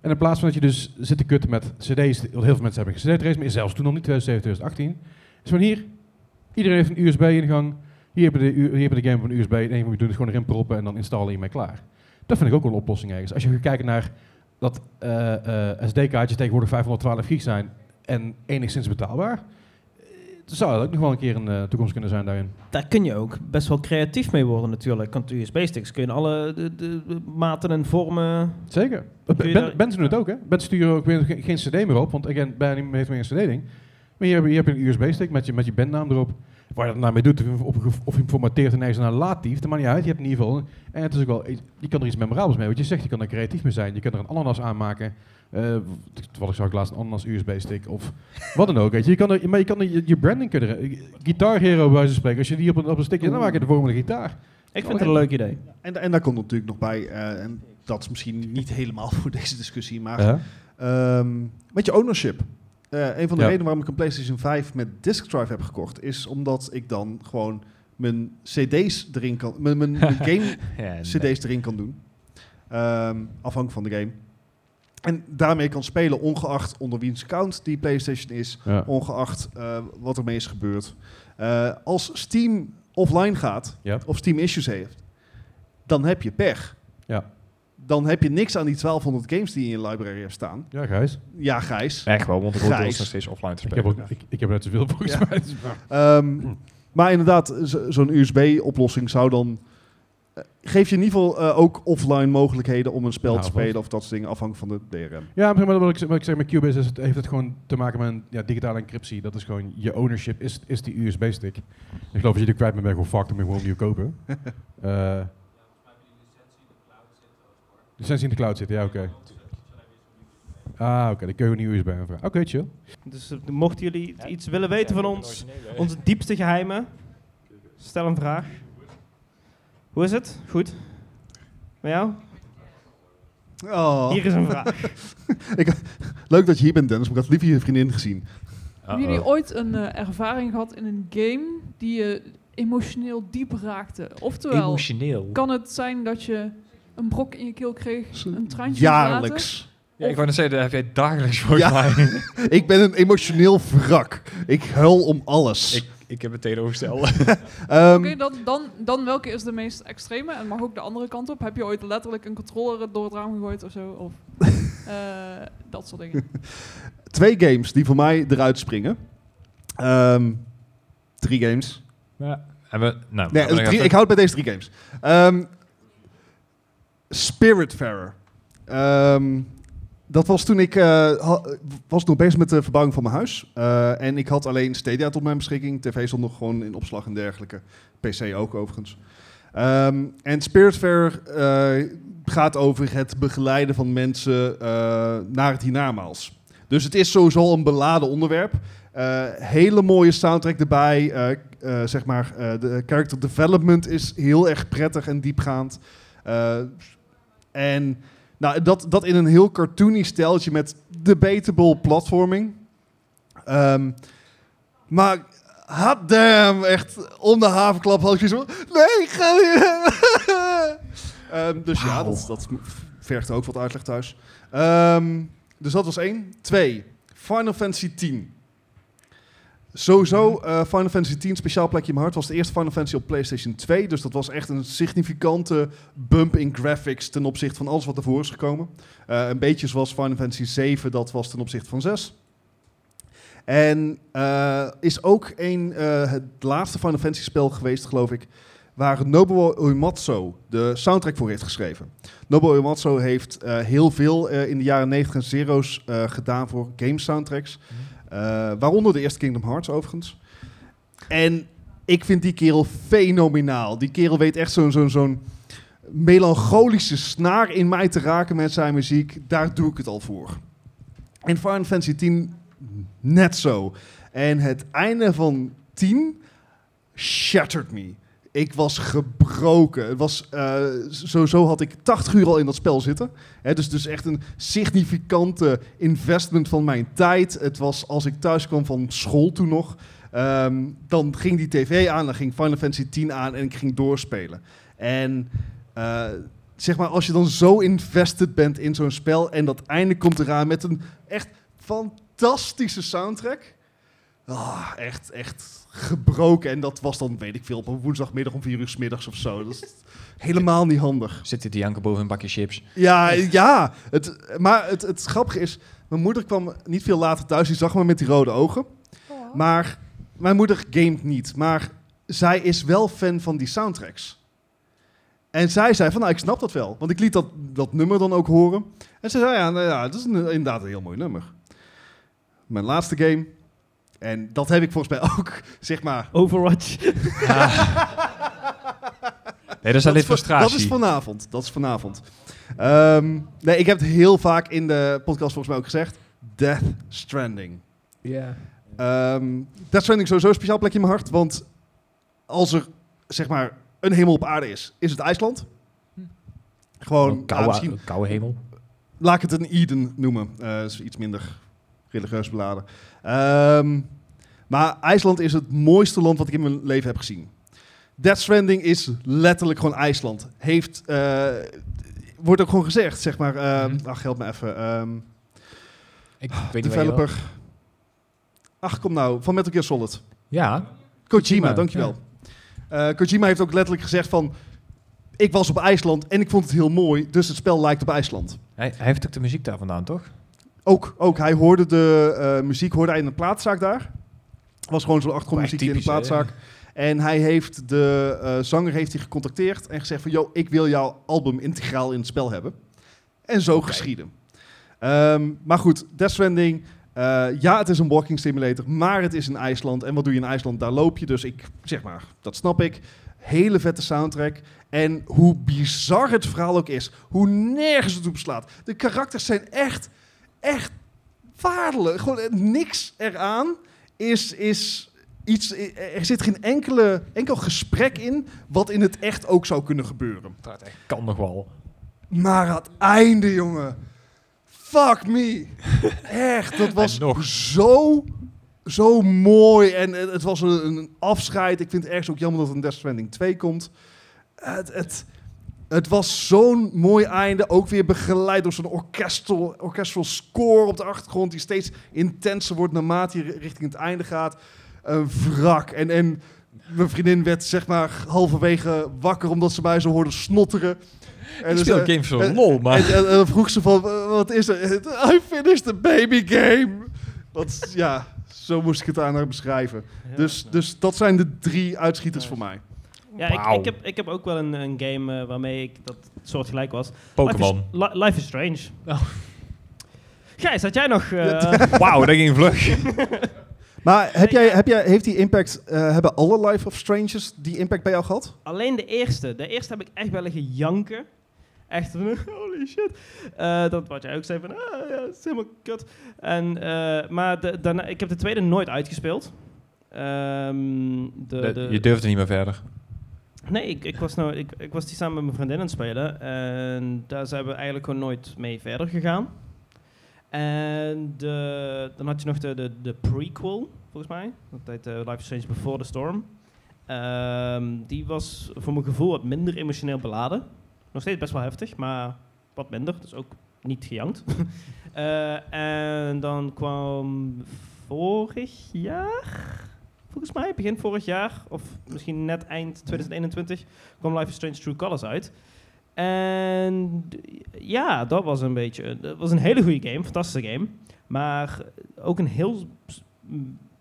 Speaker 1: En in plaats van dat je dus zit te kutten met cd's, want heel veel mensen hebben een cd-trace, maar zelfs toen nog niet, 2017, 2018, is Dus van hier, iedereen heeft een USB-ingang, hier hebben de, u- hier heb je de game op een USB, het enige wat je doet is gewoon erin proppen en dan installen je mij klaar. Dat vind ik ook wel een oplossing ergens. Als je gaat kijken naar dat eh, eh, SD-kaartjes tegenwoordig 512 gig zijn en enigszins betaalbaar, eh, zou dat ook nog wel een keer een eh, toekomst kunnen zijn daarin.
Speaker 4: Daar kun je ook best wel creatief mee worden natuurlijk. Want USB-sticks kun je in alle de, de, de maten en vormen...
Speaker 1: Zeker.
Speaker 4: eh, Kun je
Speaker 1: Ben,
Speaker 4: daar-
Speaker 1: ben doen het ook, hè? Ben sturen ook weer ge- geen cd meer op, want again, bijna niemand heeft meer een cd-ding. Maar hier heb je, hier heb je een USB-stick met je, met je bandnaam erop. Waar je dat nou mee doet, of je hem op- of je hem formateert en ergens naar latief, dat maakt niet uit. Je hebt in ieder geval... En het is ook wel, je kan er iets memorabels mee, want je zegt, je kan er creatief mee zijn. Je kan er een ananas aan maken. Eh, toevallig zag ik laatst een ananas USB-stick of wat dan ook. Weet je. Je kan er, maar je kan er je, je branding kunnen... Guitar Hero, bij wijze van spreken. Als je die op een, op een stick... Dan maak je de vorm van een gitaar.
Speaker 4: Ik vind het een leuk idee.
Speaker 2: En, en daar komt natuurlijk nog bij, eh, en dat is misschien niet helemaal voor deze discussie, maar
Speaker 1: Ja.
Speaker 2: ehm, met je ownership. Eh, een van de
Speaker 1: Ja.
Speaker 2: redenen waarom ik een PlayStation 5 met disk drive heb gekocht, is omdat ik dan gewoon mijn CD's erin kan, mijn, mijn,
Speaker 1: <laughs>
Speaker 2: mijn game
Speaker 5: Ja, nee.
Speaker 2: CD's erin kan doen, Ehm, afhankelijk van de game. En daarmee kan spelen, ongeacht onder wiens account die PlayStation is,
Speaker 1: Ja.
Speaker 2: ongeacht eh, wat ermee is gebeurd. Eh, als Steam offline gaat,
Speaker 1: Ja.
Speaker 2: of Steam issues heeft, dan heb je pech.
Speaker 1: Ja.
Speaker 2: Dan heb je niks aan die 1200 games die in je library hebt staan.
Speaker 1: Ja, Gijs.
Speaker 2: Ja, Gijs.
Speaker 5: Echt wel, want de Rotterdam is
Speaker 2: Gijs.
Speaker 5: nog steeds offline te
Speaker 1: Ik
Speaker 5: spelen.
Speaker 1: heb, ook, ik, ik heb net zoveel volgens
Speaker 2: Ja.
Speaker 1: mij. Dus-
Speaker 2: Ehm, maar inderdaad, zo- zo'n USB-oplossing zou dan... eh, geef je in ieder geval eh, ook offline mogelijkheden om een spel
Speaker 1: Ja,
Speaker 2: te
Speaker 1: of-
Speaker 2: spelen of dat soort dingen, afhankelijk van de DRM.
Speaker 1: Ja, maar zeg maar wat ik, wat ik zeg met Cubase is, het, heeft het gewoon te maken met een, ja, digitale encryptie. Dat is gewoon, je ownership is, is die USB-stick. Ik geloof als je er kwijt bent, ben je gewoon fucked, dan ben je gewoon opnieuw
Speaker 2: <laughs>
Speaker 1: kopen. Eh licentie in de cloud zitten, ja, oké. Ah, oké, dan kun je een nieuwe USB aanvragen. Oké, chill.
Speaker 4: Dus eh, mochten jullie iets willen weten van ons, onze diepste geheimen, stel een vraag. Hoe is het? Goed? Met jou?
Speaker 2: Oh.
Speaker 4: Hier is een vraag.
Speaker 2: <laughs> ik, leuk dat je hier bent, Dennis, maar ik had liever je vriendin gezien.
Speaker 6: Hebben jullie ooit een eh, ervaring gehad in een game die je emotioneel diep raakte? Oftewel,
Speaker 5: Emotioneel?
Speaker 6: kan het zijn dat je een brok in je keel kreeg, een traantje
Speaker 2: Jaarlijks.
Speaker 5: Ja, ik wou net zeggen, dat heb jij dagelijks volgens
Speaker 2: Ja.
Speaker 5: mij.
Speaker 2: <laughs> ik ben een emotioneel wrak. Ik huil om alles.
Speaker 5: Ik, ik heb het <laughs> tegenovergestelde.
Speaker 6: Oké,
Speaker 2: <laughs> Ehm,
Speaker 6: dan, dan, dan welke is de meest extreme en mag ook de andere kant op? Heb je ooit letterlijk een controller door het raam gegooid of zo?
Speaker 2: <laughs>
Speaker 6: Of eh, dat soort dingen.
Speaker 2: twee games die voor mij eruit springen. Ehm, drie games.
Speaker 5: Ja. Hebben, we- nou,
Speaker 2: Nee,
Speaker 5: hebben we nog
Speaker 2: drie-
Speaker 5: even-
Speaker 2: ik houd bij deze drie games. Ehm Spiritfarer. Ehm, dat was toen ik... eh, ha- was nog bezig met de verbouwing van mijn huis. Eh, en ik had alleen Stadia tot mijn beschikking. TV stond nog gewoon in opslag en dergelijke. PC ook overigens. Ehm, en Spiritfarer eh, gaat over het begeleiden van mensen eh, naar het hiernamaals. Dus het is sowieso al een beladen onderwerp. Eh, hele mooie soundtrack erbij. Eh, eh, zeg maar, eh, de character development is heel erg prettig en diepgaand. Eh, en nou, dat, dat in een heel cartoony stijltje met debatable platforming. Ehm, maar hot damn, echt om de havenklap had ik zo... Nee, ga je... Ehm, dus ja, dat, dat vergt ook wat uitleg thuis. Ehm, dus dat was één. Twee, Final Fantasy X. Sowieso, eh, Final Fantasy X, speciaal plekje in mijn hart, was de eerste Final Fantasy op PlayStation 2. Dus dat was echt een significante bump in graphics ten opzichte van alles wat ervoor is gekomen. Eh, een beetje zoals Final Fantasy 7, dat was ten opzichte van 6. En eh, is ook een, eh, het laatste Final Fantasy spel geweest, geloof ik, waar Nobuo Uematsu de soundtrack voor heeft geschreven. Nobuo Uematsu heeft eh, heel veel eh, in de jaren 90 en zero's eh, gedaan voor game soundtracks. Eh, waaronder de eerste Kingdom Hearts overigens. En ik vind die kerel fenomenaal. Die kerel weet echt zo'n zo'n zo'n melancholische snaar in mij te raken met zijn muziek. Daar doe ik het al voor. En Final Fantasy X net zo. En het einde van 10 shattered me. Ik was gebroken. Het was, eh, sowieso had ik 80 uur al in dat spel zitten. Hè, dus, dus echt een significante investment van mijn tijd. Het was als ik thuis kwam van school toen nog. ehm, dan ging die tv aan, dan ging Final Fantasy X aan en ik ging doorspelen. En eh, zeg maar, als je dan zo invested bent in zo'n spel en dat einde komt eraan met een echt fantastische soundtrack. Ah, echt, echt gebroken. En dat was dan, weet ik veel, op een woensdagmiddag om vier uur 's middags of zo. Dat is helemaal niet handig.
Speaker 5: Zit dit Janko boven een bakje chips?
Speaker 2: Ja, ja. Het, maar het, het grappige is, mijn moeder kwam niet veel later thuis. Die zag me met die rode ogen. Maar mijn moeder gamet niet. Maar zij is wel fan van die soundtracks. En zij zei van, nou, ik snap dat wel. Want ik liet dat, dat nummer dan ook horen. En ze zei, ja, nou, ja, dat is een- inderdaad een heel mooi nummer. Mijn laatste game. En dat heb ik volgens mij ook, <laughs> zeg maar... <laughs>
Speaker 4: Overwatch.
Speaker 5: Nee, dat is alleen
Speaker 2: va-
Speaker 5: frustratie.
Speaker 2: Dat is vanavond. Dat is vanavond. Ehm, nee, ik heb het heel vaak in de podcast volgens mij ook gezegd. Death Stranding.
Speaker 3: Ja.
Speaker 2: Ehm Death Stranding sowieso een speciaal plekje in mijn hart. Want als er zeg maar een hemel op aarde is, is het IJsland. Gewoon
Speaker 5: Een koude-
Speaker 2: ah, misschien-
Speaker 5: een koude hemel.
Speaker 2: Laat ik het een Eden noemen. Eh is iets minder religieus beladen. Ehm, maar IJsland is het mooiste land wat ik in mijn leven heb gezien. Death Stranding is letterlijk gewoon IJsland. Heeft, eh, wordt ook gewoon gezegd, zeg maar. ehm, Ach, help me even. ehm,
Speaker 5: Ik Mhm. weet niet
Speaker 2: developer. Ach, kom nou. Van Metal Gear Solid.
Speaker 5: Ja.
Speaker 2: Kojima,
Speaker 5: Kojima,
Speaker 2: dankjewel. Eh, Kojima heeft ook letterlijk gezegd van... Ik was op IJsland en ik vond het heel mooi, dus het spel lijkt op IJsland.
Speaker 5: Hij, hij heeft ook de muziek daar vandaan, toch?
Speaker 2: Ook, ook hij hoorde de eh, muziek hoorde hij in een plaatzaak daar. Was gewoon zo'n achtergrondmuziek in de
Speaker 5: typisch, hè?
Speaker 2: plaatzaak. En hij heeft de eh, zanger heeft hij gecontacteerd en gezegd van... ...joh, ik wil jouw album integraal in het spel hebben. En zo geschieden. Ehm, maar goed, Death Stranding. eh, ja, het is een walking simulator, maar het is in IJsland. En wat doe je in IJsland? Daar loop je. Dus ik, zeg maar, dat snap ik. Hele vette soundtrack. En hoe bizar het verhaal ook is. Hoe nergens het op slaat. De karakters zijn echt, echt waardeloos. Gewoon eh, niks eraan is, is iets... eh, Er zit geen enkele, enkel gesprek in wat in het echt ook zou kunnen gebeuren.
Speaker 5: Kan nog wel.
Speaker 2: Maar aan het einde, jongen. Fuck me. Echt, dat was zo, zo mooi. En het, het was een, een afscheid. Ik vind het ergens ook jammer dat er een Death Stranding 2 komt. Het, het, het was zo'n mooi einde. Ook weer begeleid door zo'n orchestral, orchestral score op de achtergrond. Die steeds intenser wordt naarmate je ri- richting het einde gaat. Een wrak. En, en mijn vriendin werd zeg maar halverwege wakker omdat ze mij zo hoorde snotteren.
Speaker 5: Ik speel
Speaker 2: eh,
Speaker 5: games voor
Speaker 2: en-
Speaker 5: lol, maar-
Speaker 2: En, en- en vroeg ze van, "Eh, wat is er? <laughs> I finished the baby game. Want ja, zo moest ik het aan haar beschrijven. dus, dus dat zijn de drie uitschieters voor mij.
Speaker 4: Ja, ik, ik, heb, ik heb ook wel een, een game eh, waarmee ik dat soortgelijk was.
Speaker 5: Pokémon.
Speaker 4: Life is, Li- Life is Strange. Gijs, had jij nog... eh,
Speaker 5: <laughs> Wauw, dat ging vlug.
Speaker 4: <laughs>
Speaker 2: Maar heb jij, heb jij, heeft die impact, eh, hebben alle Life of Strangers die impact bij jou gehad?
Speaker 4: Alleen de eerste. De eerste heb ik echt wel liggen janken. Echt, van, <laughs> holy shit. Eh, dat wat jij ook zei, van, ah, ja, het is helemaal kut. En, eh, maar de, daarna, ik heb de tweede nooit uitgespeeld. Ehm, de,
Speaker 5: De-
Speaker 4: de-
Speaker 5: je durfde niet meer verder.
Speaker 4: Nee, ik, ik, was nou, ik, ik was die samen met mijn vriendin aan het spelen. En daar zijn we eigenlijk gewoon nooit mee verder gegaan. En de, dan had je nog de, de, de prequel, volgens mij. Dat heet eh, Life is Strange Before the Storm. Ehm, die was voor mijn gevoel wat minder emotioneel beladen. Nog steeds best wel heftig, maar wat minder. Dus ook niet gejankt. <laughs> Eh, en dan kwam vorig jaar, volgens mij begin vorig jaar, of misschien net eind 2021, kwam Life is Strange True Colors uit. En d- ja, dat was een beetje. Dat was een hele goede game, fantastische game. Maar ook een heel s- m-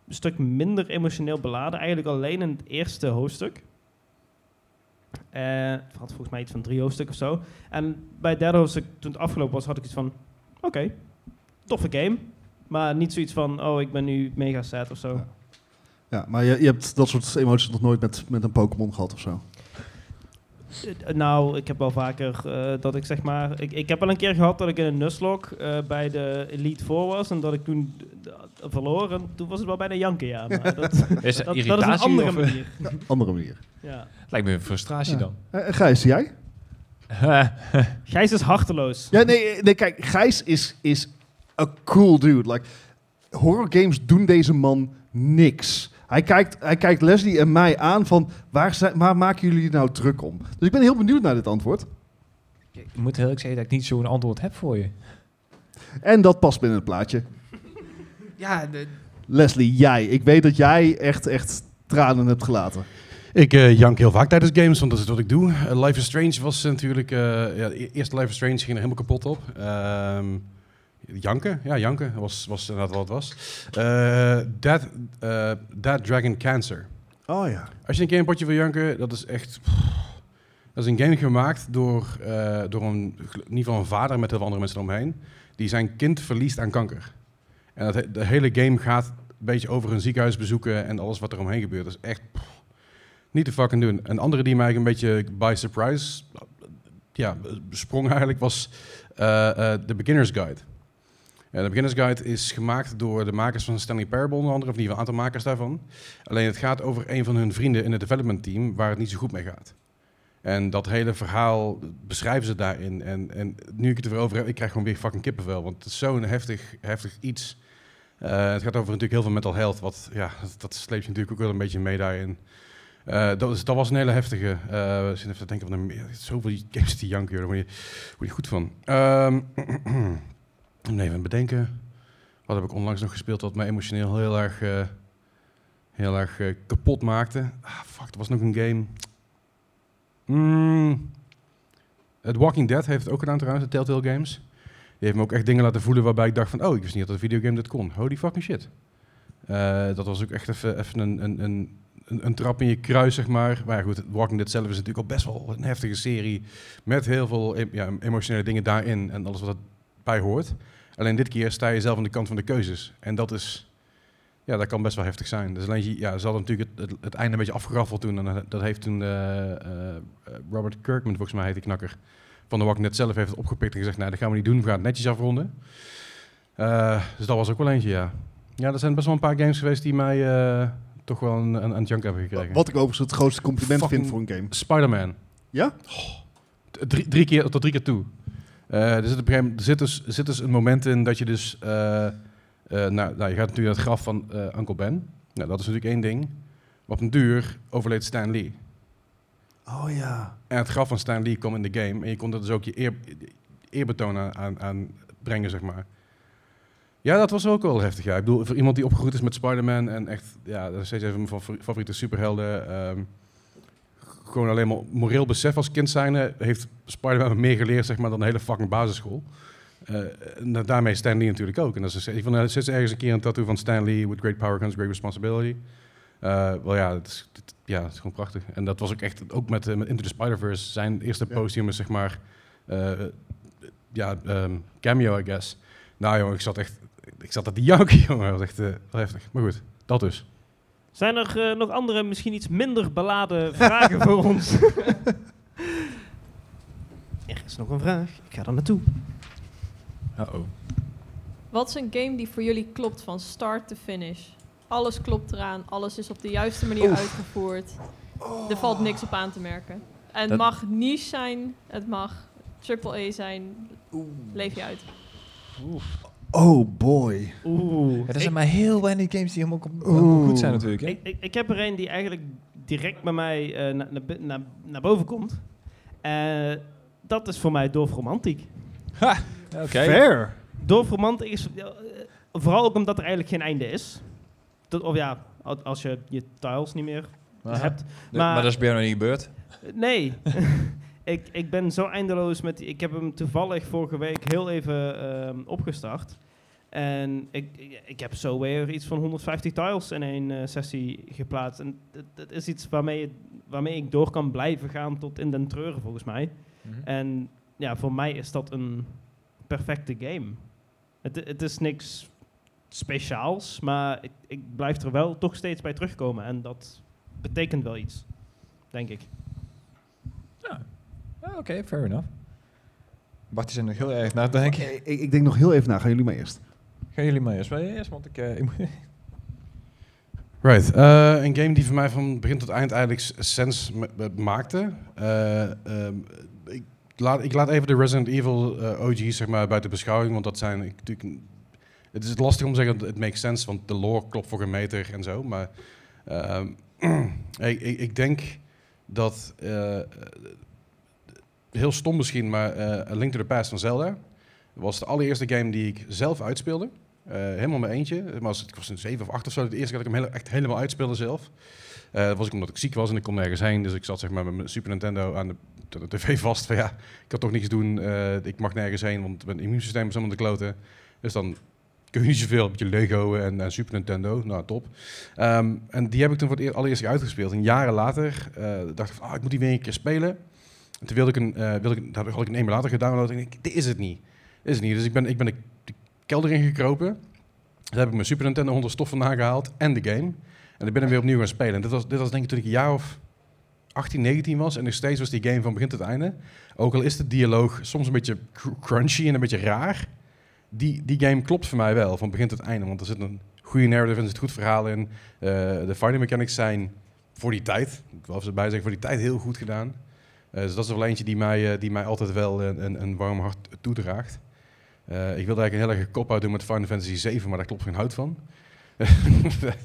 Speaker 4: stuk minder emotioneel beladen. Eigenlijk alleen in het eerste hoofdstuk. Eh, het had volgens mij iets van drie hoofdstukken of zo. En bij het derde hoofdstuk, toen het afgelopen was, had ik iets van: oké, toffe game. Maar niet zoiets van: oh, ik ben nu mega sad of zo.
Speaker 2: Ja, maar je, je hebt dat soort emoties nog nooit met, met een Pokémon gehad of zo.
Speaker 4: Eh, Nou, ik heb wel vaker eh, dat ik zeg maar... Ik, ik heb wel een keer gehad dat ik in een nusslok eh, bij de Elite 4 was. En dat ik toen d- d- verloor. En toen was het wel bijna janken, ja. Maar dat,
Speaker 5: <laughs> Is
Speaker 4: dat, dat is
Speaker 5: dat
Speaker 4: een
Speaker 5: irritatie
Speaker 4: andere
Speaker 5: of- <laughs>
Speaker 4: manier.
Speaker 2: <laughs> Andere manier.
Speaker 4: Ja.
Speaker 5: Lijkt me een frustratie
Speaker 2: Ja.
Speaker 5: dan.
Speaker 2: Eh, Gijs, jij?
Speaker 4: <laughs> Gijs is harteloos.
Speaker 2: Ja, nee, nee kijk, Gijs is, is a cool dude. Like, horror games doen deze man niks. Hij kijkt, hij kijkt Leslie en mij aan van, waar, zijn, waar maken jullie je nou druk om? Dus ik ben heel benieuwd naar dit antwoord.
Speaker 5: Ik moet heel eerlijk zeggen dat ik niet zo'n antwoord heb voor je.
Speaker 2: En dat past binnen het plaatje.
Speaker 3: Ja, de,
Speaker 2: Leslie, jij. Ik weet dat jij echt, echt tranen hebt gelaten.
Speaker 1: Ik eh, jank heel vaak tijdens games, want dat is wat ik doe. Eh, Life is Strange was natuurlijk... eh ja, e- eerst Life is Strange ging er helemaal kapot op. Ehm, janken? Ja, janken was, was inderdaad wat het was. Eh Dead, eh, Dead Dragon Cancer.
Speaker 2: Oh ja.
Speaker 1: Als je een keer een potje wil janken, dat is echt... Dat is een game gemaakt door, eh, door een, in ieder geval een vader met heel veel andere mensen eromheen. Die zijn kind verliest aan kanker. En dat, he- de hele game gaat een beetje over een ziekenhuis bezoeken en alles wat er omheen gebeurt. Dat is echt pff, niet te fucking doen. Een andere die mij een beetje by surprise ja, sprong eigenlijk was eh, eh, de Beginner's Guide. Ja, de Beginner's Guide is gemaakt door de makers van Stanley Parable onder andere, of in ieder geval een aantal makers daarvan. Alleen het gaat over een van hun vrienden in het development team waar het niet zo goed mee gaat. En dat hele verhaal beschrijven ze daarin. En, en nu ik het erover heb, ik krijg gewoon weer fucking kippenvel. Want het is zo'n heftig, heftig iets. Eh, het gaat over natuurlijk heel veel mental health. Wat, ja, dat, dat sleep je natuurlijk ook wel een beetje mee daarin. Eh, dat, is- dat was een hele heftige. eh zit even te denken van de, meer- zoveel games die janken, joh, daar word je, word je goed van. Ehm <clears throat> nee, even bedenken. Wat heb ik onlangs nog gespeeld wat mij emotioneel heel erg, eh, heel erg eh, kapot maakte? Ah, fuck, er was nog een game. Mm. Het Walking Dead heeft het ook gedaan trouwens, de Telltale Games. Die heeft me ook echt dingen laten voelen waarbij ik dacht van... oh, ik wist niet dat een videogame dit kon. Holy fucking shit. Eh, dat was ook echt even, even een, een, een, een, een trap in je kruis, zeg maar. Maar ja, goed, Walking Dead zelf is natuurlijk al best wel een heftige serie... met heel veel em- ja, emotionele dingen daarin en alles wat erbij hoort. Alleen dit keer sta je zelf aan de kant van de keuzes. En dat is... Ja, dat kan best wel heftig zijn. Dus alleen, je- ja, ze hadden natuurlijk het, het, het einde een beetje afgeraffeld toen. En eh, dat heeft toen eh, eh, Robert Kirkman, volgens mij heet die knakker, van de Walking Dead zelf heeft het opgepikt en gezegd, nee, dat gaan we niet doen, we gaan het netjes afronden. Eh, dus dat was ook wel eentje, ja. Ja, er zijn best wel een paar games geweest die mij eh, toch wel een, een, een junk hebben gekregen.
Speaker 2: Wat ik overigens het grootste compliment
Speaker 1: Fucking
Speaker 2: vind voor een game.
Speaker 1: Spider-Man.
Speaker 2: Ja?
Speaker 1: Oh, d- drie, drie keer, tot drie keer toe. Eh, er, zit op een gegeven moment- er zit dus, er zit dus een moment in dat je dus... eh, eh, nou, nou, je gaat natuurlijk naar het graf van eh Uncle Ben. Nou, dat is natuurlijk één ding. Maar op een duur overleed Stan Lee.
Speaker 2: Oh ja.
Speaker 1: En het graf van Stan Lee kwam in de game. En je kon er dus ook je eer, eerbetoon aan, aan, aan brengen, zeg maar. Ja, dat was ook wel heftig. Ja. Ik bedoel, voor iemand die opgegroeid is met Spider-Man en echt, ja, dat is steeds een van mijn favori- favoriete superhelden. ehm, gewoon alleen maar moreel besef als kind zijnde heeft Spider-Man me meer geleerd, zeg maar, dan de hele fucking basisschool. Eh, en da- daarmee Stan Lee natuurlijk ook. En dat is, ik vond er steeds ergens een keer een tattoo van Stan Lee, with great power comes great responsibility. Eh, wel ja, het is, het- ja, het is gewoon prachtig. En dat was ook echt, ook met, eh, met Into the Spider-Verse, zijn eerste
Speaker 2: Ja.
Speaker 1: podium is zeg maar, eh, eh, ja, ehm, cameo I guess. Nou jongen, ik zat echt, ik zat dat die janken <laughs> jongen, dat was echt eh, wel heftig. Maar goed, dat dus.
Speaker 4: Zijn er eh, nog andere, misschien iets minder beladen vragen voor
Speaker 2: <laughs>
Speaker 4: ons? <laughs> er is nog een vraag. Ik ga er naartoe.
Speaker 5: Uh-oh.
Speaker 11: Wat is een game die voor jullie klopt van start to finish? Alles klopt eraan, alles is op de juiste manier
Speaker 5: Oef. Oh.
Speaker 11: uitgevoerd. Er valt niks op aan te merken. En het
Speaker 5: Dat-
Speaker 11: mag niche zijn, het mag triple A zijn. Leef je uit.
Speaker 2: Oh boy.
Speaker 4: Oeh.
Speaker 5: er zijn maar heel weinig games die helemaal, kom-
Speaker 2: Oeh.
Speaker 5: helemaal goed zijn natuurlijk. Hè?
Speaker 4: Ik, ik, ik heb er een die eigenlijk direct bij mij eh, na- na- bi- na- naar boven komt. Eh, dat is voor mij Dorf Romantiek.
Speaker 5: Ha, oké.
Speaker 2: Fair.
Speaker 4: Dorf Romantiek is... eh, vooral ook omdat er eigenlijk geen einde is. Dat, of ja, al- als je je tiles niet meer
Speaker 5: Aha.
Speaker 4: hebt.
Speaker 5: Nee, maar dat is bij jou nog niet gebeurd.
Speaker 4: Nee. <laughs> ik, ik ben zo eindeloos met... die- Ik heb hem toevallig vorige week heel even ehm, opgestart. En ik, ik- ik heb zo weer iets van 150 tiles in één eh, sessie geplaatst. En dat, dat is iets waarmee, het- waarmee ik door kan blijven gaan tot in den treuren, volgens mij.
Speaker 5: Mhm.
Speaker 4: En ja, voor mij is dat een perfecte game. Het, het is niks speciaals, maar ik, ik blijf er wel toch steeds bij terugkomen. En dat betekent wel iets, denk ik.
Speaker 5: Ja, Ja, Ah, Oké, fair enough. Bart is er nog heel erg na te denken.
Speaker 2: Ik, ik denk nog heel even na. Gaan jullie maar eerst.
Speaker 5: Gaan jullie maar eerst. Maar eerst, want ik, eh, ik moet-
Speaker 1: Right. eh, een game die voor mij van begin tot eind eigenlijk s- sens ma- ma- maakte. Eh, ehm, ik, laat, ik laat even de Resident Evil eh, OG's zeg maar, buiten beschouwing, want dat zijn ik- natuurlijk... Het is lastig om te zeggen, dat het makes sense, want de lore klopt voor een meter en zo. Maar ehm, <clears throat> ik, ik, ik denk dat... eh, heel stom misschien, maar eh, A Link to the Past van Zelda was de allereerste game die ik zelf uitspeelde. Eh, helemaal mijn eentje. Maar als- ik was een 7 of 8 of zo. De eerste keer dat ik hem hele- echt helemaal uitspeelde zelf. Eh, dat was ik omdat ik ziek was en ik kon nergens heen. Dus ik zat zeg maar met mijn Super Nintendo aan de, aan de tv vast. Van ja, ik kan toch niks doen. eh, ik mag nergens heen, want mijn immuunsysteem is helemaal de kloten. Dus dan kun je niet zoveel met je Lego en, en Super Nintendo. Nou, top. Ehm, en die heb ik toen voor het eer- allereerst keer uitgespeeld. En jaren later eh, dacht ik van, ah, ik moet die weer een keer spelen. En toen wilde ik een, eh, wilde ik, daar had ik een emulator gedownload. En ik dacht, dit is het niet. Dit is het niet. Dus ik ben, ik ben de, de kelder ingekropen. Daar heb ik mijn Super Nintendo onder stof vandaan gehaald en de game. En ik ben hem weer opnieuw gaan spelen. En dit was, dit was denk ik toen ik een jaar of 18, 19 was. En nog steeds was die game van begin tot einde. Ook al is de dialoog soms een beetje cr- crunchy en een beetje raar. Die, die game klopt voor mij wel, van begin tot einde. Want er zit een goede narrative en er zit goed verhaal in. Eh, de fighting mechanics zijn voor die tijd, ik wil even bij zeggen, voor die tijd heel goed gedaan. Eh, dus dat is wel eentje die mij, eh, die mij altijd wel een, een, een warm hart toedraagt. Eh, ik wilde eigenlijk een heel erg kop uit doen met Final Fantasy 7, maar daar klopt geen hout van. <laughs> ja,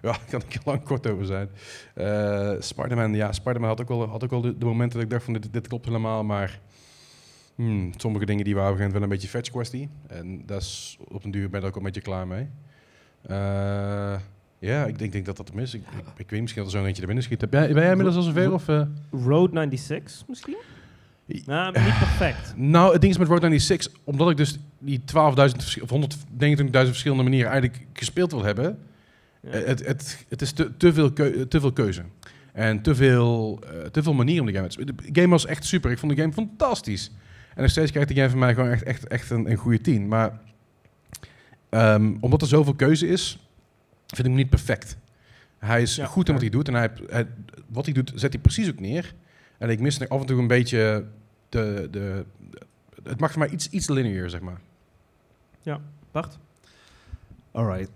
Speaker 1: daar kan ik heel lang kort over zijn. Eh Spider-Man, ja, Spider-Man had ook wel, had ook wel de, de momenten dat ik dacht van dit, dit klopt helemaal, maar hmm, sommige dingen die waren op een gegeven moment wel een beetje fetch kwestie. En daar is op een duur ben ik ook een beetje klaar mee. Eh, ja, ik denk, denk dat dat hem is. Ik, ik, ik weet misschien dat er zo'n eentje er binnen schiet. Heb jij, ben jij inmiddels al zover? Of, eh?
Speaker 4: Road 96 misschien? Nou, niet perfect.
Speaker 1: <sighs> Nou, het ding is met Road 96, omdat ik dus die 12.000 vers- of 129.000 verschillende manieren eigenlijk gespeeld wil hebben, eh, het, het, het is te, te, veel keu- te veel keuze. En te veel, eh, te veel manieren om de game te spelen. De game was echt super. Ik vond de game fantastisch. En nog steeds krijgt de game van mij gewoon echt, echt, echt een, een goede 10. Maar ehm, omdat er zoveel keuze is, vind ik hem niet perfect. Hij is goed in wat hij doet. En hij, hij- wat hij doet, zet hij precies ook neer. En ik mis af en toe een beetje de... de het maakt voor mij iets, iets lineair, zeg maar.
Speaker 4: Ja, Bart?
Speaker 1: <clears throat>
Speaker 2: Alright.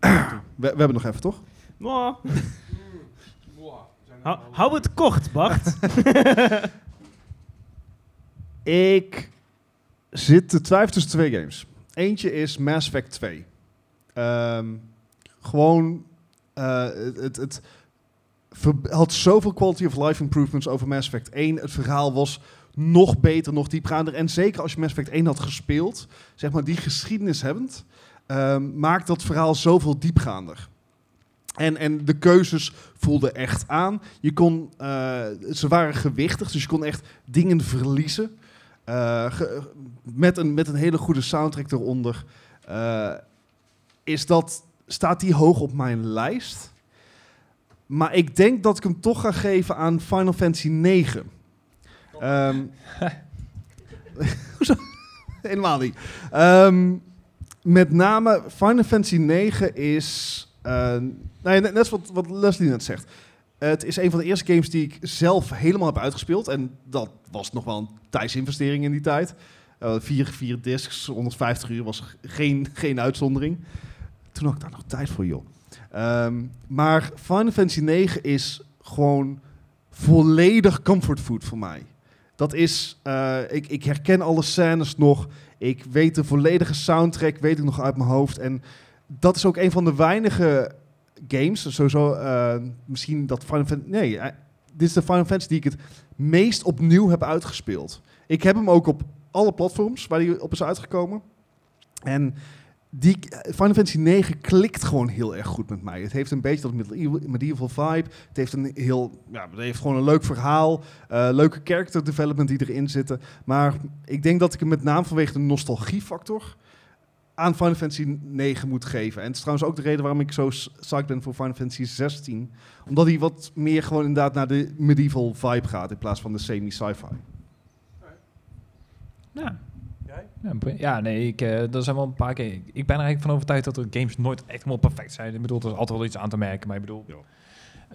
Speaker 2: we, we hebben nog even, toch?
Speaker 4: <laughs> Mwah. Hou, hou het kort, Bart.
Speaker 2: Ik zit te twijfelen tussen twee games. Eentje is Mass Effect 2. Ehm, gewoon, eh, het, het, het ver- had zoveel quality of life improvements over Mass Effect 1. Het verhaal was nog beter, nog diepgaander. En zeker als je Mass Effect 1 had gespeeld, zeg maar die geschiedenis hebbend, ehm, maakt dat verhaal zoveel diepgaander. En, en de keuzes voelden echt aan. Je kon, eh, ze waren gewichtig, dus je kon echt dingen verliezen. Eh, ge- met, een, met een hele goede soundtrack eronder. Eh, is dat, staat die hoog op mijn lijst? Maar ik denk dat ik hem toch ga geven aan Final Fantasy 9. Ehm <laughs> Hoezo? Helemaal niet. Ehm, met name Final Fantasy 9 is. eh, nou ja, net, net wat, wat Leslie net zegt. Het is een van de eerste games die ik zelf helemaal heb uitgespeeld. En dat was nog wel een tijdsinvestering in die tijd. Eh, vier, vier discs, 150 uur was g- geen, geen uitzondering. Toen had ik daar nog tijd voor, joh. Ehm, maar Final Fantasy 9 is gewoon volledig comfort food voor mij. Dat is, eh, ik, ik herken alle scènes nog. Ik weet de volledige soundtrack, weet ik nog uit mijn hoofd. En dat is ook een van de weinige games, sowieso eh, misschien dat Final Fantasy... Nee, eh, dit is de Final Fantasy die ik het meest opnieuw heb uitgespeeld. Ik heb hem ook op alle platforms waar hij op is uitgekomen. En die, eh, Final Fantasy 9 klikt gewoon heel erg goed met mij. Het heeft een beetje dat medieval, medieval vibe. Het heeft, een heel, ja, het heeft gewoon een leuk verhaal. eh, leuke character development die erin zitten. Maar ik denk dat ik hem met name vanwege de nostalgiefactor aan Final Fantasy 9 moet geven. En het is trouwens ook de reden waarom ik zo s- psyched ben voor Final Fantasy 16. Omdat hij wat meer gewoon inderdaad naar de medieval vibe gaat... in plaats van de semi-sci-fi.
Speaker 4: Nou,
Speaker 5: Ja, b- Ja, nee, ik, eh er zijn wel een paar keer. Ik ben er eigenlijk van overtuigd dat er games nooit echt helemaal perfect zijn. Ik bedoel, er is altijd wel iets aan te merken, maar ik bedoel.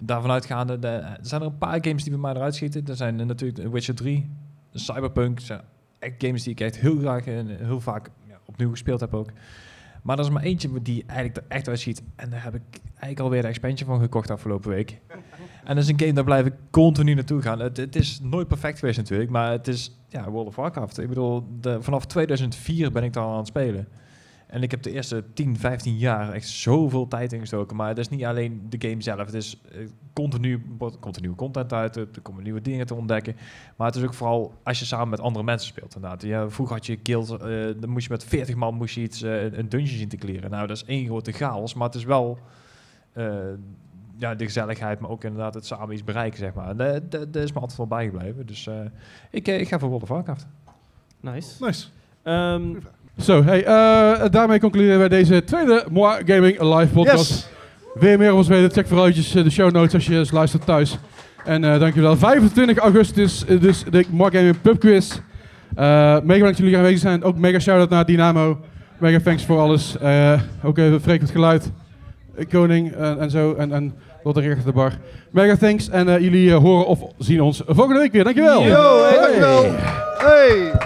Speaker 5: daarvan uitgaande, de, er zijn er een paar games die bij mij eruit schieten. Er zijn eh, natuurlijk Witcher 3, Cyberpunk. zijn echt games die ik echt heel graag en heel vaak ja, opnieuw gespeeld heb ook. Maar er is maar eentje die eigenlijk er echt uit schiet. En daar heb ik eigenlijk alweer de expansion van gekocht afgelopen week. En dat is een game, daar blijf ik continu naartoe gaan. Het, het is nooit perfect geweest natuurlijk, maar het is ja, World of Warcraft. Ik bedoel, de- vanaf 2004 ben ik daar al aan het spelen. En ik heb de eerste 10, 15 jaar echt zoveel tijd ingestoken. Maar het is niet alleen de game zelf. Het is eh, continu, wordt continu content uit. Er komen nieuwe dingen te ontdekken. Maar het is ook vooral als je samen met andere mensen speelt. Inderdaad. Ja, vroeger had je guild. eh, dan moest je met 40 man moest je iets, eh, een dungeon zien te kleren. Nou, dat is één grote chaos. Maar het is wel eh, ja, de gezelligheid. Maar ook inderdaad het samen iets bereiken, zeg maar. En eh, dat- dat- dat is me altijd wel bijgebleven. Dus eh, ik, eh, ik ga voor World of Warcraft.
Speaker 4: Nice.
Speaker 2: Nice.
Speaker 4: Ehm,
Speaker 1: Zo, hey, eh, daarmee concluderen wij deze tweede Moi Gaming Live podcast.
Speaker 2: Yes.
Speaker 1: Weer meer op ons weten. Check vooral eventjes eh, de show notes als je eens luistert thuis. En eh, dankjewel. 25 augustus is dus de Moi Gaming Pub Quiz. Eh, mega bedankt dat jullie aanwezig zijn. Ook mega shout-out naar Dynamo. Mega thanks voor alles. Eh, ook even Freek met geluid. Eh, Koning eh, en zo. En, en Lotte Richter de bar. Mega thanks. En eh, jullie eh, horen of zien ons volgende week weer. Dankjewel.
Speaker 2: Yo, hey, dankjewel. Hey.